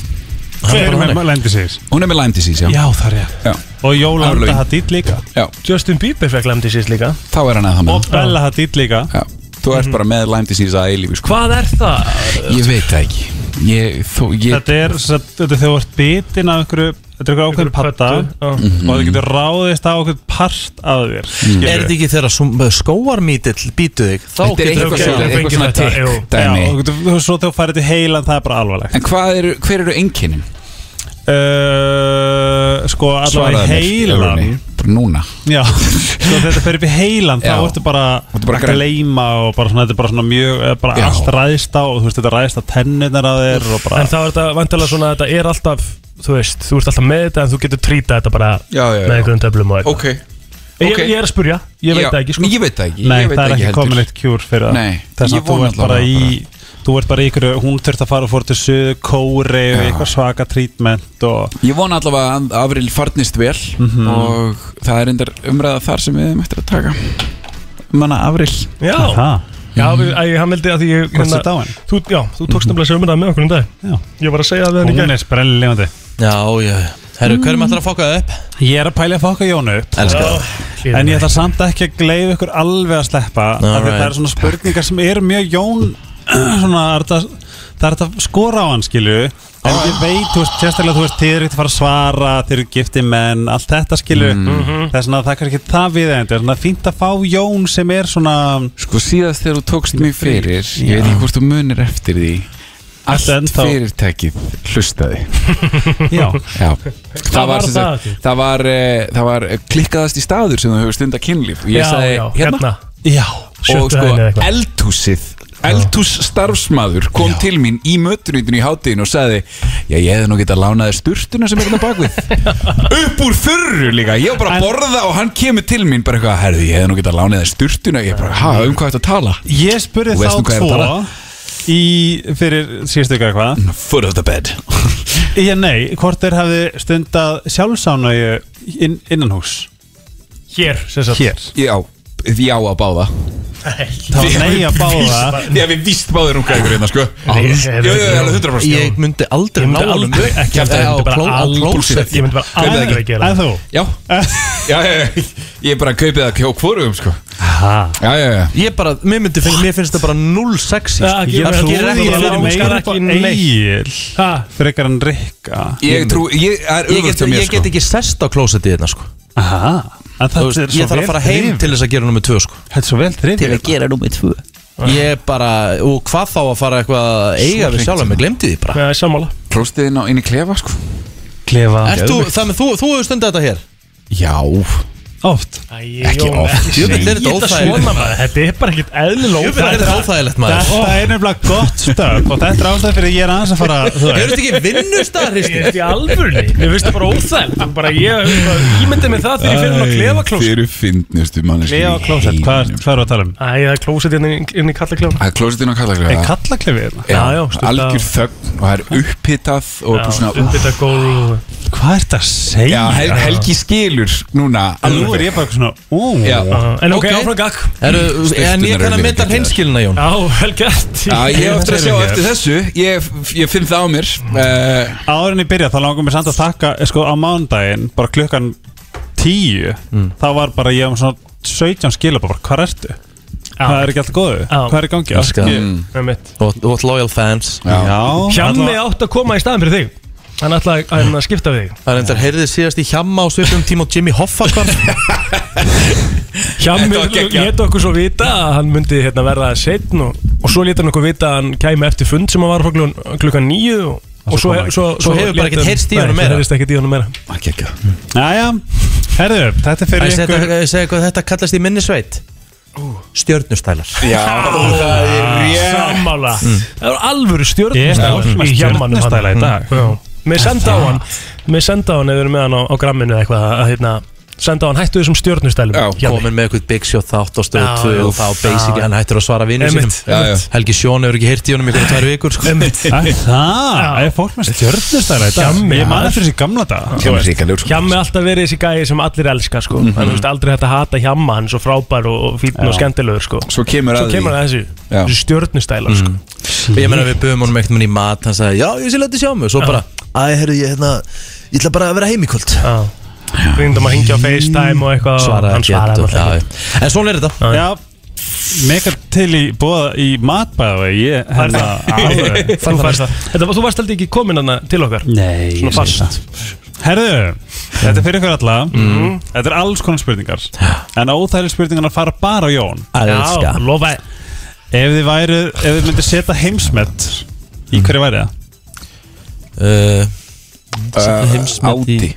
[SPEAKER 11] Hver er með lendi sér?
[SPEAKER 3] hún er með Lyme disease, já,
[SPEAKER 11] Já, það er ég
[SPEAKER 3] já.
[SPEAKER 11] Og Jólanda
[SPEAKER 3] Aflögin.
[SPEAKER 11] Hadid líka
[SPEAKER 3] já.
[SPEAKER 2] Justin Bieber fekk lemdi sýst líka
[SPEAKER 3] þá er hann að það
[SPEAKER 11] Og
[SPEAKER 3] með
[SPEAKER 11] Bella Hadid líka
[SPEAKER 3] já. þú ert bara með Lyme disease að eilífi sko.
[SPEAKER 2] Hvað er það?
[SPEAKER 3] ég veit það ekki ég, þó, ég,
[SPEAKER 11] Þetta er, sem sagt, þetta er þegar þú ert bitin af einhverju Þetta er einhverju ákveðin patta
[SPEAKER 2] já.
[SPEAKER 3] Mhm.
[SPEAKER 11] Og það getur ráðist á einhverju part af þér
[SPEAKER 1] Er
[SPEAKER 11] skilurðu.
[SPEAKER 1] þetta ekki þegar sum- skóarmítill býtu þig? Þá
[SPEAKER 3] þetta er
[SPEAKER 1] getur
[SPEAKER 3] eitthvað
[SPEAKER 2] ok,
[SPEAKER 3] svona-
[SPEAKER 2] ég fengi
[SPEAKER 3] eitthvað svona
[SPEAKER 2] þetta, jú.
[SPEAKER 3] tic
[SPEAKER 11] Já,
[SPEAKER 3] dæmi
[SPEAKER 11] og þú- þú- svo þegar þú færið til heilan það er bara alvarlegt
[SPEAKER 3] en hvað eru, hver eru einkennin?
[SPEAKER 11] uh, Sko allavega í
[SPEAKER 3] Svaraðu mér,
[SPEAKER 11] heilan
[SPEAKER 3] Jórunni, bara núna
[SPEAKER 11] Já, sko þegar þetta fer upp í heilan þá
[SPEAKER 3] Já.
[SPEAKER 11] ertu bara
[SPEAKER 3] Ertu bara
[SPEAKER 11] að
[SPEAKER 3] græn.
[SPEAKER 11] gleyma og bara svona, þetta er bara svona mjög eh, bara
[SPEAKER 3] Já.
[SPEAKER 11] allt ræðist á og þú veist þetta ræðist á tennirnar að þér og bara
[SPEAKER 2] En þá er þetta vantilega svona að þetta er alltaf Þú veist, þú ert alltaf með þetta en þú getur trýta þetta bara
[SPEAKER 3] Já, já, já.
[SPEAKER 2] Með einhverjum töflum og eitthvað
[SPEAKER 3] ok,
[SPEAKER 2] ég,
[SPEAKER 3] ok.
[SPEAKER 2] ég er að spurja, ég veit
[SPEAKER 3] Já,
[SPEAKER 2] það ekki sko
[SPEAKER 3] ég veit það ekki,
[SPEAKER 11] Nei,
[SPEAKER 3] ég veit
[SPEAKER 11] það er ekki
[SPEAKER 3] heldur.
[SPEAKER 11] komin eitt kjúr fyrir það
[SPEAKER 3] Nei,
[SPEAKER 11] Þess
[SPEAKER 3] ég
[SPEAKER 11] að þú
[SPEAKER 3] vona
[SPEAKER 11] ert bara
[SPEAKER 3] allavega
[SPEAKER 11] í Þú ert bara í ykkur, hún þurft að fara og fór til söðu kóri og eitthvað svaka trítment og
[SPEAKER 3] Ég vona allavega að Afril farnist vel og það er endar umræða þar sem við erum eftir að taka Manna Afril
[SPEAKER 2] Já,
[SPEAKER 11] það
[SPEAKER 2] Já, við, æ, hann vildi að því ég
[SPEAKER 11] Hvort
[SPEAKER 2] hérna-
[SPEAKER 11] þú dáinn? Mhm.
[SPEAKER 2] Þú, já, þú tókst nefnilega sömurðað með okkur um dag já. Ég var að segja það við hann í
[SPEAKER 11] Hún
[SPEAKER 2] gær
[SPEAKER 11] er sprelli lefandi
[SPEAKER 1] Já, já Herru, hver er maður að fokka það upp?
[SPEAKER 11] Ég er að pæla að fokka Jón upp
[SPEAKER 1] Elska það.
[SPEAKER 11] Já, En ég ætla samt ekki að gleifa ykkur alveg að sleppa af því að
[SPEAKER 1] Alright.
[SPEAKER 11] Það eru svona spurningar sem eru mjög Jón svona, er þetta- Það er þetta skora á hann skilju En ég veit, þú veist, sérstaklega þú veist Þið eru ekkert að fara að svara, þið eru gifti menn Allt þetta skilju
[SPEAKER 3] Mhm.
[SPEAKER 11] Það er svona, það er kannski það við Það er svona fínt að fá Jón sem er svona
[SPEAKER 3] Sko síðast þegar þú tókst mig fyrir Ég veit ekki hvort þú munir eftir því Allt
[SPEAKER 11] ennþá-
[SPEAKER 3] fyrirtækið hlustaði
[SPEAKER 11] Já.
[SPEAKER 3] Það var, sem sagt- það, var, eh, það var klikkaðast í staður sem þú hefur stunda kynlíf og Ég
[SPEAKER 2] Já,
[SPEAKER 3] sagði
[SPEAKER 2] já,
[SPEAKER 3] hérna,
[SPEAKER 2] hérna.
[SPEAKER 11] Já,
[SPEAKER 3] Og
[SPEAKER 2] Sjöttu
[SPEAKER 3] sko
[SPEAKER 2] hæðinni eða eitthvað.
[SPEAKER 3] eldhúsið Eldhús starfsmaður kom til mín í mötunutinu í hátíðin og sagði Já, ég hefði nú getað lánaði sturtuna sem er hérna bakvið Upp úr þurru líka, ég var bara að borða og hann kemur til mín bara eitthvað Herði, ég hefði nú getað lánaði sturtuna Ég bara, ha, um hvað ertu að tala?
[SPEAKER 11] Ég spurði
[SPEAKER 3] Þú veist
[SPEAKER 11] þá
[SPEAKER 3] nú hvað ég er að
[SPEAKER 11] tvo
[SPEAKER 3] tala. Mhm.
[SPEAKER 11] í, fyrir síðustu ykkur eitthvað
[SPEAKER 3] Foot of the bed
[SPEAKER 11] Ég nei, hvort þeir hafði stundað sjálfsánau inn, innan hús
[SPEAKER 2] Hér, sem sagt
[SPEAKER 11] Hér
[SPEAKER 3] Já, já að báða
[SPEAKER 11] Það var nei að báða
[SPEAKER 3] Því að við víst báðir um gægur hérna, sko Jú, jú, jú, alveg 100% já.
[SPEAKER 1] Ég myndi aldrei
[SPEAKER 2] Ég myndi
[SPEAKER 1] ná honum
[SPEAKER 2] aldrei-
[SPEAKER 1] upp.
[SPEAKER 2] ekki aldrei,
[SPEAKER 1] Já,
[SPEAKER 2] ég myndi bara
[SPEAKER 1] kló- á
[SPEAKER 2] aldrei-
[SPEAKER 1] klósett.
[SPEAKER 2] ég myndi bara
[SPEAKER 1] Kaupið það
[SPEAKER 2] aldrei
[SPEAKER 1] ekki.
[SPEAKER 2] gera
[SPEAKER 11] En þú?
[SPEAKER 3] Já, já, já, já. Ég bara kaupið það hjá hvorum, sko Já, já, já
[SPEAKER 1] Ég bara, mér myndi finnst, mér finnst það bara 0 sexy
[SPEAKER 2] Já,
[SPEAKER 1] sko.
[SPEAKER 2] ég
[SPEAKER 1] Það
[SPEAKER 2] trúi
[SPEAKER 1] gerir
[SPEAKER 2] því
[SPEAKER 1] ekki
[SPEAKER 2] að
[SPEAKER 1] fyrir
[SPEAKER 2] þú
[SPEAKER 1] mig. sko.
[SPEAKER 2] skar
[SPEAKER 11] Upp á
[SPEAKER 2] ekki neitt
[SPEAKER 11] Egil
[SPEAKER 2] Ha,
[SPEAKER 11] Frekar en Rikka
[SPEAKER 3] Ég trú, ég er
[SPEAKER 1] Ég get,
[SPEAKER 3] auðvitað mér,
[SPEAKER 1] ég
[SPEAKER 3] sko
[SPEAKER 1] get ekki sest á klósetti hérna sko.
[SPEAKER 11] Aha En
[SPEAKER 1] Þú
[SPEAKER 11] það
[SPEAKER 1] veist,
[SPEAKER 11] er svo
[SPEAKER 1] Ég þarf að
[SPEAKER 11] vel
[SPEAKER 1] fara heim
[SPEAKER 11] þrifið.
[SPEAKER 1] til þess að gera nummið 2 sko.
[SPEAKER 11] Þetta er svo vel þrifið
[SPEAKER 5] að gera nummið tvö
[SPEAKER 1] Ég bara, og hvað þá að fara eitthvað að eiga við sjálf Mér glemdi því bara
[SPEAKER 2] með sammála
[SPEAKER 3] Klóstiðin á sko. inn í klefa, sko
[SPEAKER 11] Klefa
[SPEAKER 1] Ert þú, það með þú, þú hefur stundið þetta hér
[SPEAKER 3] Já,
[SPEAKER 11] Oft
[SPEAKER 3] ekki oft
[SPEAKER 1] Jöfnveld er
[SPEAKER 2] Ég
[SPEAKER 1] þetta
[SPEAKER 2] þetta
[SPEAKER 1] óþægilegt
[SPEAKER 2] svona maður, þetta er bara ekkert eðlilega
[SPEAKER 1] Jöfnveld er þetta
[SPEAKER 2] óþægilegt.
[SPEAKER 1] óþægilegt maður
[SPEAKER 11] Þetta er nefnilega gott
[SPEAKER 3] sko.
[SPEAKER 11] stöf Og þetta er ástæð fyrir að ég er aðeins að fara þú
[SPEAKER 1] Eru
[SPEAKER 11] veist.
[SPEAKER 1] þetta ekki vinnustar,
[SPEAKER 2] Ég
[SPEAKER 1] Hristi?
[SPEAKER 2] veist í alvörni, ég veist það bara óþægt bara ég, ég myndi með það þegar ég fyrir að klefa klósett
[SPEAKER 3] Þeir eru fyndnustu manneski
[SPEAKER 11] Klefa og klósett Hvað hvað eru að tala um?
[SPEAKER 2] Æ, það er klósett hérna inn, í- inn í kalla klefana
[SPEAKER 3] Það er klósetin á
[SPEAKER 11] Er
[SPEAKER 3] kallaklefa
[SPEAKER 11] kallaklefi hérna?
[SPEAKER 2] Já, já, stundar-
[SPEAKER 3] Algjör þögn og það er upphitað og bara svona úff.
[SPEAKER 2] uppbytta gól
[SPEAKER 11] Hvað er þetta að
[SPEAKER 3] Já,
[SPEAKER 11] segja?
[SPEAKER 3] Hel- Helgi skilur núna
[SPEAKER 11] Nú er
[SPEAKER 3] alveg.
[SPEAKER 11] ég bara svona Ú
[SPEAKER 3] Já.
[SPEAKER 2] Uh, En ok,
[SPEAKER 1] Ok.
[SPEAKER 2] áfram gag
[SPEAKER 1] Eru- En ég
[SPEAKER 3] Sturturnar
[SPEAKER 1] kann
[SPEAKER 3] eru
[SPEAKER 1] að
[SPEAKER 3] líka
[SPEAKER 1] mynda
[SPEAKER 3] geggjaðar.
[SPEAKER 1] hreinskilina, Jón
[SPEAKER 2] Já, vel gert
[SPEAKER 3] Já, ég hef eftir að sjá
[SPEAKER 11] Ég-
[SPEAKER 3] eftir þessu Ég, ég finn það á mér uh,
[SPEAKER 11] Áður en ég byrja þá langar mér samt að taka eh, sko á mánudaginn, bara klukkan tíu
[SPEAKER 2] Mm.
[SPEAKER 11] þá var bara ég um svona 17 skilabóð, hvað ertu? Hvað er ekki alltaf góðu? Hvað er í gangi?
[SPEAKER 1] Elska það.
[SPEAKER 3] Mm.
[SPEAKER 11] Ég-
[SPEAKER 2] Einmitt.
[SPEAKER 1] Og og loyal fans
[SPEAKER 11] Já,
[SPEAKER 2] Hjammi
[SPEAKER 11] allavega-
[SPEAKER 2] átt að koma í staðin fyrir þig Hann ætlaði að hann að skipta við þig
[SPEAKER 1] Það er endur heyrðið síðast í hjamma á svipum tíma og Jimmy Hoffa hvar
[SPEAKER 2] Hjammi
[SPEAKER 3] Þetta var geggjað.
[SPEAKER 2] leta okkur svo vita að hann myndi hérna, verða setn og, og svo leta hann okkur vita að hann kæmi eftir fund sem hann var frá klukkan, klukkan níu og, og svo,
[SPEAKER 11] kom hann
[SPEAKER 2] svo,
[SPEAKER 1] Svo hefur bara
[SPEAKER 2] lét
[SPEAKER 1] ekkert
[SPEAKER 2] hann-
[SPEAKER 1] heyrst í
[SPEAKER 2] Nei,
[SPEAKER 1] honum
[SPEAKER 2] svo
[SPEAKER 1] meira.
[SPEAKER 2] heyrðist ekkert í honum meira
[SPEAKER 3] Gekkja
[SPEAKER 11] Jæja, herðu, þetta er
[SPEAKER 1] Æ,
[SPEAKER 11] fyrir
[SPEAKER 1] segja
[SPEAKER 11] ykkur
[SPEAKER 1] þetta- segja hvað þetta kallast í minnisveit Stjörnustælar
[SPEAKER 3] Já, það er rétt
[SPEAKER 2] Sammála Það eru alvöru
[SPEAKER 11] Mm. Ég er
[SPEAKER 2] stjórnustæla
[SPEAKER 11] með
[SPEAKER 2] í hjammanum
[SPEAKER 11] stjörnustæla í dag.
[SPEAKER 2] Mér senda á hann Mér senda á hann eða með hann á, á gramminu eða eitthvað að hérna senda á hann hættu þessum stjórnustælum
[SPEAKER 3] Já,
[SPEAKER 1] Komin með eitthvað Big Shot þátt og
[SPEAKER 2] Já,
[SPEAKER 1] stöðu 2 og
[SPEAKER 2] já.
[SPEAKER 1] þá basic hann hættur að svara vinnu
[SPEAKER 2] Einmitt,
[SPEAKER 1] sínum
[SPEAKER 3] einmitt. Já,
[SPEAKER 1] Helgi Sjón hefur ekki heyrt í honum ykkur tvær vikur sko.
[SPEAKER 11] Æ, Það, Ah, er fólk með stjörnustæra í dag
[SPEAKER 2] Hjammi,
[SPEAKER 11] Ég man
[SPEAKER 2] maður.
[SPEAKER 11] eftir þessi gamla dag
[SPEAKER 3] Kemur ríkalegur sko
[SPEAKER 2] Hjammi alltaf verið þessi gæi sem allir elska sko mm -hmm. Þannig veist aldrei hægt að hata hjamma hann er svo frábær og, og fínn og skemmtilegur sko
[SPEAKER 3] Svo kemur
[SPEAKER 2] Svo
[SPEAKER 3] að
[SPEAKER 2] kemur það þessu,
[SPEAKER 3] Já.
[SPEAKER 2] þessu stjórnustælar sko
[SPEAKER 1] Ég meina við böðum honum eitthvað í mat Hann sagði já ég sé letið sjá mig Svo bara æ herru ég hérna Ég ætla bara að vera heim í kvöld
[SPEAKER 2] Rindum að hringja á FaceTime og eitthvað og
[SPEAKER 1] Svaraði
[SPEAKER 2] hann
[SPEAKER 1] ekki
[SPEAKER 2] svaraði
[SPEAKER 1] heldur,
[SPEAKER 2] náttúrulega
[SPEAKER 1] já,
[SPEAKER 2] ekki.
[SPEAKER 1] já. En svona er þetta
[SPEAKER 11] Já, mega til í bóða í matbæða Ég
[SPEAKER 2] Færð
[SPEAKER 11] hérna alveg
[SPEAKER 2] Þú færð það. Þetta var- Þú varst aldrei ekki komin hann til okkar
[SPEAKER 11] Nei,
[SPEAKER 2] Svona
[SPEAKER 11] ég
[SPEAKER 2] fast.
[SPEAKER 11] segi það. Herðu, þetta er fyrir ykkur alla Þetta er alls konar spurningar En óþægileg spurningarna fara bara á Jón
[SPEAKER 1] Elska
[SPEAKER 2] Já, lofa
[SPEAKER 11] Ef þið, væru, ef þið myndir setja heimsmet Í hverju væri það?
[SPEAKER 1] Uh,
[SPEAKER 3] Uh,
[SPEAKER 1] heimsmet í-
[SPEAKER 3] Áti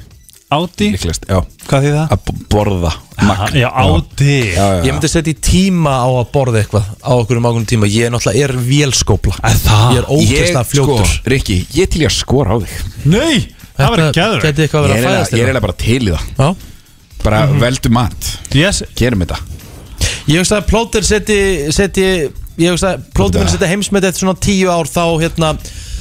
[SPEAKER 11] Áti,
[SPEAKER 3] Líklast, já
[SPEAKER 11] hvað því það?
[SPEAKER 3] Að b- borða Magn
[SPEAKER 11] Já, áti
[SPEAKER 3] Já, já,
[SPEAKER 1] Ég
[SPEAKER 3] já
[SPEAKER 1] myndi setja í tíma á að borða eitthvað Á okkur um ákveðnum tíma Ég er náttúrulega er vélskópla
[SPEAKER 11] það?
[SPEAKER 1] Ég er ókvist að fljótur
[SPEAKER 3] Sko, Rikki, ég til ég að skora á þig
[SPEAKER 11] Nei, það var
[SPEAKER 1] Þetta
[SPEAKER 11] gæður
[SPEAKER 1] geti eitthvað
[SPEAKER 3] Ég er
[SPEAKER 1] að vera að
[SPEAKER 3] eiginlega-
[SPEAKER 1] fæðast
[SPEAKER 3] ég er
[SPEAKER 1] hérna.
[SPEAKER 3] eiginlega bara til í það
[SPEAKER 1] Já.
[SPEAKER 3] Bara veldu mat
[SPEAKER 11] yes,
[SPEAKER 3] Gerum þetta
[SPEAKER 1] Ég hugsa að plóter seti, seti Ég hugsa að plóter minn setja heimsmet eftir svona tíu ár Þá hérna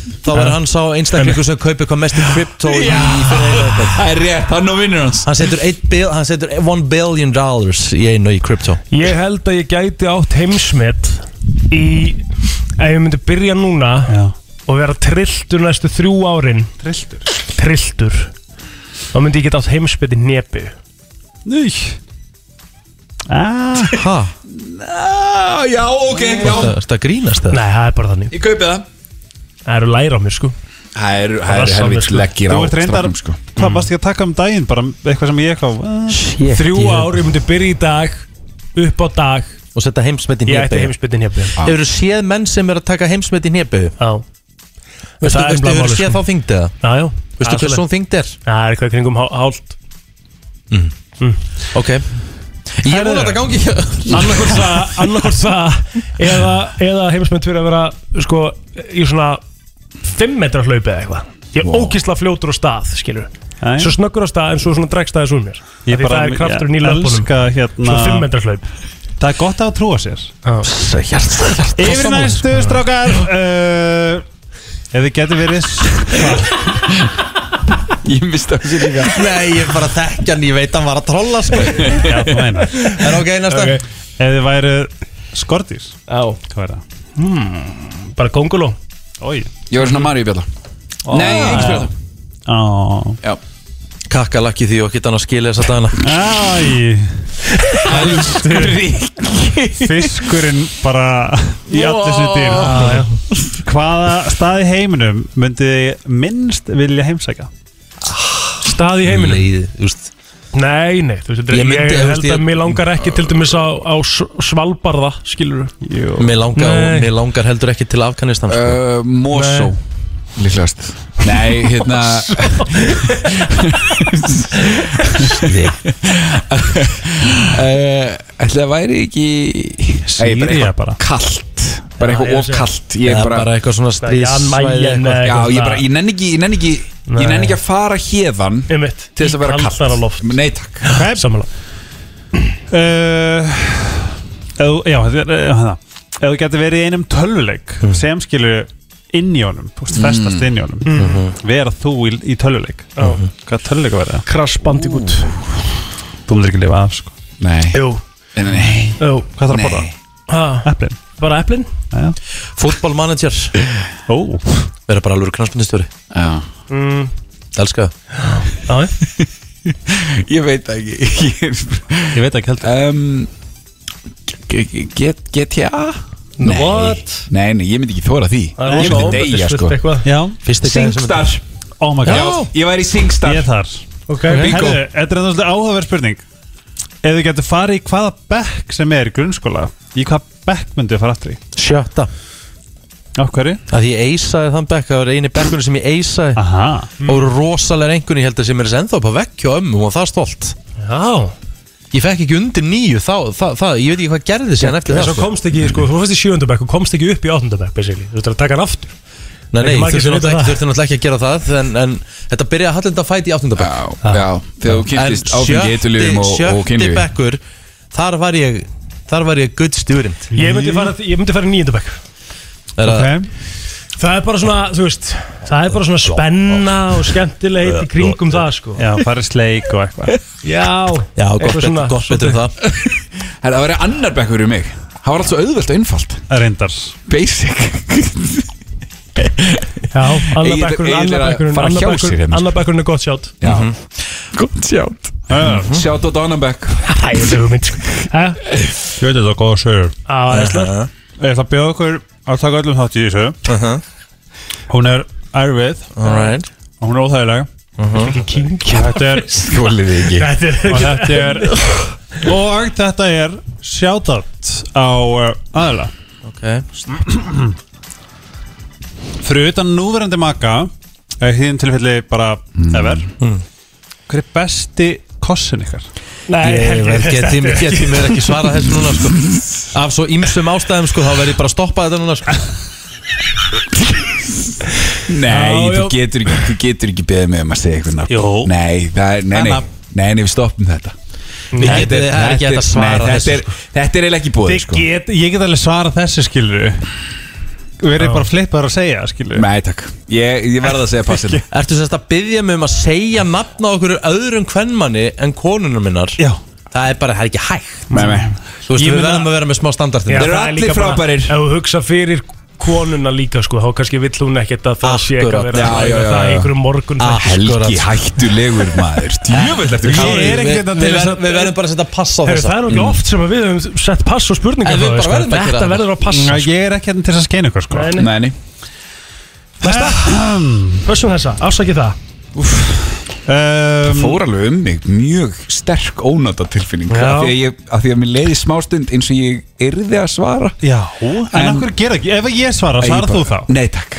[SPEAKER 1] Þá verður hann sá einstaklingur sem kaupi hvað mest í krypto í fyrir einu eitthvað.
[SPEAKER 3] Það er rétt, hann og vinnur hans
[SPEAKER 1] Hann setur 1 bil, hann setur 1 billion dollars í einu í krypto
[SPEAKER 2] Ég held að ég gæti átt heimsmet í Ef ég myndi byrja núna Já. Og vera trilltur næstu þrjú árin Trilltur? Trilltur Þá myndi ég geta átt heimsbyrði nefi
[SPEAKER 11] Nei ah.
[SPEAKER 1] Hæ?
[SPEAKER 3] Ah, já, ok, já
[SPEAKER 1] Þetta grínast það
[SPEAKER 2] Nei, það er bara þannig
[SPEAKER 3] Ég kaupi það
[SPEAKER 2] Það eru læra á mér sko
[SPEAKER 3] Það eru
[SPEAKER 2] Það er
[SPEAKER 3] helvit
[SPEAKER 2] samvisku.
[SPEAKER 3] leggir á
[SPEAKER 11] Þú ert reyndar,
[SPEAKER 3] stráknum, sko.
[SPEAKER 11] hvað varst ekki að taka um daginn bara eitthvað sem ég eitthvað
[SPEAKER 1] Shit,
[SPEAKER 2] Þrjú
[SPEAKER 1] ég-
[SPEAKER 2] ár, ég myndi byrja í dag Upp á dag
[SPEAKER 1] Og setja heimsmeti í
[SPEAKER 2] Ég ætti
[SPEAKER 1] hnébeygju.
[SPEAKER 2] heimsbyrði nefi
[SPEAKER 1] Hefur þú séð menn sem er að taka heimsmet í nefnböðu?
[SPEAKER 2] Já
[SPEAKER 1] Veistu, veistu,
[SPEAKER 2] Það er bara
[SPEAKER 1] hefur
[SPEAKER 2] málið,
[SPEAKER 1] þú séð
[SPEAKER 2] sko.
[SPEAKER 1] þá þyngdið það?
[SPEAKER 2] Já, já
[SPEAKER 1] Veistu
[SPEAKER 2] Allt í
[SPEAKER 1] hversu hún
[SPEAKER 2] lagi.
[SPEAKER 1] þyngd er?
[SPEAKER 2] Það er eitthvað kringum hál- hálft
[SPEAKER 1] Ok Ég vona að þetta gangi
[SPEAKER 2] Annarkvort það, annarkvort það eða, eða heimsmynd fyrir að vera sko, í svona 5 metra hlaupi eða eitthvað Ég er wow. ókísla fljótur á stað, skilur
[SPEAKER 11] Æ.
[SPEAKER 2] Svo snöggur á stað en svo svona dregst aðeins úr mér
[SPEAKER 11] Ég
[SPEAKER 2] Af Því
[SPEAKER 11] bara-
[SPEAKER 2] það er kraftur
[SPEAKER 11] ég
[SPEAKER 2] nýla löpunum
[SPEAKER 11] elska, hérna-
[SPEAKER 2] Svo 5 metra hlaup
[SPEAKER 11] Það er gott að trúa sér Yfir
[SPEAKER 2] Yfir
[SPEAKER 11] næstu strákar uh, Ef þið getur verið
[SPEAKER 3] Ég misti það sér líka
[SPEAKER 1] Nei, ég er bara að þekkja hann, ég veit að hann var að trolla sko
[SPEAKER 11] Já, þú meinar
[SPEAKER 1] Það er ok, næsta
[SPEAKER 2] Ok.
[SPEAKER 11] Ef þið væru skortís
[SPEAKER 2] Já,
[SPEAKER 11] Hvað er það?
[SPEAKER 2] hmm, bara konguló
[SPEAKER 11] Ói
[SPEAKER 3] Ég var svona Maríu bjalla Nei, ég ekki spila það
[SPEAKER 11] Ó
[SPEAKER 3] Já
[SPEAKER 1] Kakkalakki því og geta hann að skilja þess að dagana
[SPEAKER 11] Æ Fiskurinn bara í allir
[SPEAKER 2] Já,
[SPEAKER 11] sér
[SPEAKER 2] já.
[SPEAKER 11] dýr Hvaða stað í heiminum myndið þið minnst vilja heimsæka?
[SPEAKER 2] Stað í heiminum
[SPEAKER 1] Leið, þú veist
[SPEAKER 2] Nei, nei, þú veist, þetta er-
[SPEAKER 1] Ég myndi,
[SPEAKER 2] ég
[SPEAKER 1] þú veist,
[SPEAKER 2] held
[SPEAKER 1] ég-
[SPEAKER 2] að mér langar ekki til dæmis á, á S- Svalbarða, skilur
[SPEAKER 11] Jú
[SPEAKER 1] Mér langar,
[SPEAKER 2] Nei.
[SPEAKER 1] mér langar heldur ekki til Afganistan sko.
[SPEAKER 3] Uh, Mosó Líklegast Nei, hérna uh, Ætli það væri ekki Nei, bara
[SPEAKER 11] Sýrja
[SPEAKER 3] eitthvað
[SPEAKER 11] bara
[SPEAKER 3] Kallt Bara
[SPEAKER 2] Já,
[SPEAKER 3] eitthvað
[SPEAKER 2] ég
[SPEAKER 3] of
[SPEAKER 2] sé.
[SPEAKER 3] kalt Ég
[SPEAKER 1] Eða
[SPEAKER 3] bara,
[SPEAKER 1] bara eitthvað svona
[SPEAKER 2] Jan
[SPEAKER 1] stríðsvæði
[SPEAKER 2] Mayen
[SPEAKER 3] Já,
[SPEAKER 1] eitthvað.
[SPEAKER 2] eða eitthvað
[SPEAKER 3] ég
[SPEAKER 2] svona.
[SPEAKER 3] bara Ég nenni ekki Ég nenni ekki, ég nenni ekki að fara hérðan
[SPEAKER 2] Einmitt,
[SPEAKER 3] Til þess að vera kallt
[SPEAKER 2] Kaldara loft
[SPEAKER 3] Nei, takk
[SPEAKER 2] Samanlega
[SPEAKER 11] Uh, ef- já, þetta er- já, það Ef þú getur verið í einum tölvuleik
[SPEAKER 2] Mhm.
[SPEAKER 11] sem skilur inn í honum þú veist, festast inn í honum vera þú í, í tölvuleik
[SPEAKER 2] Mhm.
[SPEAKER 11] hvað tölvuleik verða?
[SPEAKER 2] Crash Bandicoot
[SPEAKER 11] Þú myndir ekki lifa af sko
[SPEAKER 3] Nei,
[SPEAKER 2] Jú,
[SPEAKER 3] nei,
[SPEAKER 2] jú
[SPEAKER 11] Hvað þarf að borða?
[SPEAKER 3] nei.
[SPEAKER 2] ha,
[SPEAKER 11] Eplin?
[SPEAKER 2] Bara eplin?
[SPEAKER 11] Jæja.
[SPEAKER 1] Football manager
[SPEAKER 11] Ó,
[SPEAKER 1] Verða bara alveg knarspindistjóri
[SPEAKER 3] Já.
[SPEAKER 2] Mm,
[SPEAKER 1] Elska það
[SPEAKER 2] já, já.
[SPEAKER 3] Ég veit það ekki Ég-
[SPEAKER 11] ég veit ekki heldur
[SPEAKER 3] um, g- g- get, GTA? Nei.
[SPEAKER 2] What?
[SPEAKER 3] Nei, nei, ég myndi ekki þóra því
[SPEAKER 2] Það er
[SPEAKER 3] Ég
[SPEAKER 2] rosa
[SPEAKER 3] myndi deyja
[SPEAKER 2] ofbeldisfullt
[SPEAKER 3] sko
[SPEAKER 2] eitthvað.
[SPEAKER 11] Já,
[SPEAKER 1] Fyrsti gæði sem-
[SPEAKER 3] Singstar
[SPEAKER 11] oh my god
[SPEAKER 3] Já, ég væri í Singstar
[SPEAKER 11] Ég er þar
[SPEAKER 2] Ok,
[SPEAKER 11] Herðu, þetta er endanslega áhugaverð spurning Ef þú getur farið í hvaða bekk sem er í grunnskóla í hvaða bekk myndu að fara aftur í?
[SPEAKER 1] Sjötta
[SPEAKER 11] Á hverju?
[SPEAKER 1] Að ég eisaði þann bekk Það var eini bekkunni sem ég eisaði
[SPEAKER 11] Aha
[SPEAKER 1] Það voru rosalega engunni Ég held að sem er þess ennþá upp að vekkja ömmu og það stolt
[SPEAKER 2] já
[SPEAKER 1] Ég fekk ekki undir nýju þá, það, það, ég veit ekki hvað gerði síðan eftir það
[SPEAKER 2] Svo
[SPEAKER 1] sko.
[SPEAKER 2] komst ekki, sko, þú fyrst í sjöundabæk og komst ekki upp í áttundabæk, basically Þú ert að taka hann aftur
[SPEAKER 1] Nei, nei,
[SPEAKER 2] Ekki margir
[SPEAKER 1] þurfti
[SPEAKER 2] sem vita
[SPEAKER 1] náttúrulega
[SPEAKER 2] það.
[SPEAKER 1] ekki, þurfti náttúrulega ekki að gera það En, en þetta byrjaði að hallenda fæti í áttundabæk
[SPEAKER 3] Já, já, þegar þú kynntist áfengi eitulífum og, og
[SPEAKER 1] sjötti
[SPEAKER 3] kynlífi
[SPEAKER 1] bekkur, þar var ég, þar var ég good student
[SPEAKER 2] Ég myndi fara, ég myndi fara í níundabæk
[SPEAKER 1] Er að-
[SPEAKER 11] okay.
[SPEAKER 2] Það er bara svona, þú veist Það er bara svona spenna og skemmtilegheit í kringum það, sko
[SPEAKER 11] Já, farið sleik og eitthvað
[SPEAKER 2] Já,
[SPEAKER 1] Já, gott
[SPEAKER 2] eitthvað
[SPEAKER 1] betur,
[SPEAKER 2] svona-
[SPEAKER 1] gott betur en það
[SPEAKER 3] Herra, Það væri annar bekkur í mig Það var allt svo auðvelt og einfalt
[SPEAKER 11] Reyndar
[SPEAKER 3] Basic
[SPEAKER 2] Já, annar
[SPEAKER 3] Egill-
[SPEAKER 2] bekkurinn,
[SPEAKER 3] Egill er
[SPEAKER 2] annar
[SPEAKER 3] að
[SPEAKER 2] bekkurinn
[SPEAKER 3] fara
[SPEAKER 2] annar
[SPEAKER 3] hjá sér
[SPEAKER 2] bekkurinn-
[SPEAKER 3] hérna, sko.
[SPEAKER 2] Annar bekkurinn er gott sjátt
[SPEAKER 3] Já Gótt sjátt Sjátt á Dánabekk
[SPEAKER 2] Æ, þetta er hugmynd Hæ?
[SPEAKER 11] Ég veit þetta er góða sögur
[SPEAKER 2] Á, æsla
[SPEAKER 11] Ég ætla að bjóða okkur að taka öllum þátt í þessu Hún er erfið
[SPEAKER 1] Alright
[SPEAKER 11] og hún er óþægileg
[SPEAKER 2] Ekki king
[SPEAKER 11] Þetta er
[SPEAKER 3] Skólið þið ekki
[SPEAKER 2] Þetta er
[SPEAKER 11] og þetta er og þetta er shoutout á uh, aðila
[SPEAKER 1] Ok,
[SPEAKER 11] Fyrir utan núverandi maka er hýðin tilfelli bara
[SPEAKER 2] Mm.
[SPEAKER 11] ever Hver er besti kossin ykkar?
[SPEAKER 2] Nei,
[SPEAKER 1] ég
[SPEAKER 2] helviti,
[SPEAKER 1] verð
[SPEAKER 2] þetta
[SPEAKER 1] getið
[SPEAKER 2] er-
[SPEAKER 1] mér getið mér ekki svara þessu núna sko Af svo ymsum ástæðum sko, þá verð ég bara að stoppa þetta núna sko
[SPEAKER 3] Nei,
[SPEAKER 2] Já,
[SPEAKER 3] þú
[SPEAKER 2] já.
[SPEAKER 3] getur ekki, þú getur ekki beðið mig um að segja eitthvað nafn
[SPEAKER 11] Jó.
[SPEAKER 3] Nei, það er, nei, nei, nei, nei, við stoppum þetta
[SPEAKER 1] Við getum- Það er ekki hægt að svara
[SPEAKER 3] nei,
[SPEAKER 1] þessu,
[SPEAKER 3] þetta er, þetta er eiginlega ekki búið sko.
[SPEAKER 11] Get, ég get alveg svara þessu skilur Verið bara flippaður að segja skilur
[SPEAKER 3] Nei, takk Ég, ég verða að segja passil
[SPEAKER 1] Ertu semst að byggja mig um að segja nafna okkur öðrum kvenmanni en konunum minnar
[SPEAKER 11] Já,
[SPEAKER 1] Það Það er bara, það er ekki hægt
[SPEAKER 3] Nei, nei.
[SPEAKER 1] Þú veist,
[SPEAKER 2] Ég
[SPEAKER 1] við
[SPEAKER 2] meina-
[SPEAKER 1] verðum að vera með smá hérna. standart
[SPEAKER 2] Já, það líka bara- Ef þú hugsa fyrir konuna líka sko, þá kannski vill hún ekkert að það sé eitthvað
[SPEAKER 3] Akkurat,
[SPEAKER 2] verið að
[SPEAKER 3] já, já,
[SPEAKER 2] ræða
[SPEAKER 3] já,
[SPEAKER 2] það
[SPEAKER 3] já. Ah,
[SPEAKER 2] einhverjum morgun sko.
[SPEAKER 3] Helgi hættulegur maður Djöfull ertu
[SPEAKER 2] Ég
[SPEAKER 3] klár.
[SPEAKER 2] er ekkert að til þess að-
[SPEAKER 1] bara að setja pass
[SPEAKER 2] Heyrðu, Það er nú ekki oft sem að við höfum sett pass og spurningar
[SPEAKER 11] Mm. En
[SPEAKER 2] frá þér,
[SPEAKER 11] við bara
[SPEAKER 2] sko.
[SPEAKER 11] verðum að gera
[SPEAKER 2] Þetta
[SPEAKER 11] það.
[SPEAKER 2] verður að passa
[SPEAKER 11] Já, Ég er ekki hérna til þess að skeina ykkur sko
[SPEAKER 2] Nei, nei.
[SPEAKER 3] nei
[SPEAKER 2] Vössum þessa, afsakið það
[SPEAKER 11] Ehm,
[SPEAKER 3] Það fór alveg um mig mjög sterk ónata tilfinning
[SPEAKER 11] Já.
[SPEAKER 3] af því, að ég, af því að mér leiði smástund eins og ég yrði að svara
[SPEAKER 11] Já, en, en af hverju gera ekki? Ef ég svara,
[SPEAKER 3] Ég
[SPEAKER 11] svarar
[SPEAKER 3] bara-
[SPEAKER 11] þú þá?
[SPEAKER 3] Nei, takk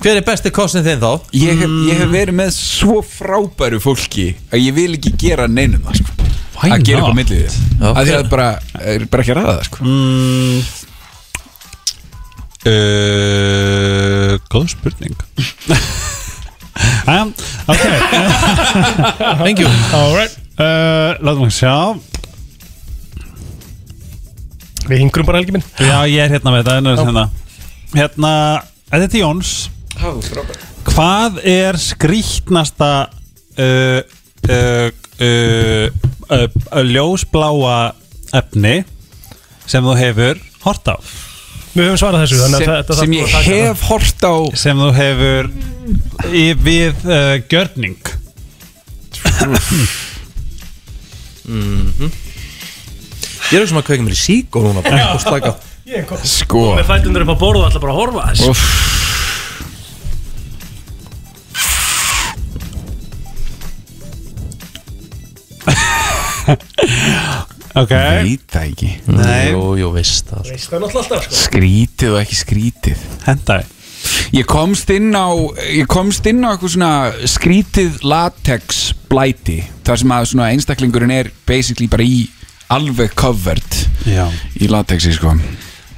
[SPEAKER 1] Hver er besti kostin þinn þá?
[SPEAKER 3] Ég hef, ég
[SPEAKER 11] Mm.
[SPEAKER 3] hef verið með svo frábæru fólki að ég vil ekki gera neinum það sko.
[SPEAKER 11] Why
[SPEAKER 3] að gera upp á
[SPEAKER 11] not?
[SPEAKER 3] millið þið
[SPEAKER 11] Já,
[SPEAKER 3] að því
[SPEAKER 11] ok.
[SPEAKER 3] að bara, er bara ekki að ræða það sko.
[SPEAKER 11] mm, uh, Góð spurning um, Ok
[SPEAKER 1] Thank you
[SPEAKER 2] Alright
[SPEAKER 11] uh, Látum við sjá
[SPEAKER 2] Við hingrum bara helgi minn
[SPEAKER 11] Já, ég er hérna með þetta en er hérna. Hérna, þetta er Jóns Hvað er skrýtnasta uh, uh, uh, uh, uh, ljósbláa efni sem þú hefur hort á?
[SPEAKER 2] Við höfum svarað þessu þannig að þetta- þetta þarf að taka það.
[SPEAKER 3] hort á
[SPEAKER 11] sem þú hefur í, við uh, gjörning
[SPEAKER 1] Ég er sem að kveika mér í sík og núna bara, og slaka.
[SPEAKER 2] Ég er komið
[SPEAKER 3] Sko
[SPEAKER 2] Með fætundur upp á borðu alltaf bara að horfa að þessu.
[SPEAKER 11] Ok
[SPEAKER 3] Veit það ekki
[SPEAKER 11] Nei.
[SPEAKER 1] Jú, jú, veist það
[SPEAKER 2] Veist það náttúrulega alltaf sko.
[SPEAKER 3] Skrítið og ekki skrítið
[SPEAKER 11] Hentai
[SPEAKER 3] Ég komst inn á Ég komst inn á eitthvað svona skrítið latex blæti þar sem að svona einstaklingurinn er basically bara í alveg covered
[SPEAKER 11] Já.
[SPEAKER 3] í latexi sko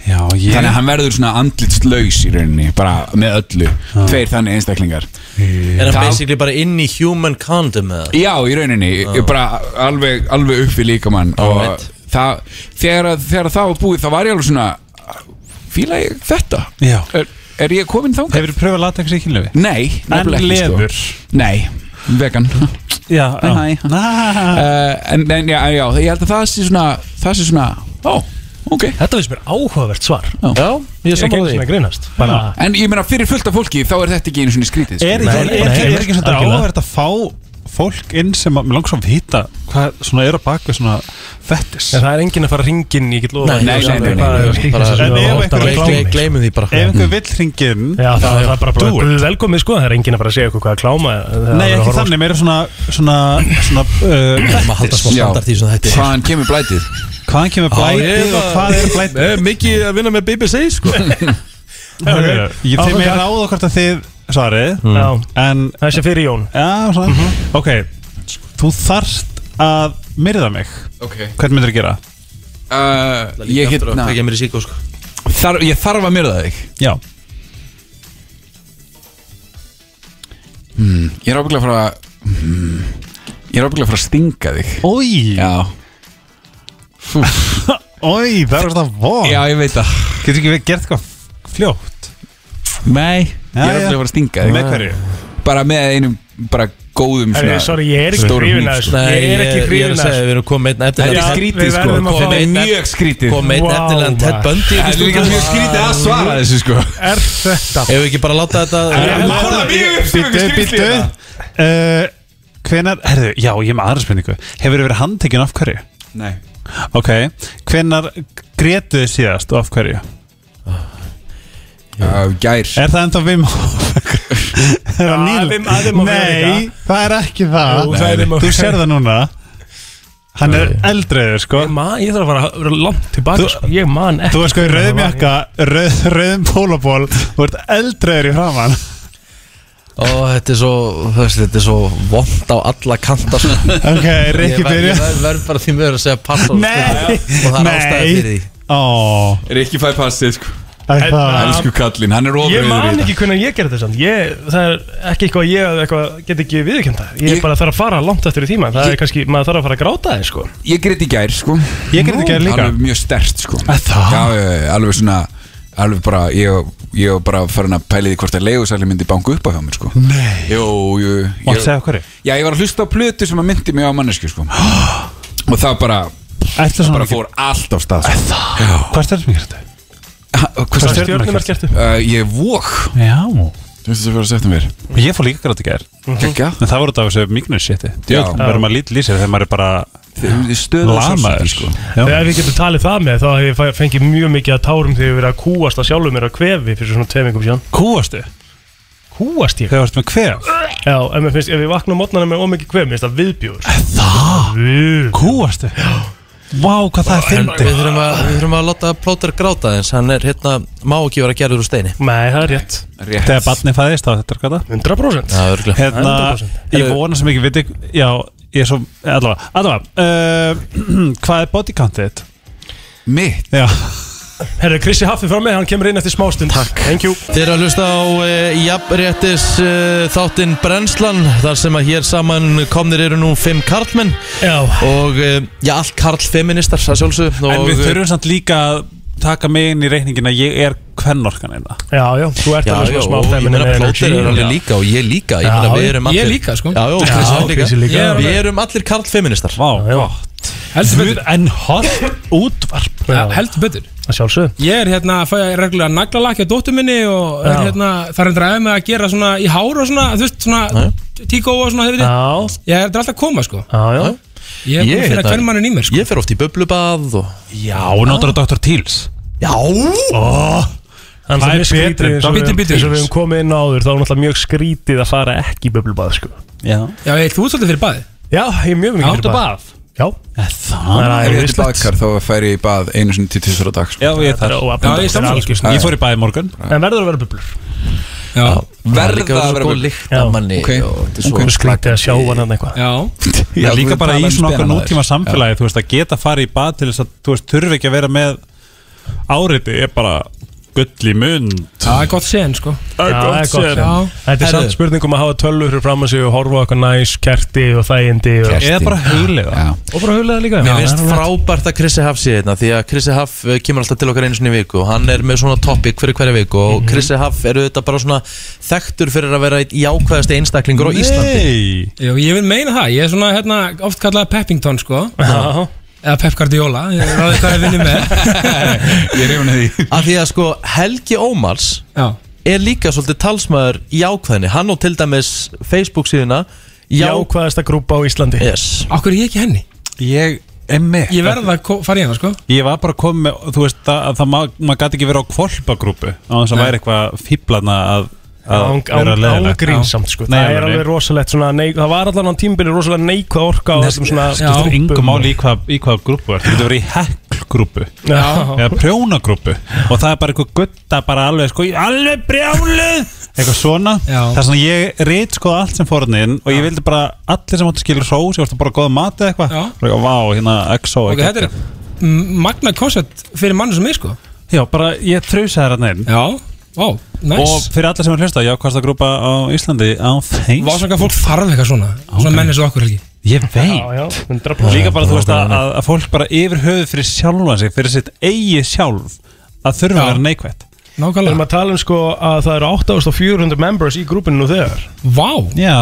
[SPEAKER 11] Já, ég
[SPEAKER 3] Þannig að hann verður svona andlitslaus í rauninni bara með öllu, tveir þannig einstaklingar
[SPEAKER 1] Er hann
[SPEAKER 3] Það-
[SPEAKER 1] basically bara inn í human condom eða?
[SPEAKER 3] Já, í rauninni, ég bara alveg, alveg upp við líkamann og
[SPEAKER 1] Alright.
[SPEAKER 3] það, þegar, að- þegar það var búið þá var ég alveg svona fíla ég þetta?
[SPEAKER 11] Já.
[SPEAKER 3] Er, er ég komin þangað?
[SPEAKER 11] Hefur þú pröfað latex í kynlöfi?
[SPEAKER 3] Nei, nefnilega
[SPEAKER 11] En
[SPEAKER 3] ekki sko.
[SPEAKER 11] leður?
[SPEAKER 3] Nei, vegan
[SPEAKER 11] Já,
[SPEAKER 3] Hæ, hæ. uh, en, en já, já, ég held að það sé svona það sé svona, ó, ok
[SPEAKER 2] Þetta finnst mér áhugavert svar
[SPEAKER 1] Já,
[SPEAKER 2] Ég er sammála því. Ég er ekki einu sinni að grínast, bara-
[SPEAKER 3] En ég meina fyrir fullt af fólki þá er þetta ekki einu svona skrítið sko.
[SPEAKER 11] Er ekki, er, er, er ekki svona áhverð að fá fólk inn sem að, mér langs að vita hvað svona er á baku svona fettis
[SPEAKER 2] En það er enginn að fara hringin, ég get lofa
[SPEAKER 11] Nei, nei, nei, nei, nei, nei, nei, bara- En ef einhver vill-
[SPEAKER 1] gleymum því bara.
[SPEAKER 11] Ef einhver vill hringin
[SPEAKER 2] Já, það er bara
[SPEAKER 11] Do it.
[SPEAKER 2] bara velkomið sko, það er enginn að fara að segja okkur hvað að kláma
[SPEAKER 11] Nei, ekki þannig, meira svona svona, svona uh,
[SPEAKER 1] að halda smá
[SPEAKER 11] Já.
[SPEAKER 1] standard í svona þætti.
[SPEAKER 3] Hvaðan kemur blætið?
[SPEAKER 11] Hvaðan kemur blætið og hvað er blætið?
[SPEAKER 1] Mikið að vinna með BBC sko
[SPEAKER 11] Hörru, Ég þeim ég ráða hvort að þið svarið
[SPEAKER 2] Já.
[SPEAKER 11] En
[SPEAKER 2] Það sé fyrir Jón Mhm.
[SPEAKER 11] Já, svona Ok, þú þarft að myrða mig
[SPEAKER 3] Ok.
[SPEAKER 11] Hvernig myndir þú gera?
[SPEAKER 3] Uh, ég
[SPEAKER 1] aftur að
[SPEAKER 3] hérna
[SPEAKER 1] kveikja mér í síkó sko
[SPEAKER 3] Þar, ég þarf að myrða þig
[SPEAKER 11] Já
[SPEAKER 3] hmm, Ég er ábygglega að fara að- hmm, Ég er ábygglega að fara að stinga þig
[SPEAKER 11] Ói
[SPEAKER 3] Já
[SPEAKER 11] Ói, það er svona von
[SPEAKER 3] Já, ég veit það
[SPEAKER 11] Getur ekki verið gert eitthvað fljótt?
[SPEAKER 3] Nei Ég
[SPEAKER 11] Já,
[SPEAKER 3] er
[SPEAKER 11] já.
[SPEAKER 3] ábygglega að fara að stinga þig
[SPEAKER 11] Með hverju?
[SPEAKER 3] Bara með einum, bara góðum
[SPEAKER 2] Herri, sorry, ég er ekki
[SPEAKER 3] stórum
[SPEAKER 2] hrifinn
[SPEAKER 3] hníf,
[SPEAKER 2] af þessu.
[SPEAKER 3] sko.
[SPEAKER 2] Ég er ekki
[SPEAKER 1] Ég er að
[SPEAKER 2] hrifinn af
[SPEAKER 1] segja,
[SPEAKER 2] þessu.
[SPEAKER 1] við erum komið einn
[SPEAKER 3] Þetta
[SPEAKER 1] eftirlega
[SPEAKER 3] er skrítið
[SPEAKER 2] við
[SPEAKER 3] sko
[SPEAKER 2] verðum að fá-
[SPEAKER 3] Þetta er mjög skrítið
[SPEAKER 1] Komið einn
[SPEAKER 2] Vá,
[SPEAKER 1] eftirlega Ted
[SPEAKER 2] maður.
[SPEAKER 1] Bundy
[SPEAKER 3] Það er líka mjög skrítið að svara þessu sko
[SPEAKER 2] Er þetta
[SPEAKER 1] Ef við ekki bara láta þetta
[SPEAKER 3] Horfðu mjög upp sem
[SPEAKER 11] Býttu,
[SPEAKER 3] eitthvað skrítið
[SPEAKER 11] býttu
[SPEAKER 3] þetta.
[SPEAKER 11] uh, Hvenar, herðu, já, ég er með aðra spurningu Hefur þið verið handtekinn af hverju?
[SPEAKER 3] Nei
[SPEAKER 11] Ok, hvenar grétu þið síðast og af hverju?
[SPEAKER 3] Uh, Gær
[SPEAKER 11] Er það ennþá Vim Hofer?
[SPEAKER 2] Vim-
[SPEAKER 11] Er það
[SPEAKER 2] að Wim
[SPEAKER 11] nýlega?
[SPEAKER 2] Hof er
[SPEAKER 11] Nei,
[SPEAKER 2] líka.
[SPEAKER 11] það er ekki það
[SPEAKER 2] Jú, það er Vim Hof.
[SPEAKER 11] Þú sér það núna Hann er eldreiður sko
[SPEAKER 2] Ég man- Ég þarf að fara- vera langt tilbaka
[SPEAKER 11] Þú-
[SPEAKER 2] sko. Ég man ekki
[SPEAKER 11] Þú er sko í
[SPEAKER 2] hvernig
[SPEAKER 11] rauðum
[SPEAKER 2] það var.
[SPEAKER 11] jakka, rauð, rauðum pólaból Þú ert eldreiður í framann
[SPEAKER 1] Ó, þetta er svo, þú veist, þetta er svo vond á alla kanta sko.
[SPEAKER 11] Ok,
[SPEAKER 1] Ég
[SPEAKER 11] Rikki
[SPEAKER 1] verð-
[SPEAKER 11] byrja
[SPEAKER 1] Ég verð- verð bara því mögur að segja pass á, sko.
[SPEAKER 11] Nei,
[SPEAKER 1] Og það er ástæði fyrir því
[SPEAKER 11] nei Ó,
[SPEAKER 3] Rikki fæ passið sko
[SPEAKER 11] það er það
[SPEAKER 3] Elsku kallinn, hann er
[SPEAKER 2] Ég
[SPEAKER 3] ofröður
[SPEAKER 2] man ekki hvernig ég gerði þetta samt. Ég- Það er ekki eitthvað að ég eitthvað, get ekki viðkjönda Ég
[SPEAKER 3] Ég-
[SPEAKER 2] er bara þarf að fara langt eftir í tíma Það er kannski, maður þarf að fara að gráta það sko.
[SPEAKER 3] Ég greit í gær sko
[SPEAKER 11] Ég gerði þetta í gær líka.
[SPEAKER 3] Alveg mjög stert sko
[SPEAKER 11] Að það?
[SPEAKER 3] Já, já, já, alveg svona alveg bara, ég, ég var bara farin að pæli því hvort að leigusæli myndi banku upp á hjá mér sko. Nei Jó, jú
[SPEAKER 11] Má að segja hverju?
[SPEAKER 3] Já, ég var að hlusta á plötu sem að myndi mig á mannesku sko. Og það bara Það bara fór allt á stað sko.
[SPEAKER 11] Hvað er stjórnum gert?
[SPEAKER 3] Hvað
[SPEAKER 11] stjörnumerki ertu?
[SPEAKER 3] Uh, ég vók
[SPEAKER 11] Já
[SPEAKER 3] Þú veist það sem fyrir að setja mér
[SPEAKER 11] Ég fór líka grátt í gær
[SPEAKER 3] Gekka
[SPEAKER 11] En það voru þetta af þessu mignusseti
[SPEAKER 3] Já.
[SPEAKER 11] Verður maður lítið lýsir þegar maður er
[SPEAKER 3] bara
[SPEAKER 2] stöðugur sársauki,
[SPEAKER 11] Lamaður sko
[SPEAKER 2] Þegar við getum talið það með þá hef ég fæ- fengið mjög mikið að tárum þegar ég verið að kúast að sjálfum mér að kvefi fyrir svona tveimingum síðan
[SPEAKER 11] Kúastu?
[SPEAKER 2] Kúast ég?
[SPEAKER 11] Þegar varstu með kvef?
[SPEAKER 2] Já, en mér finnst, ef ég vakna á mótnana með ómikið kvef, mér finnst það viðbjóður
[SPEAKER 11] Það? Kúastu? Vá, hvað það er
[SPEAKER 1] fyndi Við þurfum að, við þurfum að láta plóter gráta eins Hann er hérna, má ekki vera gerður úr steini
[SPEAKER 2] Nei, það er rétt
[SPEAKER 3] Rétt
[SPEAKER 11] Þegar barni fæðist á þetta er gata
[SPEAKER 2] 100%
[SPEAKER 1] Já, örugglega.
[SPEAKER 11] Hérna,
[SPEAKER 1] 100%.
[SPEAKER 11] ég vona sem ekki viti Já, ég er svo, allavega Allavega, uh, hvað er body count þitt?
[SPEAKER 3] Mitt?
[SPEAKER 11] Já
[SPEAKER 2] Herru, Krissi Haffi frá mig, hann kemur inn eftir smástund Takk Thank you
[SPEAKER 1] Þið eru að hlusta á e, jafnréttis e, þáttinn Brennslan þar sem að hér saman komnir eru nú fimm karlmenn
[SPEAKER 2] Já
[SPEAKER 1] Og e, já, allt karlfeministar, það sjálfsög
[SPEAKER 11] En við þurfum samt líka að taka mig inn í reikningin að ég er kvennorkan hérna. einna
[SPEAKER 2] Já, já, þú ert
[SPEAKER 1] Já,
[SPEAKER 2] alveg
[SPEAKER 1] já,
[SPEAKER 2] svona smá
[SPEAKER 1] og ég
[SPEAKER 2] feminine
[SPEAKER 1] meina
[SPEAKER 2] energy.
[SPEAKER 1] plóter er alveg líka og ég líka Ég meina
[SPEAKER 2] Já,
[SPEAKER 1] við erum
[SPEAKER 2] ég
[SPEAKER 1] allir
[SPEAKER 2] líka, sko.
[SPEAKER 1] Já, já,
[SPEAKER 2] Já,
[SPEAKER 1] Krissi líka,
[SPEAKER 2] Krissi líka.
[SPEAKER 1] Ég er-
[SPEAKER 2] Já.
[SPEAKER 1] Við erum allir karlfeministar
[SPEAKER 11] Vá, gott
[SPEAKER 12] Heldur
[SPEAKER 11] En hot útvarp
[SPEAKER 12] Já, heldur betur
[SPEAKER 2] Að sjálfsög
[SPEAKER 12] Ég er hérna að fæ reglulega naglalakja dóttur minni og er
[SPEAKER 2] Já.
[SPEAKER 12] hérna, þar hendur aðeins með að gera svona í hár og svona, þú veist, svona tíkó og svona, þau veitir
[SPEAKER 2] Já
[SPEAKER 12] Ég er þetta er alltaf að koma, sko
[SPEAKER 2] Já, já
[SPEAKER 12] Ég er búin að finna hvernig mann í mér, sko
[SPEAKER 1] hérna- Ég fer oft í bublubað og...
[SPEAKER 11] Já, og notar að Dr. Teals
[SPEAKER 1] Já
[SPEAKER 2] En það er skrítið eins og við-
[SPEAKER 12] Bíti, bíti,
[SPEAKER 2] eins og við hefum komið inn áður þá er náttúrulega mjög skrítið að fara ekki í böblubað sko.
[SPEAKER 11] Já,
[SPEAKER 12] Já, ég, þú ert svolítið fyrir baði
[SPEAKER 2] Já, ég er mjög mikið
[SPEAKER 12] Áttu bað?
[SPEAKER 2] Já
[SPEAKER 3] Ef ég er bakar þá fær ég í bað einu sinni til tísar á dag sko.
[SPEAKER 11] Já, ég er þar
[SPEAKER 3] Já, ég er sammála, sko.
[SPEAKER 11] Ég fór í bæði morgun
[SPEAKER 2] En verður að vera bublur
[SPEAKER 12] Já,
[SPEAKER 3] verða að
[SPEAKER 1] sko
[SPEAKER 3] vera
[SPEAKER 2] Já.
[SPEAKER 3] Ok,
[SPEAKER 2] Og skrítið að sjá hann hann eitthvað
[SPEAKER 12] Já
[SPEAKER 11] Já, líka bara í svona okkar nútíma samfélagi þú veist að geta farið í bað til þess að þú veist þurfi ekki að vera með áriti er bara gull í mund
[SPEAKER 12] Það er gott sen, sko
[SPEAKER 11] Það er
[SPEAKER 2] Já,
[SPEAKER 11] gott
[SPEAKER 2] það er
[SPEAKER 11] séð.
[SPEAKER 2] séð. Þetta er
[SPEAKER 11] Herðu.
[SPEAKER 2] samt spurning um að hafa tölvur fyrir fram að sig og horfa á eitthvað næs, kerti og þægindi og-
[SPEAKER 1] Kerti. Eða bara hugleiða.
[SPEAKER 3] Já.
[SPEAKER 2] Og bara huglega líka
[SPEAKER 1] Mér finnst frábært að Krissi Haf sé hérna Því að Krissi Haf eh, kemur alltaf til okkar einu sinni í viku Og hann er með svona topic fyrir hverja viku Og
[SPEAKER 11] Mhm.
[SPEAKER 1] Krissi Haf eru þetta bara svona Þekktur fyrir að vera eitt jákvæðasti einstaklingur á Íslandi
[SPEAKER 12] Jú, ég vil meina það, ég er svona, hérna, oft kallað Peppington, sko
[SPEAKER 2] Já.
[SPEAKER 12] Eða Pep Guardiola, ég ráði hvað ég vinni með
[SPEAKER 3] Ég er yfirna því
[SPEAKER 1] Af því að sko Helgi Ómars
[SPEAKER 12] Já.
[SPEAKER 1] Er líka svolítið talsmaður í jákvæðinni Hann og til dæmis Facebook síðuna
[SPEAKER 2] Jákvæðasta grúpa á Íslandi
[SPEAKER 1] yes.
[SPEAKER 12] Akkur er ég ekki henni?
[SPEAKER 11] Ég er með
[SPEAKER 12] Ég verða að ko- fara í hana, sko
[SPEAKER 11] Ég var bara komið með, þú veist að, að það ma- maður ma gæti ekki verið á kvolpagrúpu á þess að
[SPEAKER 2] Nei.
[SPEAKER 11] væri eitthvað fíblana að, að
[SPEAKER 2] Án-
[SPEAKER 11] vera
[SPEAKER 2] án-
[SPEAKER 11] leiðilegt.
[SPEAKER 2] Ágrínsamt sko,
[SPEAKER 11] Nei,
[SPEAKER 2] það er
[SPEAKER 11] alveg.
[SPEAKER 2] alveg rosalegt svona neik, Það var allan á tímbili rosalega neikvað orka á
[SPEAKER 11] Nei,
[SPEAKER 2] þessum svona
[SPEAKER 11] skiptir yngu máli í hvað, í hvað grúpu er Þú getur verið í heklgrúpu
[SPEAKER 2] Já.
[SPEAKER 11] Eða prjónagrúpu Og það er bara eitthvað gutta bara alveg sko Alveg brjáluð Eitthvað svona
[SPEAKER 12] Já.
[SPEAKER 11] Það er svona ég reyt sko allt sem fórna inn Og ég vildi bara allir sem áttu skilur hrós Ég vorstu bara góða mat eða eitthvað
[SPEAKER 12] Já.
[SPEAKER 11] Og ég, Vá, hérna XO
[SPEAKER 12] Ok, þetta er m- magnað koncept fyrir mann sem ég, sko
[SPEAKER 11] Já, bara ég þrjusa þér að neinn
[SPEAKER 12] Já, vá, næs
[SPEAKER 11] Og fyrir alla sem er að hlusta, jákvæðasta grúpa á Íslandi á
[SPEAKER 12] Vá,
[SPEAKER 11] Facebook
[SPEAKER 12] svona hvað fólk þarf eitthvað svona Svona menn eins og okkur ekki
[SPEAKER 11] Ég veit
[SPEAKER 2] Já, já, 100%
[SPEAKER 11] Líka bara þú veist að, að, að fólk bara yfir höfuð fyrir sjálfan sig, fyrir sitt eigi sjálf að þurfa að vera neikvætt
[SPEAKER 2] Við erum
[SPEAKER 12] Nákvæmlega
[SPEAKER 2] að tala um sko að það eru 8400 members í grúpinu nú þegar
[SPEAKER 12] Vá,
[SPEAKER 11] Já,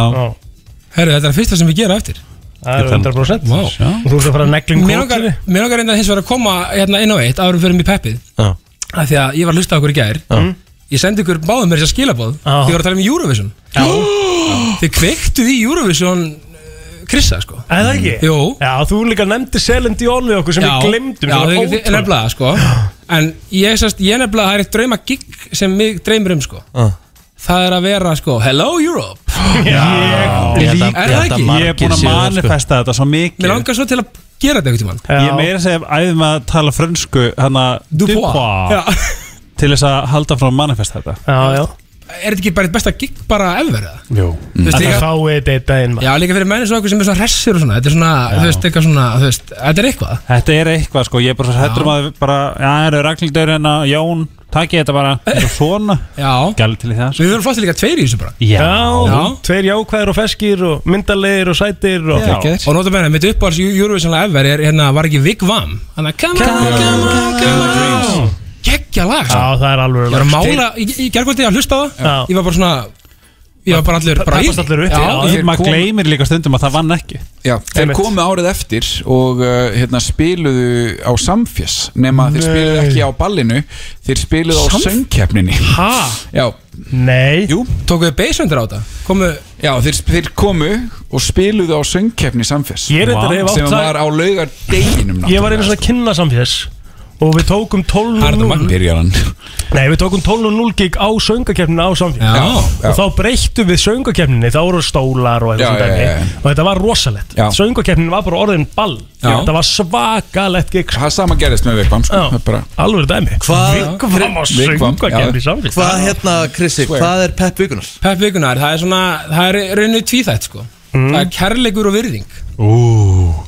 [SPEAKER 12] herru, þetta er það fyrsta sem við gera eftir
[SPEAKER 2] það eru 100%
[SPEAKER 12] Vá.
[SPEAKER 2] Og Þú ert að um fara að negling
[SPEAKER 12] Mér langar, mér langar reynda hins vegar að koma hérna inn á eitt árum fyrir mig peppið
[SPEAKER 1] Já.
[SPEAKER 12] af því að ég var að hlusta á okkur í gær Ég sendi ykkur báðum mér þess að skilabóð
[SPEAKER 2] Já.
[SPEAKER 12] Þið voru að tala um Eurovision Já. Þið kveiktu því Eurovision eh, Krissa, sko
[SPEAKER 2] Eða ekki?
[SPEAKER 12] Jú.
[SPEAKER 2] Já, þú líka nefndi Selin Dion við okkur sem við glemdum
[SPEAKER 12] Já, þið- þið- nefnilega, sko En ég, sest, ég nefnilega, það er eitt drauma gig sem mig dreymir um, sko Það er að vera, sko, Hello Europe
[SPEAKER 11] Ég
[SPEAKER 12] Er
[SPEAKER 11] líka-
[SPEAKER 12] það ekki?
[SPEAKER 11] Ég er
[SPEAKER 1] sko.
[SPEAKER 11] búin að manifesta þetta svo mikið
[SPEAKER 12] Mér langar svo til að gera þetta einhvern tímann
[SPEAKER 11] Ég meira að segja æðum að tala frönsku hann
[SPEAKER 12] Já.
[SPEAKER 11] að Dupois til þess að halda frá að manifesta þetta
[SPEAKER 2] Já, já
[SPEAKER 12] Er þetta ekki bara eitt besta gig bara ever, eða?
[SPEAKER 11] Jú
[SPEAKER 12] Þú veist,
[SPEAKER 2] Að
[SPEAKER 12] líka-
[SPEAKER 2] það fáið þetta inn
[SPEAKER 12] Já, líka fyrir menni svo okkur sem er svona hressir og svona Þetta er svona, þú veist, eitthvað svona, þú veist, þetta er eitthvað
[SPEAKER 11] Þetta er eitthvað sko, ég er bara svo hættur um að við bara, já, það eru ragldur en að Jón, takk ég þetta bara, þetta er svona
[SPEAKER 12] Já
[SPEAKER 11] Gæli til í það
[SPEAKER 12] Við verðum flott líka tveir í þessu bara
[SPEAKER 11] Já,
[SPEAKER 2] Já, tveir jákvæðir og feskir og myndarlegir og sætir og
[SPEAKER 12] Og nota meina, mitt uppáhalds Euro- Eurovision lag ever er, hérna, var ekki Vig Vam Þannig að, come on, come on, come on
[SPEAKER 1] geggja lag sko.
[SPEAKER 11] Já, það er alveg
[SPEAKER 1] Ég var að mála, ég gerði að hlusta á
[SPEAKER 11] Já.
[SPEAKER 1] það Ég var bara svona Ég var bara allur bara í-
[SPEAKER 2] Já,
[SPEAKER 1] Já,
[SPEAKER 2] ég- maður gleymir líka stundum að það vann ekki
[SPEAKER 3] Já, þeir
[SPEAKER 2] Einmitt.
[SPEAKER 3] komu árið eftir og uh, hérna, spiluðu á Samfjess nema að þeir
[SPEAKER 11] Nei.
[SPEAKER 3] spiluðu ekki á ballinu þeir spiluðu á
[SPEAKER 11] Samf-
[SPEAKER 3] söngkeppninni
[SPEAKER 11] Ha?
[SPEAKER 3] Já
[SPEAKER 11] Nei
[SPEAKER 3] Jú
[SPEAKER 1] Tókuðu beisöndir á þetta? Komu...
[SPEAKER 3] Já, þeir, þeir komu og spiluðu á söngkeppni Samfjess
[SPEAKER 11] Ég reyndar hef átt
[SPEAKER 3] Sem var
[SPEAKER 11] það-
[SPEAKER 3] á laugar deginum
[SPEAKER 11] Ég var einu svona að kynna samfélags Og við tókum 12.0
[SPEAKER 3] Byrjar hann
[SPEAKER 11] Nei, við tókum 12.0 gig á söngakefninu á samfélags
[SPEAKER 3] Já, já.
[SPEAKER 11] Og þá breyttum við söngakefninu Þá voru stólar og
[SPEAKER 3] Já,
[SPEAKER 11] eitthvað
[SPEAKER 3] já,
[SPEAKER 11] dæmi
[SPEAKER 3] já, já.
[SPEAKER 11] Og þetta var rosalegt
[SPEAKER 3] Já.
[SPEAKER 11] Söngakefninu var bara orðin ball
[SPEAKER 3] Já.
[SPEAKER 11] Þetta var svakalegt gig sko.
[SPEAKER 3] Það sama gerðist með Vigvam sko.
[SPEAKER 11] Já.
[SPEAKER 3] Það er bara-
[SPEAKER 11] Alveg dæmi
[SPEAKER 13] Hvað-
[SPEAKER 11] Vigvam á
[SPEAKER 3] Vigvam,
[SPEAKER 11] söngakefni
[SPEAKER 3] já.
[SPEAKER 11] samfélags
[SPEAKER 2] Ah,
[SPEAKER 13] Hvað hérna, Krissi,
[SPEAKER 1] Swear.
[SPEAKER 13] hvað er Pepp Vigunar?
[SPEAKER 1] Pepp Vigunar, það er svona Það er rauninu tvíþætt sko Það er kærleikur og virðing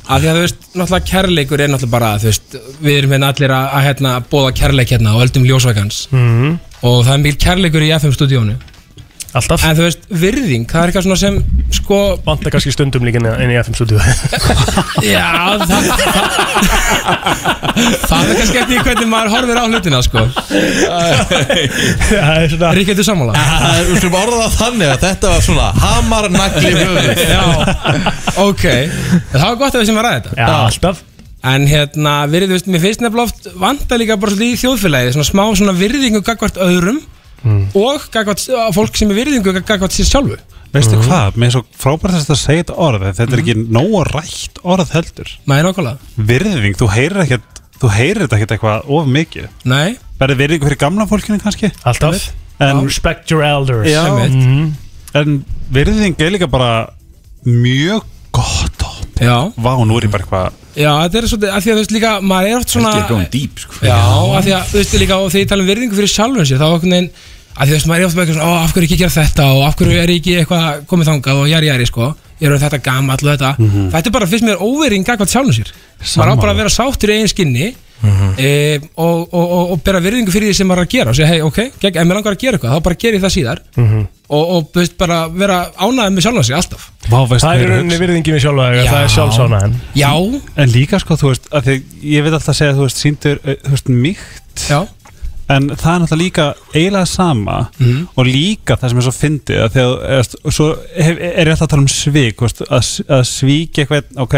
[SPEAKER 1] Af því að þú veist, náttúrulega kærleikur er náttúrulega bara Þú veist, við erum hérna allir að, að hérna, Bóða kærleik hérna og öldum ljósvækans
[SPEAKER 2] Mm.
[SPEAKER 11] Mhm.
[SPEAKER 1] Og það er mjög kærleikur í FM stúdíónu
[SPEAKER 11] Alltaf
[SPEAKER 1] En þú veist, virðing, það er eitthvað svona sem Sko
[SPEAKER 11] Vanda kannski stundum líka inn í- inn í FM stúdíu
[SPEAKER 1] Já, það, það, það er kannski eftir hvernig maður horfir á hlutina sko. Ríkjöldu sammála
[SPEAKER 13] Ah, Það er- Við skulum orða það þannig að þetta var svona hamarnagli höfuð
[SPEAKER 1] Ok, það var gott að við sem var að ræða þetta
[SPEAKER 11] Já, alltaf
[SPEAKER 1] En hérna, virðið, veist, mér finnst nefnilega oft vanda líka bara svolítið í þjóðfélagið Svona smá svona virðingu gagvart öðrum Og gagvart fólk sem er virðingu Mhm. gagvart sér sjálfu
[SPEAKER 2] Veistu hvað, mér er svo frábært þess að segja þetta orð en þetta er ekki nóg rætt orð heldur
[SPEAKER 1] Nei, nokkulega
[SPEAKER 2] Virðing, þú heyrir ekkert þú heyrir þetta ekkert eitthvað of mikið
[SPEAKER 1] Nei
[SPEAKER 2] Verður virðing fyrir gamla fólkinu kannski
[SPEAKER 11] Alltaf
[SPEAKER 2] En,
[SPEAKER 11] Respect your elders
[SPEAKER 2] já,
[SPEAKER 11] Einmitt.
[SPEAKER 1] Mhm.
[SPEAKER 2] en virðing er líka bara mjög gott orð
[SPEAKER 1] Já
[SPEAKER 2] Vá, nú er ég bara eitthvað
[SPEAKER 1] Já, þetta er svolítið, af því að þú veist líka, maður er oft svona
[SPEAKER 2] Helgi er going deep, sko.
[SPEAKER 1] Já, af því að, þú veist líka, og þegar ég tala um virðingu fyrir sjálfum sér Þá okkur neginn, af því þú veist, maður er oft með eitthvað svona Ó, af hverju er ég ekki að gera þetta og af hverju er ég ekki eitthvað komið þangað og jari jari, sko Ég er orðinn þetta gamall og þetta
[SPEAKER 2] Mhm.
[SPEAKER 1] Þetta er bara fyrst mér óverðing gagvart sjálfum sér Maður á bara að vera sáttur í eigin skinni e, og, og, og, og bera virðingu fyrir því sem maður er að gera og segja, hei, ok, gegn, ef mér langar að gera eitthvað, þá bara geri ég það síðar og, og þú veist, bara vera ánægð með sjálfan sig alltaf
[SPEAKER 2] Vá, veist
[SPEAKER 11] Það er í
[SPEAKER 2] meira
[SPEAKER 11] rauninni virðingi við sjálfa þegar
[SPEAKER 1] Já.
[SPEAKER 11] það er sjálfsánaðin
[SPEAKER 1] Já
[SPEAKER 2] En líka sko, þú veist, að því ég veit alltaf að segja að þú veist, síndur, eh, þú veist, mýkt
[SPEAKER 1] Já
[SPEAKER 2] En það er náttúrulega líka eiginlega sama
[SPEAKER 1] Mhm.
[SPEAKER 2] Og líka það sem er svo fyndið að Þegar, þú veist, og svo hef, er ég alltaf að tala um svik, þú veist, að, s- að svíkja eitthvað, ok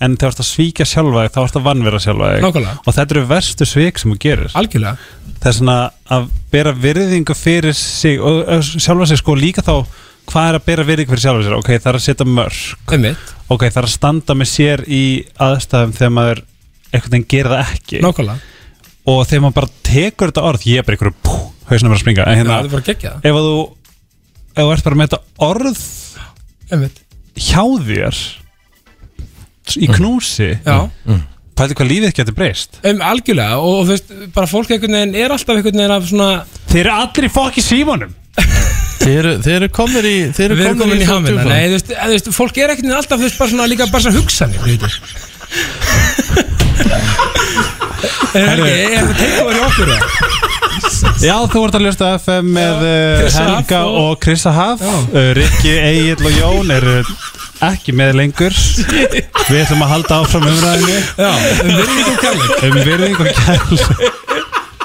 [SPEAKER 2] En þegar þú ert að svíkja sjálfa þig, þá ert að vannvera sjálfa þig
[SPEAKER 1] Nákvæmlega.
[SPEAKER 2] Og þetta eru verstu svik sem þú gerir
[SPEAKER 1] Algjörlega
[SPEAKER 2] Það er svona að bera virðingu fyrir sig Og eh, sjálfa sig sko líka þá Hvað er að bera virðingu fyrir sjálfa sér? Ok, það er að setja mörg
[SPEAKER 1] Einmitt.
[SPEAKER 2] ok, það er að standa með sér í aðstæðum þegar maður einhvern veginn gerir það ekki
[SPEAKER 1] Nákvæmlega.
[SPEAKER 2] og þegar maður bara tekur þetta orð ég er bara einhverju pú, hausnum er að springa en hérna,
[SPEAKER 1] Já, þetta er bara geggjað.
[SPEAKER 2] ef að þú ef þú ert bara með þetta orð
[SPEAKER 1] Einmitt. Mm.
[SPEAKER 2] hjá þér í knúsi
[SPEAKER 1] Já.
[SPEAKER 2] pæli hvað lífið getur breyst
[SPEAKER 1] um, Algjörlega, og, og þú veist, bara fólk einhvern veginn er alltaf einhvern veginn af svona
[SPEAKER 2] Þeir eru allir í fokki símanum
[SPEAKER 13] Þeir eru, þeir eru komnir í Þeir eru
[SPEAKER 1] Við erum
[SPEAKER 13] komnir
[SPEAKER 1] komin
[SPEAKER 13] í,
[SPEAKER 1] í
[SPEAKER 13] í
[SPEAKER 1] hamina Nei, þú veist, þú veist, fólk er ekkert alltaf, þú veist, bara svona líka bara svona hugsanir þú veist. Er það ekki, er það takeover í okkur það?
[SPEAKER 2] Já, þú ert að ljósta FM með uh,
[SPEAKER 1] Krissa
[SPEAKER 2] Helga
[SPEAKER 1] Haf
[SPEAKER 2] og Krissa Haf uh, Rikki, Egil og Jón eru ekki með lengur Við ætlum að halda áfram umræðinu
[SPEAKER 1] Já, um virðingu og kærleik.
[SPEAKER 2] Um virðingu og kærleik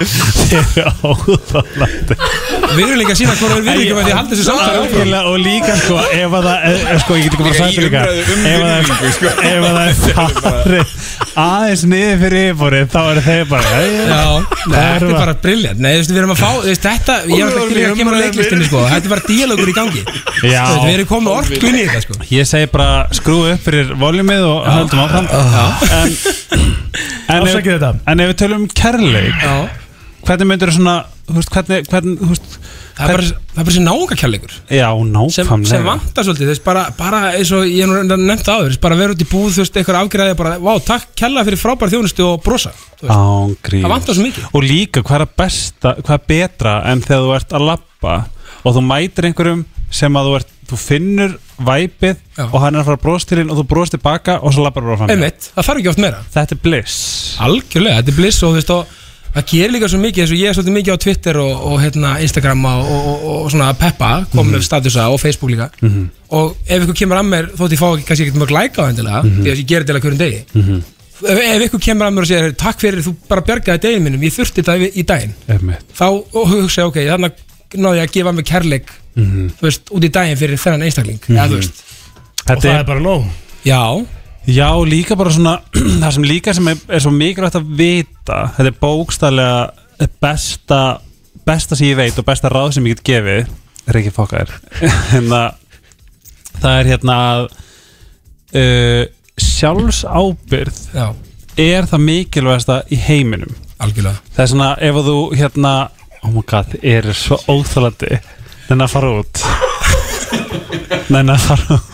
[SPEAKER 2] Þið eru áðalandi
[SPEAKER 1] Við erum líka að sýna hvort við erum virðingu með því að halda þessu samtali áfram.
[SPEAKER 2] Og líka sko, ef að það eh, eh, Sko, ég get ekki bara
[SPEAKER 1] Líka
[SPEAKER 2] sagt
[SPEAKER 1] í
[SPEAKER 2] þetta líka
[SPEAKER 1] umræðu um
[SPEAKER 2] Ef að það-
[SPEAKER 1] virðingu, sko.
[SPEAKER 2] ef að það er farið Aðeins niður fyrir yfirborið Þá eru þeir bara
[SPEAKER 1] Já, nei, þetta er bara briljant Nei, þú veist, við erum að fá, þú veist, þetta Ég er alltaf ekki líka að kemur á leiklistinni, sko Þetta er bara díalogur í gangi Þú
[SPEAKER 2] Já.
[SPEAKER 1] veist, Við erum komið orkun í þetta, sko
[SPEAKER 2] Ég segi bara skrú upp fyrir voljumið og höldum áfram En, en, ef,
[SPEAKER 11] Afsakið þetta.
[SPEAKER 2] en ef við tölum um kærleik
[SPEAKER 1] Já.
[SPEAKER 2] Hvernig myndir þú svona þú veist, hvernig, hvernig, þú veist,
[SPEAKER 1] Það er bara, það er bara sér náunga kærleikur
[SPEAKER 2] Já,
[SPEAKER 1] sem, sem
[SPEAKER 2] nákvæmlega
[SPEAKER 1] vantar svolítið þess, bara, bara eins og ég hef nú nefnt það áður þess, bara vera út í búð, þú veist, eitthvað afgræði bara, vá, takk kella fyrir frábær þjónustu og brosa þú veist.
[SPEAKER 2] Ángríns
[SPEAKER 1] Það vantar svo mikið.
[SPEAKER 2] Og líka hvað er að besta, hvað er betra en þegar þú ert að lappa og þú mætir einhverjum sem að þú, ert, þú finnur væpið og hann er að fara að brosa til þín og þú brosir tilbaka og svo lappar bara fram
[SPEAKER 1] einmitt, það þarf ekki oft meira
[SPEAKER 2] Þetta er bliss
[SPEAKER 1] algjörlega, þetta er bliss og þú veist, og það gerir líka svo mikið eins og ég er svolítið mikið á Twitter og, og hérna, Instagram og, og, og, og svona að peppa, komin upp statusa og Facebook líka
[SPEAKER 2] Mhm.
[SPEAKER 1] og ef ykkur kemur að mér þótt ég fá ekki, kannski ekkert mörg læka á endilega,
[SPEAKER 2] Mhm.
[SPEAKER 1] því að ég gerir þetta eiginlega hverjum degi
[SPEAKER 2] Mhm.
[SPEAKER 1] Þú
[SPEAKER 9] ef, ef ykkur kemur að mér og segir takk fyrir þú bara bjargaði deginu mínum, ég þurfti þetta í- í daginn
[SPEAKER 1] Einmitt.
[SPEAKER 9] þá og hugsa ég ok, þannig náði ég að gefa mig kærleik
[SPEAKER 1] Mhm.
[SPEAKER 9] þú veist, út í daginn fyrir þennan einstakling mm
[SPEAKER 2] Mhm.
[SPEAKER 9] þú veist
[SPEAKER 1] Þetta
[SPEAKER 9] Og það er
[SPEAKER 2] bara nóg
[SPEAKER 9] Já
[SPEAKER 1] Já, líka bara svona það sem líka sem er, er svo mikilvægt að vita þetta er bókstælega besta, besta sem ég veit og besta ráð sem ég get gefið er ekki fokkar en að það er hérna að uh, sjálfsábyrð
[SPEAKER 9] Já.
[SPEAKER 1] er það mikilvægasta í heiminum
[SPEAKER 9] Algjörlega.
[SPEAKER 1] það er svona ef að þú hérna oh my god, er svo óþálandi þennan að fara út þennan að fara út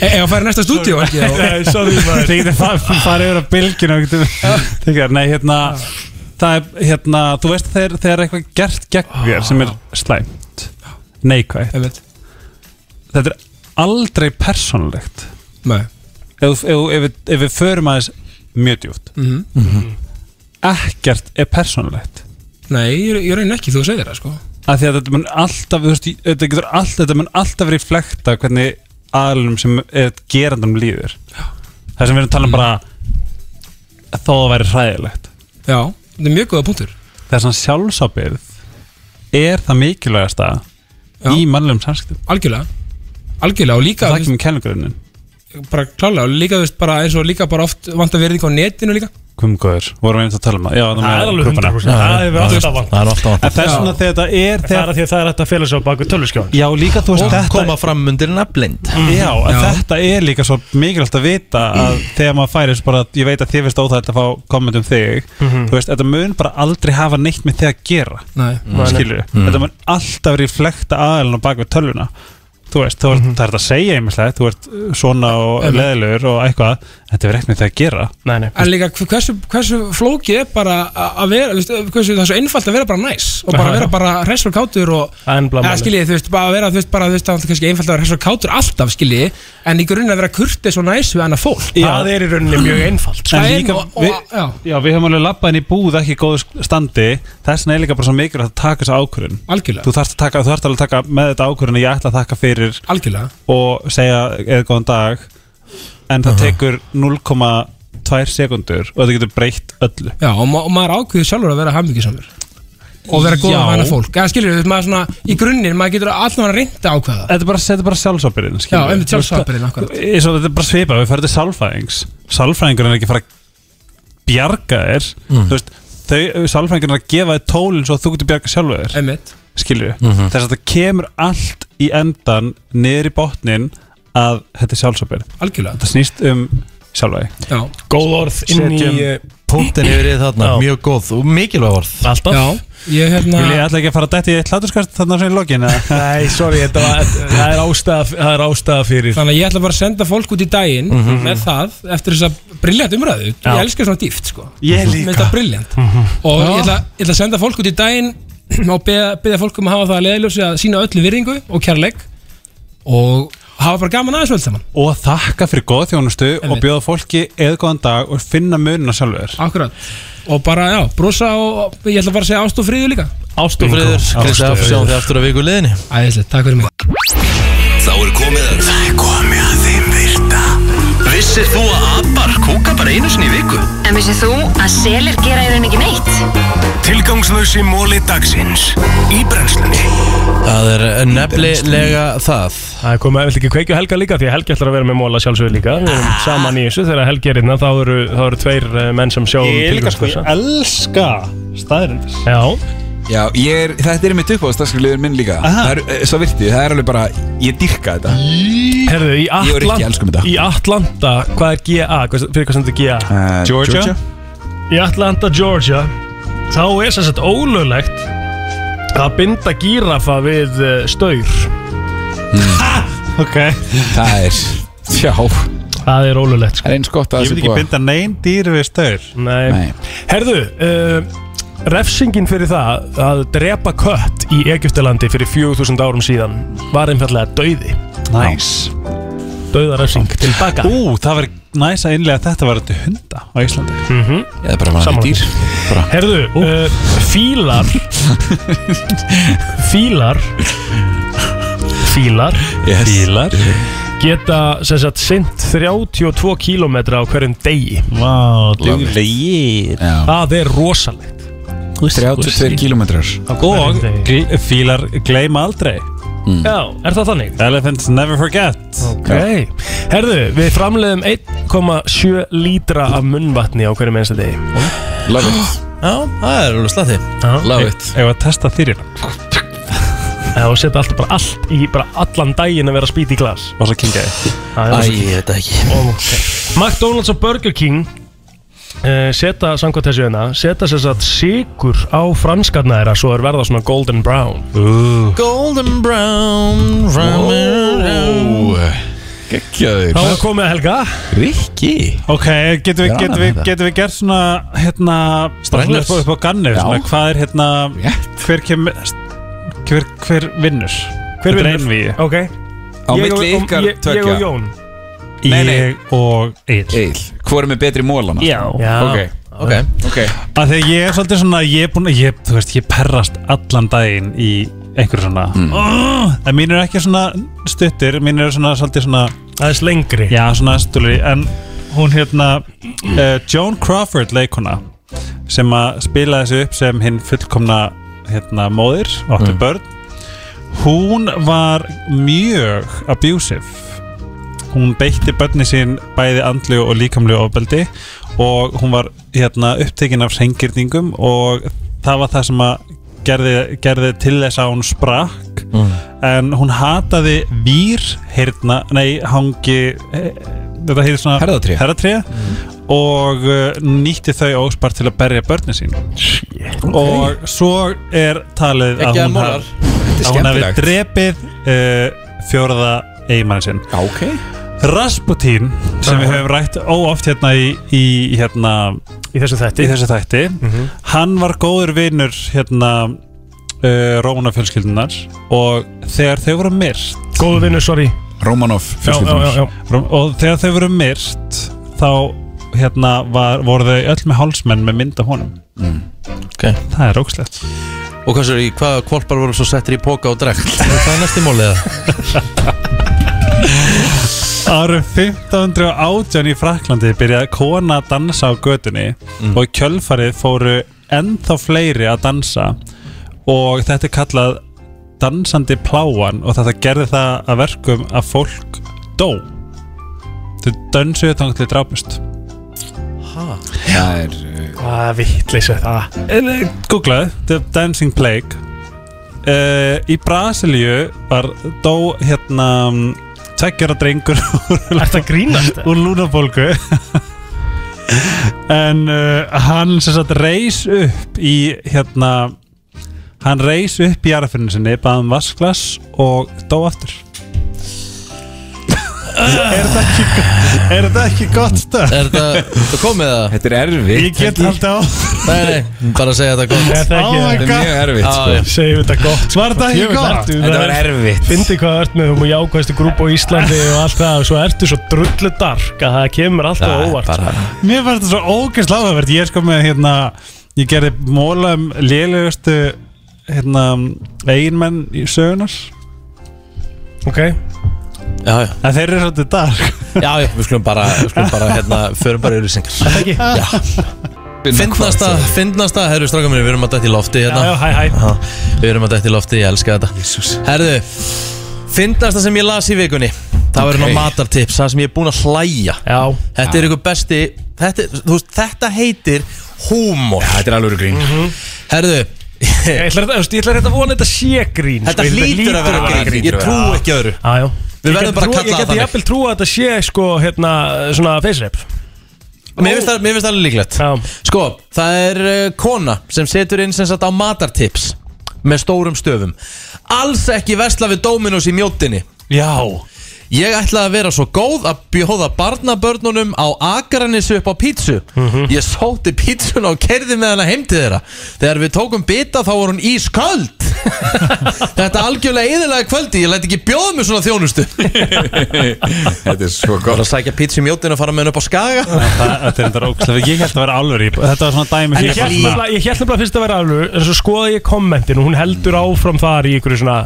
[SPEAKER 9] e ef að fara í næsta stúdíu ekki
[SPEAKER 1] Nei, sorry, maður. Þið getur fa- farið yfir á bylginu og getur- Þið getur- Nei, hérna Það er, hérna, þú veist þegar, þegar eitthvað er gert gegn þér sem er slæmt Neikvægt Þetta er aldrei persónulegt
[SPEAKER 9] Nei
[SPEAKER 1] Ef, ef, ef, við- ef við förum aðeins mjög djúpt
[SPEAKER 9] Mhm.
[SPEAKER 1] Ekkert er persónulegt
[SPEAKER 9] Nei, ég, ég raun ekki, þú segir það sko
[SPEAKER 1] að því að þetta mun alltaf þú veist, þetta, getur alltaf, þetta mun alltaf reflekta hvernig aðlunum sem er gerandum líður það sem við erum að tala um bara að þó að væri hræðilegt
[SPEAKER 9] Já, þetta er mjög góða punktur
[SPEAKER 1] þess að sjálfsábyrð er það mikilvægasta í mannlegum samskiptum
[SPEAKER 9] algjörlega algjörlega og líka
[SPEAKER 1] það kemur kennugrunnin
[SPEAKER 9] bara klálega og líka þú veist bara eins og líka bara oft vanta verðing á netinu líka
[SPEAKER 1] kumgóður, vorum við einmitt að tala um það Já,
[SPEAKER 2] Það er alveg 100%, það er alltaf vant.
[SPEAKER 1] það er alltaf vant það er svona þegar þetta er
[SPEAKER 2] Það er að því að það er hægt að fela sig á baku tölvskjón
[SPEAKER 1] Já, líka þú veist
[SPEAKER 2] Og
[SPEAKER 1] þetta
[SPEAKER 2] koma
[SPEAKER 1] fram undir nafnlind Já, en
[SPEAKER 2] Já.
[SPEAKER 1] þetta er líka svo mikilvægt að vita að þegar maður færi þessu bara, ég veit að þið finnst óþægt að fá komment um þig
[SPEAKER 2] Mhm.
[SPEAKER 1] þú veist, þetta mun bara aldrei hafa neitt með þig að gera
[SPEAKER 9] Nei.
[SPEAKER 1] mm. skilur
[SPEAKER 2] Nei, nei.
[SPEAKER 1] þetta mun alltaf reflekta aðalinn á bakvið tölvuna þú veist, þú ert, það er þetta að segja einmislega, þú ert uh, svona og
[SPEAKER 9] Einmitt.
[SPEAKER 1] leðilegur og eitthvað þetta er ekkert með þig að gera
[SPEAKER 2] Nei, nei
[SPEAKER 9] en líka hv- hversu, hversu flókið er bara a- að vera þú veist, hversu, það er svo einfalt að vera bara næs og bara
[SPEAKER 2] Já,
[SPEAKER 9] vera
[SPEAKER 2] já.
[SPEAKER 9] bara hressur og kátur og
[SPEAKER 2] Ennblámálið.
[SPEAKER 9] eða skiljið þú veist bara að vera þú veist bara þú veist það er kannski einfalt að vera hressur og kátur alltaf skiljið en í grunn að vera kurtis og næs við annað fólk
[SPEAKER 2] Það er í rauninni mjög einfalt sko.
[SPEAKER 1] En líka,
[SPEAKER 9] og- og-
[SPEAKER 1] við,
[SPEAKER 9] já.
[SPEAKER 1] já, við höfum alveg labbað inn í búð ekki í góðu sk- standi þess vegna er líka bara svo mikilvægt að taka þessa ákvörðun
[SPEAKER 9] Algjörlega.
[SPEAKER 1] Þú þarft, að taka, þú þarft alveg að taka með þetta ákvörðun að ég ætla að þakka fyrir
[SPEAKER 9] Algjörlega.
[SPEAKER 1] og segja eða góðan dag en það tekur 0,2 sekundur og þetta getur breytt öllu
[SPEAKER 9] Já, og, ma og maður ákveður sjálfur að vera hammingjusamur og vera góð
[SPEAKER 1] Já.
[SPEAKER 9] að hana fólk eða skiljið þú veist maður svona í grunninn maður getur allan að reynda að ákveða
[SPEAKER 1] Þetta er bara, þetta er bara sjálfsábyrðin
[SPEAKER 9] Já, einmitt sjálfsábyrgðin, akkurat.
[SPEAKER 1] Svo þetta er bara svipað, við fyrir til sálfræðings Sálfræðingur er ekki að fara að bjarga þér
[SPEAKER 2] Mm.
[SPEAKER 1] Þú veist, þau, sálfræðingur er að gefa þér tólin svo að þú getur bjarga sjálfu þér
[SPEAKER 9] Einmitt
[SPEAKER 1] Skilju,
[SPEAKER 2] Mhm.
[SPEAKER 1] þess að þetta kemur allt í endan niður í botnin að þetta er sjálfsábyrð
[SPEAKER 9] Algjörlega.
[SPEAKER 1] Þetta snýst um sjálfæði
[SPEAKER 9] Já.
[SPEAKER 2] Góð orð inn í eh,
[SPEAKER 14] Puntin yfir í þarna,
[SPEAKER 1] Já.
[SPEAKER 14] mjög góð og mikilvæg orð
[SPEAKER 2] Alltaf
[SPEAKER 9] ég hérna
[SPEAKER 1] Vil ég ætla ekki að fara að detti í eitt hláturskast þarna sem í lokin eða?
[SPEAKER 2] Nei, sorry, þetta var, það er ástæða, það er ástæða fyrir
[SPEAKER 9] Þannig að ég ætla bara að senda fólk út í daginn
[SPEAKER 2] Mhm.
[SPEAKER 9] með það eftir þess að briljant umræðu
[SPEAKER 2] Já.
[SPEAKER 9] Ég elska svona dýft sko
[SPEAKER 2] Ég líka. Mhm.
[SPEAKER 9] Mér finnst það briljant Og ég ætla, ég ætla að senda fólk út í daginn og beða, beða fólk um að hafa það að leiðiljósi að sína öllu virðingu og kærleik og hafa bara gaman aðeins vel saman
[SPEAKER 1] og þakka fyrir góð þjónustu og bjóða fólki eða góðan dag og finna munina sjálfur
[SPEAKER 9] Akkurat Og bara, já, brosa og og ég ætla bara að segja ást og friðu líka
[SPEAKER 14] Ást og friður, Kristjaf, sjáum þið aftur að viku liðinni
[SPEAKER 9] Æðislega, takk fyrir mig
[SPEAKER 10] Þá er komið að Það er komið að þeim virta Vissir þú að abar kúka bara einu sinni í viku?
[SPEAKER 11] En vissið þú að selir gera í raun ekki neitt?
[SPEAKER 10] Tilgangslösi móli dagsins Í brennslunni
[SPEAKER 14] Það er nefnilega það
[SPEAKER 2] Það er komið eftir ekki kveikju Helga líka því að Helgi ætlar að vera með móla sjálfsögur líka Við erum saman í þessu þegar Helgi er hérna þá eru, þá eru tveir eh, menn sem sjáum
[SPEAKER 1] Ég líka sko, ég elska staðirindis
[SPEAKER 2] Já
[SPEAKER 3] Já, ég er, þetta er mitt uppáðast dagskriðliður minn líka Það er, eh, Svo virti, það er alveg bara, ég dyrka þetta
[SPEAKER 2] Herðu, í
[SPEAKER 3] Ég og Rikki elskum
[SPEAKER 2] Atlanta,
[SPEAKER 3] þetta.
[SPEAKER 2] í Atlanta Hvað er GA? Hvað- Fyrir hvað sem þetta er GA?
[SPEAKER 3] Eh, Georgia. Georgia.
[SPEAKER 2] Í Atlanta, Georgia Þá er sem sagt ólöglegt að binda gírafa við eh, staur
[SPEAKER 1] Hmm. Ok
[SPEAKER 3] Það er, já
[SPEAKER 2] Það er ólulegt
[SPEAKER 3] Það er eins gott að það
[SPEAKER 1] Ég vil
[SPEAKER 3] sé
[SPEAKER 1] ekki
[SPEAKER 3] búið
[SPEAKER 1] binda neyn dýr við staur
[SPEAKER 2] Nei,
[SPEAKER 3] Nei.
[SPEAKER 2] Herðu, uh, refsingin fyrir það að drepa kött í Egyptalandi fyrir 4000 árum síðan var einfallega dauði
[SPEAKER 1] Nice
[SPEAKER 2] Dauðarefsing til baka
[SPEAKER 1] Ú, það var næs að innlega þetta var þetta hunda á Íslandi
[SPEAKER 2] mm -hmm.
[SPEAKER 1] Ég er bara að
[SPEAKER 2] Sammála.
[SPEAKER 1] dýr bara.
[SPEAKER 2] Herðu, uh, fílar Fílar Fílar
[SPEAKER 1] Yes.
[SPEAKER 2] Fílar geta sem sagt sint 32 km á hverjum degi Vá,
[SPEAKER 3] duglegir. Já.
[SPEAKER 2] Það er rosalegt
[SPEAKER 3] 32 kílómetrar
[SPEAKER 11] Og gl- fílar gleyma aldrei
[SPEAKER 2] Já, er það þannig?
[SPEAKER 11] Elephants never forget
[SPEAKER 2] Ok, herðu, við framleiðum 1,7 lítra af munnvatni á hverjum einsta degi
[SPEAKER 3] Love
[SPEAKER 1] it Já, það er alveg slatti Love it
[SPEAKER 11] Ef að testa þýrina
[SPEAKER 2] Það og setja alltaf bara allt í, bara allan daginn að vera spýt í glas
[SPEAKER 11] Og svo kingaði
[SPEAKER 2] Æ,
[SPEAKER 11] ég veit það ekki
[SPEAKER 2] okay. McDonalds og Burger King uh, seta, samkvæmt þessu hérna seta sér satt sigur á franskarna þeirra svo er verða svona golden brown uh.
[SPEAKER 1] Golden brown
[SPEAKER 3] Gekkjaður
[SPEAKER 2] Þá er komið að helga
[SPEAKER 3] Rikki
[SPEAKER 11] Ok, getum við,
[SPEAKER 2] Já,
[SPEAKER 11] getum við,
[SPEAKER 2] þetta.
[SPEAKER 11] getum við gert svona hérna, bara svona
[SPEAKER 2] Strangles.
[SPEAKER 11] upp á- upp á gannu
[SPEAKER 2] Já.
[SPEAKER 11] svona, hvað er hérna hver, kem, hver, hver vinnur
[SPEAKER 2] Hver
[SPEAKER 11] Þetta er
[SPEAKER 2] vinnur?
[SPEAKER 11] einvígi.
[SPEAKER 2] Ok
[SPEAKER 3] Á milli ykkar
[SPEAKER 2] ég, ég
[SPEAKER 3] tveggja.
[SPEAKER 2] og Jón
[SPEAKER 3] Nei, nei.
[SPEAKER 11] Ég og Eil
[SPEAKER 3] Eil Hvor er með betri mólana?
[SPEAKER 11] Já. Já.
[SPEAKER 3] Ok
[SPEAKER 1] Ok
[SPEAKER 3] Ok
[SPEAKER 11] að því að ég er svolítið svona ég er búin að, ég, þú veist, ég perrast allan daginn í einhverju svona
[SPEAKER 3] Mm.
[SPEAKER 11] oh, en mín er ekki svona stuttir mín er svona svolítið svona
[SPEAKER 2] aðeins lengri
[SPEAKER 11] já, svona stúli en hún hérna uh, Joan Crawford leikuna sem að spila þessu upp sem hinn fullkomna hérna móðir og áttu
[SPEAKER 4] Mm.
[SPEAKER 11] börn hún var mjög abusive hún beitti börni sín bæði andlu og líkamlu ofbeldi og hún var hérna, upptekinn af sengirningum og það var það sem að gerði, gerði til þess að hún sprakk
[SPEAKER 1] Mm.
[SPEAKER 11] en hún hataði vír hérna, nei, hangi eh, þetta heitir svona
[SPEAKER 1] Herðatré. Mm.
[SPEAKER 11] herðatré og uh, nýtti þau óspart til að berja börni sín og svo er talið að
[SPEAKER 1] Ekki að
[SPEAKER 11] hún
[SPEAKER 1] mólar. Þetta er
[SPEAKER 11] að hún hafi
[SPEAKER 1] skemmtilegt.
[SPEAKER 11] drepið uh, fjóraða eigimann sinn
[SPEAKER 3] Ok
[SPEAKER 11] Rasputín sem við höfum rætt óoft hérna í, í hérna
[SPEAKER 2] í þessu þætti,
[SPEAKER 11] í þessu þætti.
[SPEAKER 2] Mhm.
[SPEAKER 11] hann var góður vinur hérna
[SPEAKER 1] eh,
[SPEAKER 11] uh, Rómanafjölskyldunar og þegar þau voru myrst
[SPEAKER 2] góður vinur, sorry
[SPEAKER 3] Romanov
[SPEAKER 11] fjölskyldunnar. og þegar þau voru myrkt þá hérna var, voru þau öll með hálsmenn með mynd af honum
[SPEAKER 1] Mm.
[SPEAKER 11] það er ógslegt
[SPEAKER 1] Og hvað sér, hvaða kvolpar voru svo settir í póka og drekk? Það er næsti mólið um
[SPEAKER 11] Árum 1518 í Fraklandi byrjaði kona að dansa á götunni
[SPEAKER 1] Mm.
[SPEAKER 11] og í kjölfarið fóru ennþá fleiri að dansa og þetta er kallað dansandi pláan og þetta gerði það að verkum að fólk dó þau dansuðu þannig til drápust
[SPEAKER 3] Það er uh,
[SPEAKER 2] Hvað vittleysa er Ah, það
[SPEAKER 11] En, eh, Googlaðu, The Dancing Plague uh, Í Brasilíu var dó hérna tveggjara drengur úr-
[SPEAKER 2] Ertu að grínast?
[SPEAKER 11] Úr lúnabólgu En uh, hann sem sagt reis upp í hérna Hann reis upp í jarðfinni sinni, bað um vasklas og dó aftur Er þetta ekki, er þetta ekki gott stöð?
[SPEAKER 1] Er þetta, það komið það?
[SPEAKER 3] Þetta er erfitt
[SPEAKER 11] Ég get haldið á
[SPEAKER 1] Nei, nei, bara að segja þetta gott
[SPEAKER 2] Er það ekki- Oh my
[SPEAKER 1] Þetta
[SPEAKER 2] God.
[SPEAKER 1] erfitt sko.
[SPEAKER 2] Segjum þetta gott
[SPEAKER 11] Var þetta ekki gott?
[SPEAKER 1] Þetta var erfitt.
[SPEAKER 2] Fyndi hvað þú ert með um og jákvæðstu grúp á Íslandi og allt það og svo ertu svo drullu dark að það kemur alltaf
[SPEAKER 11] Það er
[SPEAKER 2] óvart
[SPEAKER 11] bara- Mér fannst þetta svo ógeðslega áhugavert Ég er sko með hérna Ég gerði móla um lélegustu hérna, eiginmenn í sögunar
[SPEAKER 2] Ok
[SPEAKER 1] Já, já
[SPEAKER 11] En þeir eru svolítið dark
[SPEAKER 1] Já, já, við skulum bara, við skulum bara, hérna, förum bara yfir í syngar
[SPEAKER 2] Ekki?
[SPEAKER 1] Fyndnasta, fyndnasta, herru stráka minni, við erum að dætt í lofti hérna
[SPEAKER 2] Já, já, hæ, hæ.
[SPEAKER 1] Við erum að dætt í lofti, ég elska þetta Jesus. Herru, fyndnasta sem ég las í vikunni Það var hérna
[SPEAKER 3] Ok.
[SPEAKER 1] matartips, það sem ég er búinn að hlæja
[SPEAKER 2] Já
[SPEAKER 1] Þetta er ykkur besti, þetta, er- þú veist, þetta heitir húmor Já,
[SPEAKER 3] þetta er alveg grín
[SPEAKER 11] Mhm.
[SPEAKER 1] Herru,
[SPEAKER 2] Ég ætla að- þú veist, ég ætla rétt að vona þetta sé grín
[SPEAKER 1] Þetta
[SPEAKER 2] sko, ég-
[SPEAKER 1] hlýtur að vera grín. Ég trúi ekki öðru.
[SPEAKER 2] Já, já
[SPEAKER 1] Við
[SPEAKER 2] Ég
[SPEAKER 1] verðum
[SPEAKER 2] gæti
[SPEAKER 1] bara að
[SPEAKER 2] trú-
[SPEAKER 1] kalla
[SPEAKER 2] Ég
[SPEAKER 1] það
[SPEAKER 2] geti
[SPEAKER 1] þannig.
[SPEAKER 2] jafnvel trú að þetta sé sko hérna svona face rap
[SPEAKER 1] Mér finnst það, mér finnst það alveg líklegt Sko, það er uh, kona sem setur inn sem sagt á matartips með stórum stöfum Alls ekki vesla við Dominos í mjótinni
[SPEAKER 11] Já
[SPEAKER 1] Ég ætlaði að vera svo góð að bjóða barnabörnunum á Akranissu upp á pítsu Ég sótti pítsuna og kerði með hana heim til þeirra Þegar við tókum bita þá var hún ísköld Þetta algjörlega eðilega kvöldi, ég læt ekki bjóða mig svona þjónustu
[SPEAKER 3] Þetta er svo
[SPEAKER 1] Bara
[SPEAKER 3] gott
[SPEAKER 1] að sækja pítsu í mjótinu og fara með henni upp á skaga
[SPEAKER 11] Þetta er þetta ógeðslega Ég held að vera alveg rýp Þetta var svona dæmi
[SPEAKER 2] En
[SPEAKER 11] sem
[SPEAKER 2] ég
[SPEAKER 11] ég
[SPEAKER 2] held
[SPEAKER 11] bara svona-
[SPEAKER 2] nefnilega- ég held nefnilega fyrst að vera alveg En svo skoða ég kommentin og hún heldur áfram þar í ykkur svona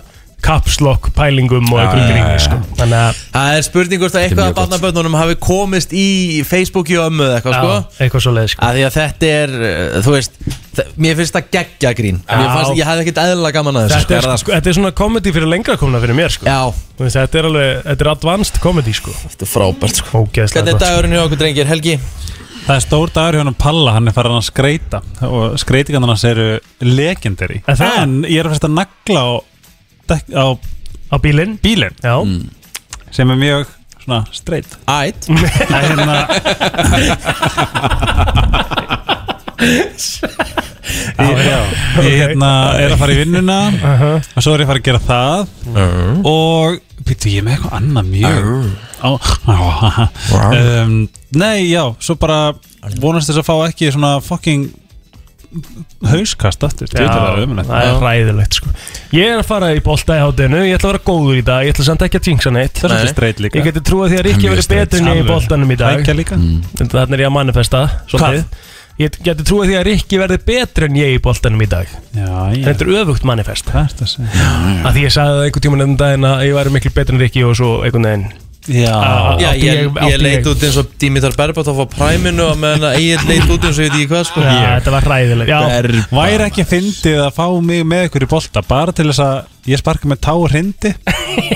[SPEAKER 2] kapslokk pælingum og
[SPEAKER 1] Já,
[SPEAKER 2] einhverjum
[SPEAKER 1] já,
[SPEAKER 2] gríni
[SPEAKER 1] já.
[SPEAKER 2] sko. Þannig að
[SPEAKER 1] Það er spurning hvort að
[SPEAKER 2] Þetta er
[SPEAKER 1] eitthvað
[SPEAKER 2] mjög
[SPEAKER 1] af barnaböndunum hafi komist í Facebooki og ömmu eða eitthvað
[SPEAKER 2] Já,
[SPEAKER 1] sko
[SPEAKER 2] eitthvað svo leiðis sko.
[SPEAKER 1] að Því að þetta er, uh, þú veist, þ- mér finnst það geggja grín Mér
[SPEAKER 2] Já.
[SPEAKER 1] fannst, ég hafði ekkert eðlilega gaman að þessu
[SPEAKER 2] þetta, er,
[SPEAKER 1] sko.
[SPEAKER 2] sko, þetta er svona komedi fyrir lengra komna fyrir mér sko. Veist, Þetta er alveg, þetta er advanced komedi sko. Þetta
[SPEAKER 1] er frábært sko.
[SPEAKER 2] Ógeðslega
[SPEAKER 1] Hvernig er
[SPEAKER 2] gott, sko.
[SPEAKER 1] dagurinn hjá okkur drengir, Helgi?
[SPEAKER 11] Það er stór dagur hjá hann Palla, hann er farin að skreita og skreitingan hans eru legendary
[SPEAKER 2] Er það?
[SPEAKER 11] En ég er fyrst að nagla á, dekk- á,
[SPEAKER 2] á bílinn
[SPEAKER 11] bílin.
[SPEAKER 2] mm.
[SPEAKER 11] sem er mjög svona streit
[SPEAKER 1] Ætt
[SPEAKER 11] hérna, Ég, ég hérna, er að fara í vinnuna og svo er ég að fara að gera það og býttu ég er með eitthvað annað mjög á, á, um, Nei, já, svo bara vonast þess að fá ekki svona fucking hauskast aftur
[SPEAKER 2] Já, það er ræðilegt sko. Ég er að fara í bolta í hátinu Ég ætla að vera góður í dag Ég ætla samt ekki að jinxa neitt
[SPEAKER 11] Það er svolítið streit líka.
[SPEAKER 2] Ég geti trúið því að
[SPEAKER 11] Það
[SPEAKER 2] Ríkki
[SPEAKER 11] er mjög
[SPEAKER 2] verið
[SPEAKER 11] streit.
[SPEAKER 2] betur en ég í
[SPEAKER 11] Alveg.
[SPEAKER 2] boltanum í dag
[SPEAKER 11] Tækja líka.
[SPEAKER 2] Þannig að er ég að manifesta svolítið. Ég geti trúið því að Rikki verði betur en ég í boltanum í dag
[SPEAKER 11] Já, já.
[SPEAKER 2] Þetta er öfugt manifest
[SPEAKER 11] Hvað er þetta að segja?
[SPEAKER 2] Af því ég sagði það einhvern tímann enn daginn að ég væri miklu betur en Rikki og svo einhvern veginn
[SPEAKER 11] Já,
[SPEAKER 1] Já, ég, ég, leit út eins og Dimitar Berbatov á præminu og meðan að ég leit út eins og ég veit ekki hvað sko
[SPEAKER 2] Já, þetta var ræðilegt
[SPEAKER 1] Berbatov.
[SPEAKER 11] Væri ekki að fyndið að fá mig með ykkur í bolta bara til þess að ég sparka með tá og hrindi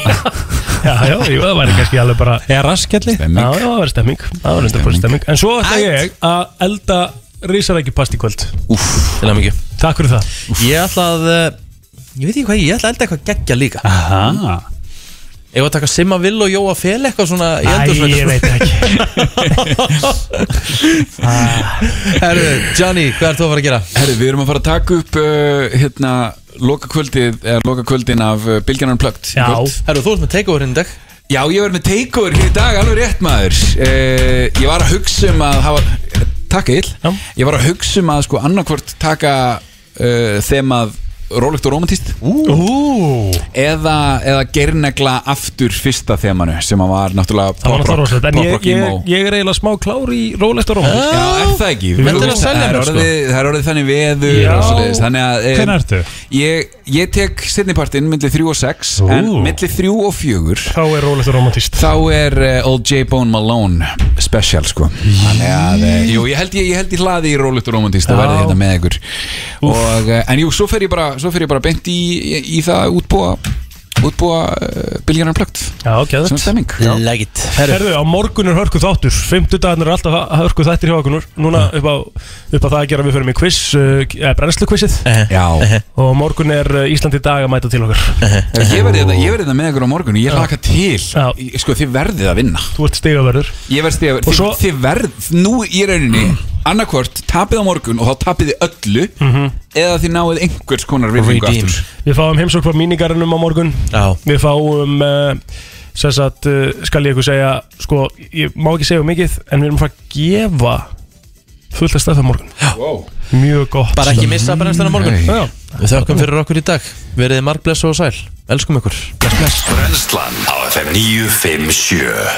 [SPEAKER 2] Já, já, jú, það væri kannski alveg bara
[SPEAKER 11] Eða raskjalli
[SPEAKER 2] Já, já, það væri stemming Það væri stemming. stemming En svo ætla ég að elda risarækjupast í kvöld
[SPEAKER 1] Úff, til að mikið
[SPEAKER 2] Takk fyrir það
[SPEAKER 1] Ég ætla að, uh, ég veit ekki hvað, ég ætla að elda eitthvað geggja líka
[SPEAKER 11] Aha
[SPEAKER 1] Ég var að taka Simma Vill og Jóa Fel eitthvað svona í
[SPEAKER 2] Æ,
[SPEAKER 1] eldursveilu.
[SPEAKER 2] ég veit ekki
[SPEAKER 1] Herru, Johnny, hvað ert þú að fara að gera?
[SPEAKER 3] Herri, við erum að fara að taka upp uh, hérna, loka kvöldið, eða loka kvöldin af uh, Bilgjarnan Plögt
[SPEAKER 2] Já.
[SPEAKER 1] Herru, þú ert með takeover hérna í dag
[SPEAKER 3] Já, ég verð með takeover hér í dag, alveg rétt maður uh, Ég var að hugsa um að hafa, takk ill Ég var að hugsa um að sko annarkvort taka uh, þemað rólegt og romantist
[SPEAKER 2] Ú.
[SPEAKER 3] eða, eða gernegla aftur fyrsta þemanu sem að var náttúrulega
[SPEAKER 2] Það var náttúrulega
[SPEAKER 3] pop-rock,
[SPEAKER 2] rosalegt En ég,
[SPEAKER 3] pop-rock emo.
[SPEAKER 2] ég, ég er eiginlega smá klár í rólegt og rómalt
[SPEAKER 3] Já, er það ekki?
[SPEAKER 2] Við verðum
[SPEAKER 3] Þú-
[SPEAKER 2] að selja
[SPEAKER 3] það er
[SPEAKER 2] mér, sko.
[SPEAKER 3] orðið- Það er orðið þannig veður
[SPEAKER 2] Já.
[SPEAKER 3] og svoleiðis, Þannig að em,
[SPEAKER 11] Hvenær ertu?
[SPEAKER 3] Ég, ég tek setnipartinn millir 3 og 6
[SPEAKER 2] Ú.
[SPEAKER 3] En millir 3 og 4
[SPEAKER 2] Þá er rólegt og romantist
[SPEAKER 3] Þá er uh, Old J. Bone Malone special sko Þannig að, uh, jú, ég held ég, ég held ég hlaði í rólegt og romantist Það
[SPEAKER 2] Já.
[SPEAKER 3] verði hérna með ykkur og, uh, En jú, svo fer ég bara, svo fer ég bara beint í, í, í það að útbúa Útbúa uh, biljarnar plögt
[SPEAKER 2] Já, gæðut
[SPEAKER 3] Sem stemming
[SPEAKER 1] Legit
[SPEAKER 2] Herðu, á morgun er hörku þáttur Fymtudagarnir er alltaf hörku þættir hjá okkur Núna
[SPEAKER 1] Mm.
[SPEAKER 2] upp á, upp á það að gera við fyrir mig quiz uh, eh, Brennslu quizið
[SPEAKER 3] Já
[SPEAKER 2] Og á morgun er eh, Ísland í dag að mæta til okkur
[SPEAKER 3] Ég verði þetta- ég verði þetta með ykkur á morgun Ég laka til Ég- Sko þið verðið að vinna
[SPEAKER 2] Þú ert stigaverður
[SPEAKER 3] Ég verð stíða
[SPEAKER 2] Og
[SPEAKER 3] þið,
[SPEAKER 2] svo-
[SPEAKER 3] þið verð Nú í rauninni Annarkvort tapið á morgun og þá tapið þið öllu Eða þið náið einhvers konar virðingu
[SPEAKER 1] Redeem.
[SPEAKER 3] aftur
[SPEAKER 2] Við fáum heimsók frá míningarinnum á morgun
[SPEAKER 1] Já.
[SPEAKER 2] Við fáum uh, Sess að uh, skal ég ykkur segja Sko, ég má ekki segja of mikið En við erum að fara að gefa Fullt að stað það morgun
[SPEAKER 3] wow.
[SPEAKER 2] Mjög gott
[SPEAKER 1] Bara ekki missa brennsluna á morgun
[SPEAKER 2] Nei. Já.
[SPEAKER 1] Við þökkum fyrir okkur í dag Verðið margbless og sæl Elskum ykkur
[SPEAKER 6] Brennslan á FM 957